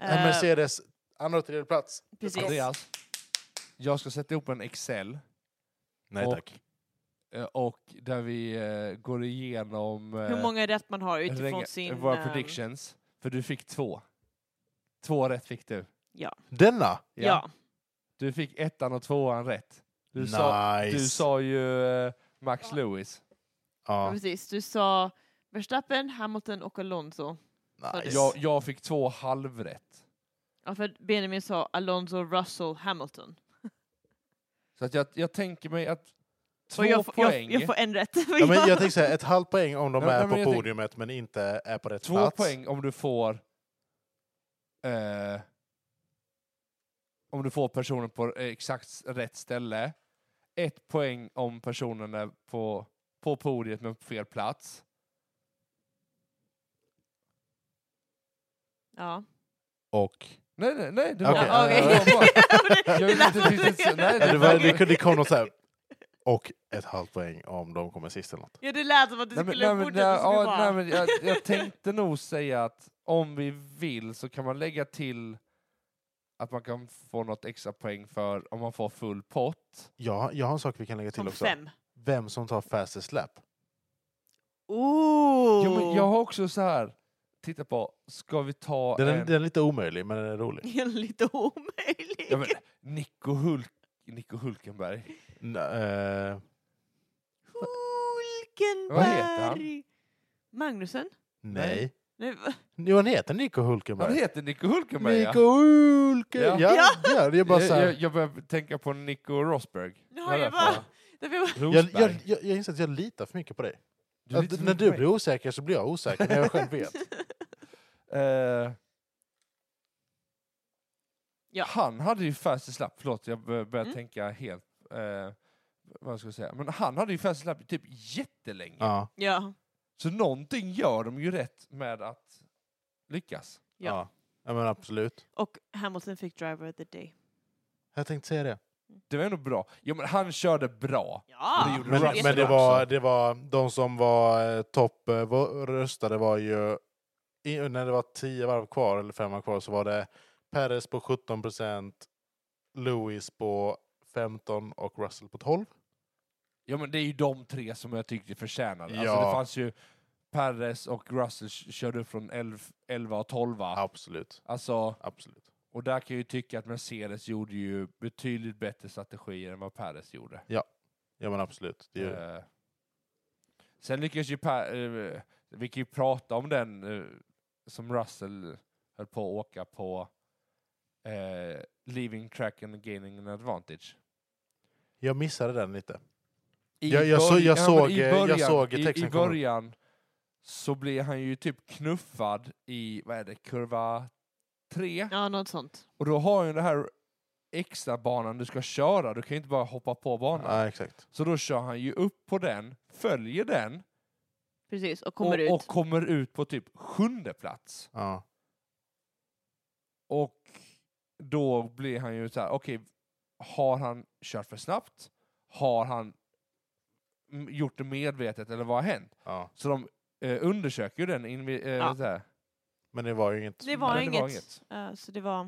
C: Eh,
A: En Mercedes andra och tredje plats.
C: precis.
B: Andreas, jag ska sätta ihop en Excel
A: Nej
B: Och-
A: tack.
B: eh, och där vi eh, går igenom eh,
C: Hur många rätt man har utifrån
B: regn-
C: sin...
B: våra
C: ehm,
B: predictions. För du fick två. Två rätt fick du.
A: Denna?
C: Ja. ja.
B: Du fick ettan och tvåan rätt. Du, sa,
A: nice.
B: du sa ju eh, Max Lewis.
A: ja,
C: precis. Du sa Verstappen, Hamilton och Alonso.
A: nice.
C: Ja.
B: Jag, jag fick två halvrätt.
C: Ja, för Benjamin sa Alonso, Russell, Hamilton.
B: Så att jag, jag tänker mig att två
C: och jag, får-
B: poäng,
C: Jag, jag får en rätt.
A: Ja, men jag tänkte säga ett halvt poäng om de
B: Nej,
A: är
B: nej, men
A: på
B: jag tänk-
A: podiumet men inte är på rätt
B: två
A: plats.
B: poäng om du får eh, om du får personen på eh, exakt rätt ställe. Ett poäng om personen är på, på podiet men på fel plats.
C: ja.
A: Och...
B: Nej, nej, nej. Du
A: Okej.
B: var,
C: Ja, okej.
B: du var bara-
C: Det
B: jag vill
C: lät
B: inte
C: som
B: riktigt
C: det.
B: se- nej,
A: Ja, det, var,
B: okej.
A: det, det kom något så här. Och ett halvt poäng om de kommer sist eller något.
C: Ja, det lät som att du
B: Nej, men,
C: skulle
B: nej, men,
C: fortsätta
B: ja,
C: så skulle
B: nej,
C: bara...
B: men jag, jag tänkte nog säga att om vi vill så kan man lägga till att man kan få något extra poäng för om man får full pott.
A: Ja, jag har en sak vi kan lägga till
C: Som
A: också.
C: fem.
A: Vem som tar fastest lap.
C: Ooh.
B: Jo, men jag har också så här titta på, ska vi ta
A: Den är,
B: en...
A: den är lite omöjlig men den är rolig.
C: Det är lite omöjligt.
B: Ja, men, Nico, Hulk, Nico Hulkenberg.
A: N- eh,
C: Hulkenberg!
B: Vad heter han?
C: Magnusen?
A: nej.
C: Nej, va?
A: Jo, han heter Nico
B: Han
A: Hulkenberg.
B: heter Nico Hulkenberg
A: Nico
B: ja.
A: Hulkenberg!
B: Ja.
A: Ja, ja. det är bara så
B: jag, jag,
A: här.
B: jag börjar tänka på Nico Rosberg.
C: Nu
B: Vad
C: har
B: är
C: jag
B: det för-
C: bara... Det var...
A: Jag,
B: Rosberg.
A: jag, jag, jag inser att jag litar för mycket på dig.
B: Du är lite
A: att,
B: för
A: när
B: mycket
A: du
B: mig.
A: blir osäker så blir jag osäker när jag själv vet.
B: Eh,
C: Ja.
B: Han hade ju fastest lapp, förlåt jag bör- börjar
C: Mm.
B: tänka helt, eh, vad ska jag säga, men han hade ju fastest lapp i typ jättelänge.
A: Ja.
C: Ja.
B: Så någonting gör de ju rätt med att lyckas.
C: Ja.
A: Ja. ja, men absolut.
C: Och Hamilton fick driver of the day.
A: Jag tänkte säga det.
B: Det var ändå bra. Jo men han körde bra.
C: Ja!
B: det gjorde
A: Men,
B: Russell
A: men det,
B: också.
A: var, det var de som var eh, topp eh, var, röstade var ju i, när det var 10 varv kvar eller 5 varv kvar så var det Perez på 17 procent, Lewis på 15 och Russell på 12.
B: Ja men det är ju de tre som jag tyckte förtjänade. Alltså
A: Ja.
B: det fanns ju Perez och Russell k- körde upp från 11, 11 och 12.
A: Absolut.
B: Alltså,
A: Absolut.
B: och där kan jag ju tycka att Mercedes gjorde ju betydligt bättre strategier än vad Perez gjorde.
A: Ja men absolut. Det är,
B: Eh, Sen lyckades ju Per, eh, vi kan ju prata om den eh, som Russell höll på att åka på eh, Leaving track and gaining an advantage.
A: Jag missade den lite.
B: I
A: Jag- jag så-
B: börj-
A: jag
B: ja, men
A: såg,
B: i
A: eh, jag såg
B: i,
A: texten
B: i
A: komma upp.
B: början så blev han ju typ knuffad i, vad är det, kurva 3?
C: Ja, något sånt.
B: Och då har ju den här extra banan du ska köra, du kan ju inte bara hoppa på banan.
A: Ja, exakt.
B: Så då kör han ju upp på den, följer den
C: Precis, och kommer
B: och,
C: ut.
B: och kommer ut på typ sjunde plats.
A: Ja.
B: Och då blir han ju så här, okej, har han kört för snabbt? Har han mm, gjort det medvetet eller vad har hänt?
A: Ja.
B: Så de eh, undersöker ju den. Invi- eh,
C: Ja.
B: så här.
A: Men det var ju inget.
C: det var
B: men det
C: inget.
B: var inget.
C: Eh, så det var...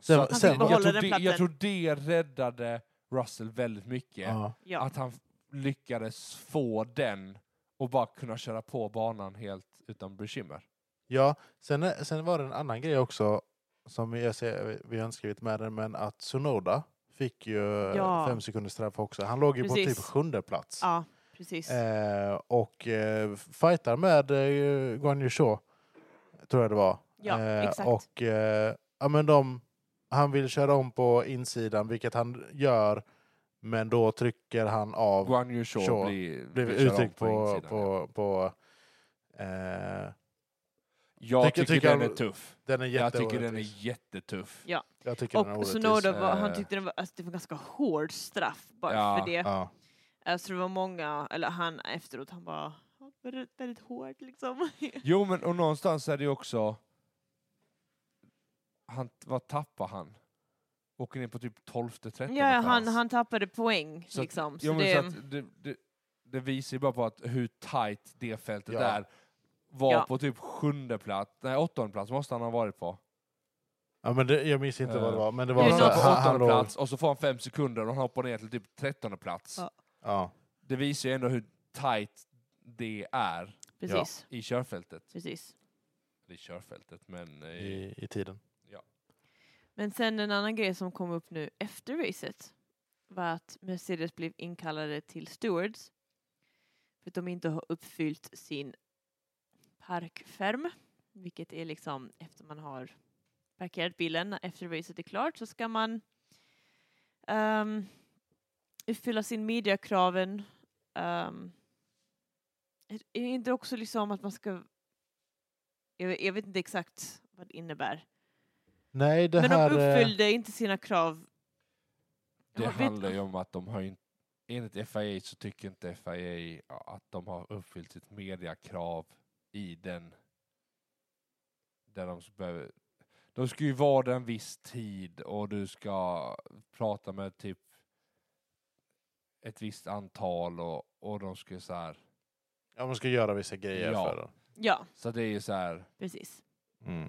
A: Sen-
B: Så att-
A: sen-
B: jag, tror
C: Behåller den
B: det, jag
C: platsen.
B: tror det räddade Russell väldigt mycket.
A: Ja.
C: Ja.
B: Att han f- lyckades få den och bara kunna köra på banan helt utan bekymmer.
A: Ja, sen, sen var det en annan grej också som jag ser, vi har inte skrivit med den, men att Sonoda fick ju eh,
C: Ja.
A: fem sekunders straff också. Han låg ju på
C: Precis.
A: typ sjunde plats.
C: ja, precis.
A: Eh, och eh, fightar med eh, Guan Yu Zhou, tror jag det var.
C: Ja,
A: eh,
C: exakt.
A: Och eh, ja, men de, han vill köra om på insidan, vilket han gör, men då trycker han av
B: Guan Yu Zhou
A: Shaw
B: blir,
A: blev
B: körd om
A: uttryckt på, på,
B: insidan, ja.
A: på, eh,
B: Jag
A: Tycker-
B: tycker,
A: tycker
B: den
A: jag-
B: är tuff.
A: den är
B: Jag tycker den
A: jätteorättvis.
B: är jättetuff.
C: Ja.
A: Jag tycker den är
C: Och
A: orättvis.
C: Sonoda var, han
B: Eh.
C: tyckte det var, alltså, det var ganska hård straff bara
B: Ja,
C: för det.
A: Ja.
C: Eh, Så det var många, eller han efteråt, han var väldigt, väldigt hård liksom.
B: Jo, men och någonstans är det ju också... Han, vad tappar han? Åker ner på typ 12 13
C: ja, han, han tappade poäng
B: Så att-
C: liksom. Så
B: Jo, men
C: det,
B: så att det, det, det visar ju bara på att hur tight det fältet
A: Ja.
B: är. Var
C: Ja.
B: på typ sjunde plats, nej åttonde plats måste han ha varit på.
A: Ja, men det, jag minns inte
B: Eh,
A: vad det var. Men det
B: Det
A: var
B: var
C: något
A: så här,
B: på
C: sånt.
A: han, han
B: åttonde
A: låg,
B: plats och så får han fem sekunder och han hoppar ner till typ trettonde plats.
C: Ja.
A: Ja,
B: Det visar ju ändå hur tight det är
C: precis,
B: i körfältet.
C: precis.
B: Eller i körfältet, men... eh,
A: i, i tiden.
C: Men sen en annan grej som kom upp nu efter racet var att Mercedes blev inkallade till stewards för att de inte har uppfyllt sin parkferm, vilket är liksom efter man har parkerat bilen efter racet är klart så ska man ehm, uppfylla sin mediakraven. Um, är det inte också liksom att man ska... Jag vet, jag vet inte exakt vad det innebär.
A: Nej, det
C: Men
A: här...
C: de
A: eh,
C: uppfyllde inte sina krav.
B: Det
C: Jag vet-
B: handlar ju om att de har inte, enligt FIA så tycker inte FIA att de har uppfyllt sitt mediakrav i den där de behöver de ska ju vara där en viss tid och du ska prata med typ ett visst antal och, och de ska så här.
A: Ja, man ska göra vissa grejer
B: Ja.
A: för det.
C: Ja,
B: Så det är ju så här
C: precis.
A: Mm.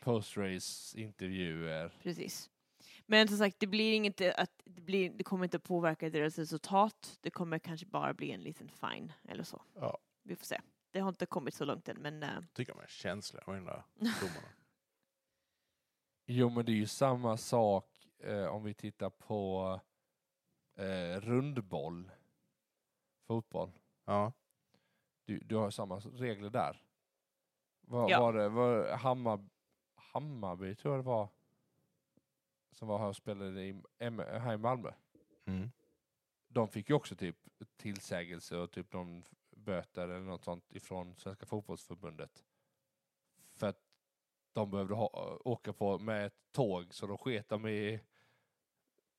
B: post-race intervjuer.
C: precis. Men som sagt, det blir inget eh, att det, blir, det kommer inte påverka deras resultat. Det kommer kanske bara bli en liten fine eller så.
A: Ja.
C: Vi får se. Det har inte kommit så långt än, men eh,
A: Tycker man är känslig med de där domarna.
B: Jo, men det är ju samma sak eh, om vi tittar på eh, rundboll, fotboll.
A: Ja.
B: Du, du har samma regler där. Vad
C: Ja.
B: var det? Var Hammar, Hammarby tror jag det var som var här och spelade i, M- här i Malmö.
A: Mm.
B: De fick ju också typ tillsägelse och typ någon f- böter eller något sånt ifrån Svenska fotbollsförbundet. För att de behövde ha, åka på med ett tåg så då sket de i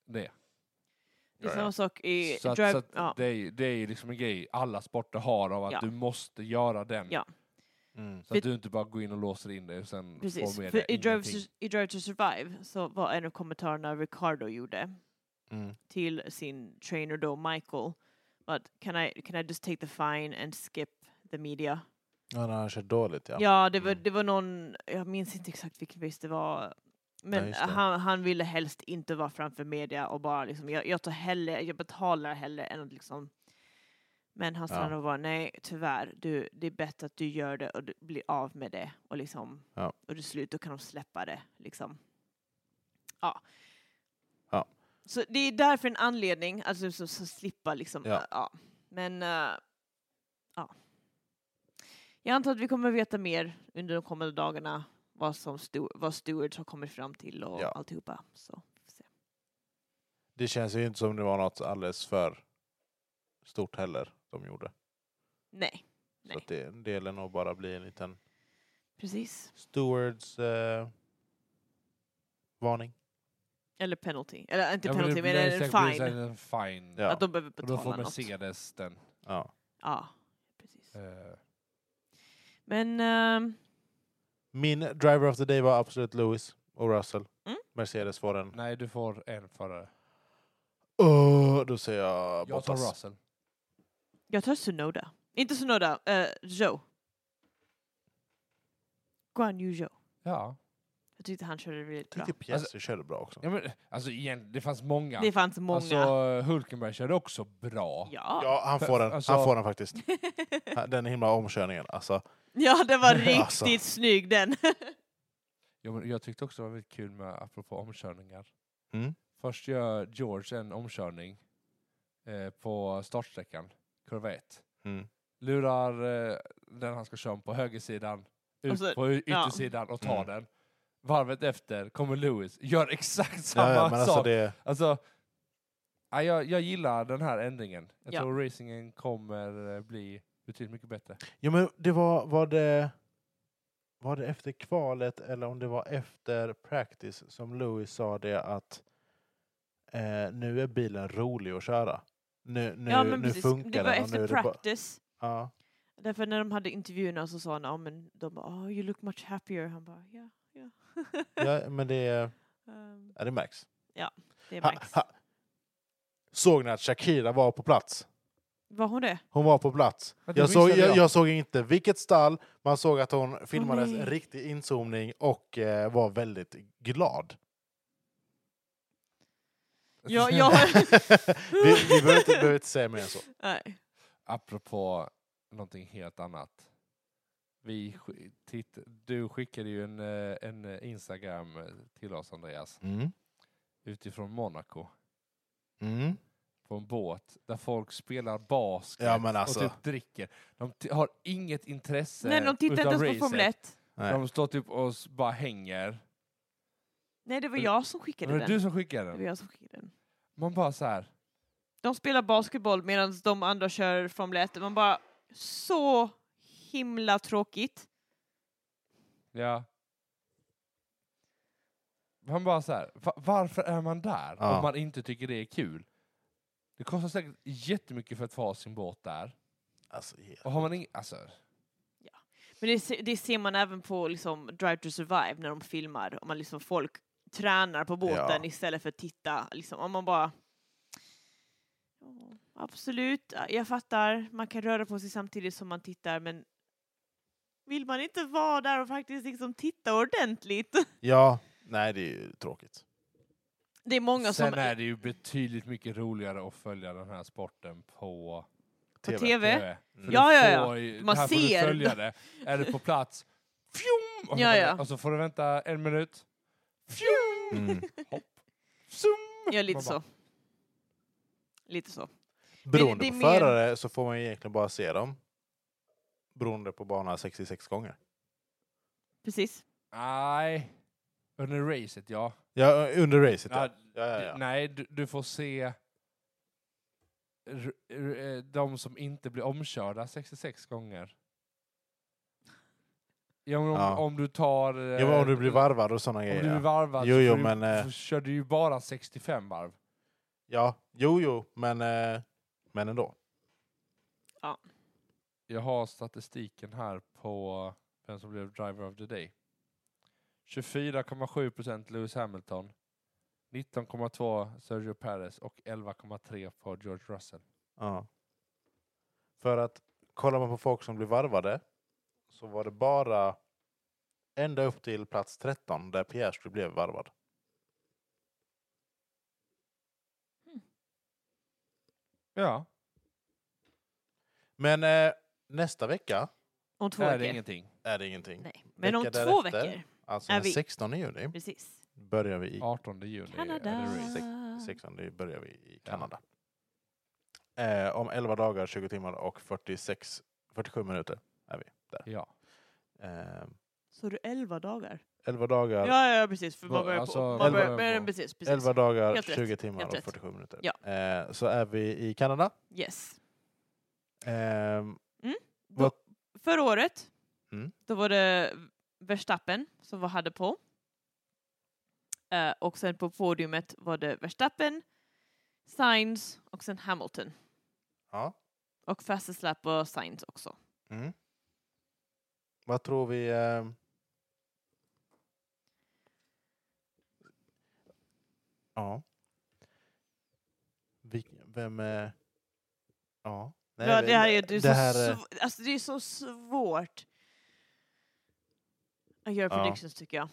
B: det.
C: det
A: Ja,
C: är samma
A: ja.
C: sak i
B: Så, att,
C: drive...
B: så att
C: ja.
B: det, är, ju- det är ju liksom en grej alla sporter har av att
C: Ja.
B: du måste göra den.
C: Ja.
A: Mm.
B: Så att du inte bara går in och låser in dig och sen
C: Precis,
B: får med
C: för
B: dig
C: i Drive,
B: ingenting.
C: to, i Drive to Survive så var en av kommentarerna Ricardo gjorde
A: Mm.
C: till sin trainer då, Michael, but can I, can I just take the fine and skip the media?
A: Ja, när han kör dåligt, ja.
C: Ja, det var,
A: Mm.
C: det var någon, jag minns inte exakt vilken race det var,
A: Nej,
C: Men
A: just det.
C: han, han ville helst inte vara framför media och bara liksom, jag, jag tar hellre, jag betalar hellre än att liksom. Men han
A: Ja.
C: stannade och bara, nej tyvärr, du, det är bättre att du gör det och du blir av med det och liksom,
A: Ja.
C: och till slut då kan de släppa det liksom. Ja.
A: Ja.
C: Så det är därför en anledning, alltså så, så slippa liksom,
A: Ja.
C: ja. Men, eh, ja. Jag antar att vi kommer veta mer under de kommande dagarna vad, som stu- vad Stewards har kommit fram till och
A: Ja.
C: alltihopa. Så. får se.
A: Det känns ju inte som det var något alldeles för stort heller de gjorde.
C: Nej,
A: Så
C: Nej.
A: att det, det lär nog bara bli en liten
C: precis.
A: stewards eh, varning.
C: Eller penalty. Eller inte
B: Ja, men det
C: penalty, men
B: blir
C: en
B: säkert
C: fine.
B: blir en fine.
A: Ja.
C: Att de behöver
B: Och
C: betala
B: då får
C: något.
B: Mercedes den.
A: Ja.
C: Ja, precis.
B: eh,
C: Men ehm,
A: Min driver of the day var absolut Lewis och Russell.
C: Mm.
A: Mercedes får en.
B: nej, du får en förare.
A: Åh, då säger jag
B: Jag tar
A: Bottas.
B: Russell.
C: jag tar Sunoda. Inte Sunoda, eh, Joe. Guan Yu Zhou.
B: Ja.
C: Jag tyckte han körde väldigt bra.
A: Tyckte Piastri körde bra också.
B: ja men, alltså igen, det fanns många.
C: Det fanns många.
B: Alltså, Hulkenberg körde också bra.
C: ja.
A: Ja, han
B: För-
A: får den.
B: alltså-
A: Han får den faktiskt. Den himla omkörningen. Alltså,
C: ja, den var riktigt
A: Alltså.
C: snygg den.
B: Ja, men jag tyckte också det var väldigt kul med, apropå omkörningar.
A: mm.
B: Först gör George en omkörning eh, på startsträckan, kurva 1.
A: Mm.
B: Lurar eh, den han ska köra om på högersidan, ut
C: Och så-
B: på y-
C: Alltså, ja.
B: yttersidan och tar
A: Mm.
B: den. Varvet efter kommer Lewis, gör exakt samma
A: Ja, ja, men alltså
B: sak.
A: det,
B: Alltså, ja, jag, jag gillar den här ändringen. Jag
C: Ja.
B: tror racingen kommer eh, bli betydligt mycket bättre.
A: ja, men det var, var det... Var det efter kvalet eller om det var efter practice som Lewis sa det att eh, nu är bilen rolig att köra. Nu, nu,
C: ja, men
A: nu
C: precis.
A: funkar
C: Det var
A: den. och nu
C: efter
A: är det bara-
C: practice.
A: Ja.
C: Därför när de hade intervjuerna så sa han, ja men de bara, oh, you look much happier. Han bara, ja, ja.
A: ja, men det,
C: Ehm,
A: ja, det märks.
C: det
A: Ha,
C: märks.
A: ha. Såg ni att Shakira var på plats?
C: Var hon det?
A: Hon var på plats.
B: Ja, det
A: Jag såg,
B: missade
A: jag,
B: jag.
A: jag såg inte vilket stall. Man såg att hon filmades
C: nej.
A: en riktig inzoomning och eh, var väldigt glad.
C: Ja, jag...
A: vi vi behöver, inte, behöver inte säga mer än så.
C: Nej.
B: Apropå någonting helt annat. Vi, sk- titt, du skickade ju en, eh, en eh, Instagram eh, till oss Andreas,
A: Mm.
B: utifrån Monaco,
A: Mm.
B: på en båt där folk spelar basket
A: Ja, men alltså.
B: och typ dricker. De t- har inget intresse
C: Nej, de tittar
B: utav
C: inte ens på Formel
B: racet.
C: 1.
A: Nej.
B: De står typ och s- bara hänger.
C: Nej, det var
B: Men-
C: jag som
B: Men
C: skickade
B: det är
C: den.
B: du som skickar
C: Det
B: den.
C: var jag som skickade den.
B: Man bara så här.
C: De spelar basketboll medan de andra kör Formel 1. Man bara, så himla tråkigt.
B: Ja. Man bara så här, va- varför är man där
A: Ja.
B: om man inte tycker det är kul? Det kostar säkert jättemycket för att få ha sin båt där.
A: Alltså, ja.
B: Och har man ing- alltså,
C: Men det, se- det ser man även på liksom, Drive to Survive när de filmar. Om man liksom folk tränar på båten
A: Ja.
C: istället för att titta. Liksom, om man bara... Ja, absolut, jag fattar. Man kan röra på sig samtidigt som man tittar, men vill man inte vara där och faktiskt liksom titta ordentligt?
A: ja, nej det är ju tråkigt.
C: Det är många
B: sen
C: som...
B: är det ju betydligt mycket roligare att följa den här sporten på
C: på TV.
A: Mm.
B: För
C: Ja,
B: du
C: ja, ja.
B: får ju-
C: Man
B: här får du
C: ser.
B: följa det. Är du på plats, fjum! Och, så
C: Ja,
B: får-
C: ja.
B: och så får du vänta en minut, fjum!
A: Mm.
B: Hopp, zoom!
C: Ja, lite
B: Man bara,
C: så. Lite så.
A: Beroende
C: det är
A: på
C: mer-
A: förare så får man ju egentligen bara se dem. Beroende på bana 66 gånger.
C: Precis.
B: Nej, under racet ja.
A: Ja, under racet ja.
B: Ja,
A: ja, ja, ja.
B: Nej, du, du får se r- r- eh, de som inte blir omkörda 66 gånger. Ja, men om,
A: Ja.
B: om du tar... eh,
A: Ja, men om du blir varvad och sådana
B: om du
A: grejer.
B: blir
A: ja.
B: varvad
A: Jo,
B: så
A: jo,
B: får
A: men,
B: du,
A: eh,
B: så kör du ju bara 65 varv.
A: Ja, jo, jo, men, eh, men ändå.
B: Jag har statistiken här på vem som blev driver of the day. 24,7 procent Lewis Hamilton, 19,2 Sergio Perez och 11,3 på George Russell.
A: Ja. För att kollar man på folk som blir varvade så var det bara Ända upp till plats 13 där Piastri blev varvad.
B: Ja,
A: Men eh, nästa vecka
C: Om två
B: är det
C: veckor.
B: ingenting.
A: är det ingenting.
C: Nej. Men om två
A: Vecka därefter.
C: veckor.
A: Alltså
C: Är
A: den
C: vi-
A: 16 juni
C: Precis.
A: börjar vi i
B: 18 juni.
C: Kanada.
B: är det race.
A: 16 börjar vi i
B: Ja.
A: Kanada. Eh, om 11 dagar, 20 timmar och 46, 47 minuter är vi där.
B: Ja.
A: Eh,
C: Så du elva dagar?
A: 11 dagar,
C: Ja, ja, precis. För
B: Vad-
C: man börjar
B: alltså,
C: på... Man
A: elva-
C: börjar, börjar, precis, precis.
A: 11 dagar
C: Helt rätt.
A: 20 timmar
C: Helt
A: och
C: rätt.
A: 47 minuter.
C: Ja.
A: Eh, så är vi i Kanada.
C: Yes.
A: Ehm,
C: Då,
A: Vad-
C: förra året,
A: Mm.
C: då var det Verstappen som var, hade på. Eh, och sen på podiumet var det Verstappen, Sainz och sen Hamilton.
A: ja.
C: Och fastest lap var Sainz också.
A: mm. Vad tror vi? ehm? Ja. Vi, vem? eh, Ja. Nej,
C: ja,
A: vi-
C: det här är, det är,
A: det här
C: så,
A: är-
C: sv- alltså, det är så svårt att göra
A: Ja.
C: predictions tycker jag.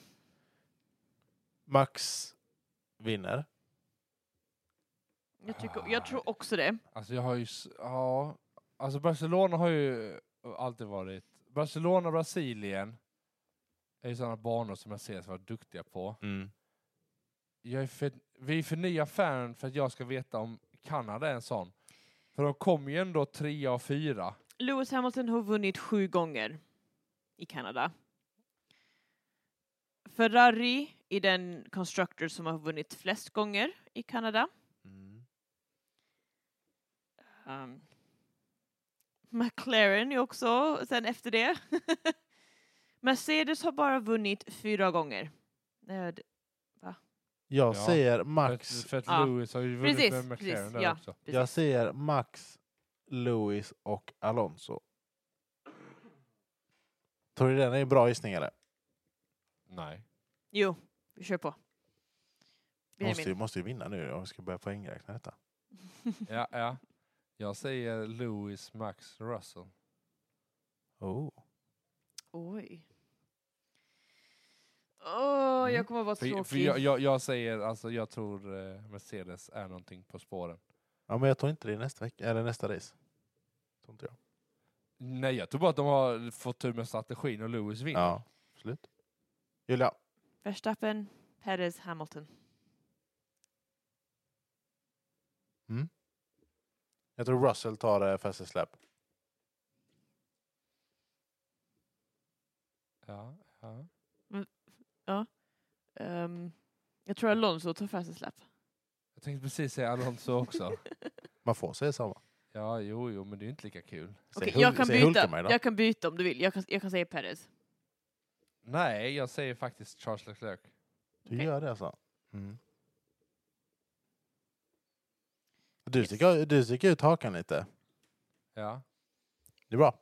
A: Max vinner.
C: Jag, tycker,
B: Ah.
C: jag tror också det.
B: Alltså jag har ju... s- Ja. Alltså Barcelona har ju alltid varit... Barcelona och Brasilien är ju sådana banor som jag ser att vara duktiga på. Jag är för, vi är för nya fan för att jag ska veta om Kanada är en sån. För de kom ju ändå trea och fyra.
C: Lewis Hamilton har vunnit sju gånger i Kanada. Ferrari är den constructor som har vunnit flest gånger i Kanada.
A: Mm.
C: Um, McLaren är också sen efter det. Mercedes har bara vunnit fyra gånger. Eh, d-
A: Jag
B: Ja.
A: säger
B: För, att-
A: Max,
B: för att
C: Ja.
B: Lewis har ju vunnit
C: Precis,
B: med McLaren
C: precis,
B: där
C: ja.
B: också.
A: jag säger Max, Lewis och Alonso. Tror du den är en bra gissning eller?
B: Nej.
C: Jo, vi kör på.
A: Måste ju,
C: Benjamin.
A: måste ju vinna nu om vi ska börja poängräkna detta.
B: Ja, ja. Jag säger Lewis, Max, Russell.
A: Oh.
C: Oj. Åh,
A: Mm.
C: jag kommer att vara
B: För,
C: tråkig.
B: för jag, jag, jag säger, alltså jag tror eh, Mercedes är någonting på spåren.
A: Ja, men jag tror inte det är nästa vecka, eller nästa race. Tror inte jag.
B: Nej, jag tror bara att de har fått tur med strategin och Lewis
C: Mm.
B: vinner.
A: Ja, absolut. Julia,
C: Verstappen, Perez, Hamilton.
A: jag tror Russell tar eh, fastest släpp.
B: Ja, ja.
C: Ehm, jag tror Alonso tar fastest lap.
B: Jag tänkte precis säga Alonso också.
A: Man får säga samma.
B: Ja, jo, jo, men det är ju inte lika kul.
A: Säg
C: Okej, jag,
A: Hul-
C: kan
A: säg
C: byta,
A: Hulkenberg då.
C: jag kan byta om du vill. Jag kan, jag kan säga Perez.
B: Nej, jag säger faktiskt Charles Leclerc.
A: Du
C: Okej.
A: gör det alltså? Mm. Du,
C: Yes.
A: sticker, du sticker ut hakan lite.
B: Ja.
A: Det är bra.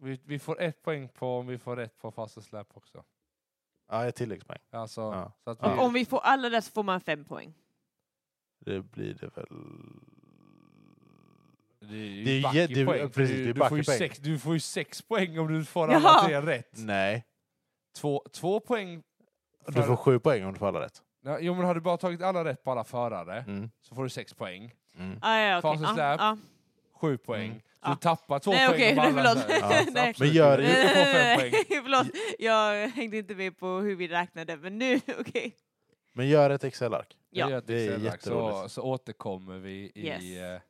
B: Vi, vi får ett poäng på om vi får rätt på fasta släpp också.
A: Ja, ett tilläggspoäng.
B: Alltså,
A: Ja.
B: så att vi,
A: Ja.
C: Och om vi får alla rätt så får man fem poäng.
A: Det blir det väl...
B: det är ju
A: Det är ju
B: backe
A: jä- det är-
B: poäng, för
A: precis, det
B: du,
A: är
B: du, får ju
A: backe poäng. Mm.
B: sex, du får ju sex poäng om du får
C: Jaha.
B: alla tre rätt.
A: Nej.
B: Två, två poäng.
A: Du
B: för-
A: får sju poäng om du får alla rätt.
B: Ja, Jo, men har du bara tagit alla rätt på alla förare
A: Mm.
B: så får du sex poäng.
A: Mm.
C: Ah, ja, okej.
B: Fastest
C: Ah,
B: lap.
C: ah.
B: Sju poäng.
A: Mm.
B: Så
C: Ja.
B: du tappar två
C: Nej,
B: poäng
C: okej,
B: om alla
C: förlåt.
B: så här.
A: Ja.
B: Så
C: Nej.
B: absolut,
A: Men gör
B: du-
A: det-
B: Du får fem
C: Nej,
B: poäng.
C: Förlåt, jag hängde inte med på hur vi räknade, men nu, okej.
A: Men gör ett Excel-ark.
C: Ja.
B: Vi gör ett
A: Det är
B: Excel-ark, så,
A: jätteroligt.
B: så återkommer vi i
C: Yes.
B: eh,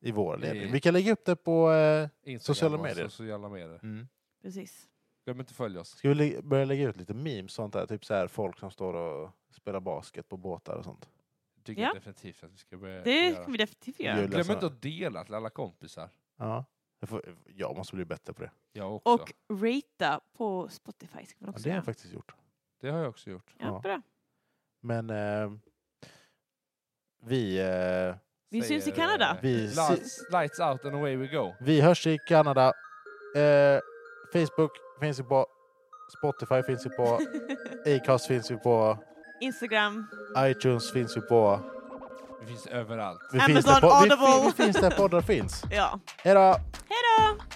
A: I vår ledning.
B: I-
A: Vi kan lägga upp det på... Eh,
B: Instagram
A: Sociala
B: och
A: medier. Mm.
B: Sociala medier.
C: Precis.
B: Glöm inte att följa oss.
A: Ska vi lä- börja lägga ut lite memes sånt där? Typ så här folk som står och spelar basket på båtar och sånt.
B: tycker
C: Ja.
B: jag definitivt att vi ska börja
C: Det
B: göra.
C: ska vi definitivt göra.
A: Jul.
B: Glöm
A: Läsa-
B: inte att dela till alla kompisar.
A: Ja. Jag, får, jag måste bli bättre på det.
B: Jag också.
C: Och ratea på Spotify ska man
A: Ja,
C: också
A: det har
C: göra.
A: jag faktiskt gjort.
B: Det har jag också gjort.
C: Ja,
A: ja.
C: bra.
A: Men eh, vi, eh,
C: Vi syns i
B: Säger,
C: Kanada.
B: eh,
A: Vi
B: Lights, lights out and away we go.
A: vi hörs i Kanada. Eh, Facebook finns ju på. Spotify finns ju på. Acast finns ju på.
C: Instagram.
A: iTunes finns ju på.
B: Vi finns överallt.
A: Vi
C: Amazon
A: finns där po- vi,
C: Audible.
A: vi finns där poddar finns.
C: Ja.
A: Hej då!
C: Hej då!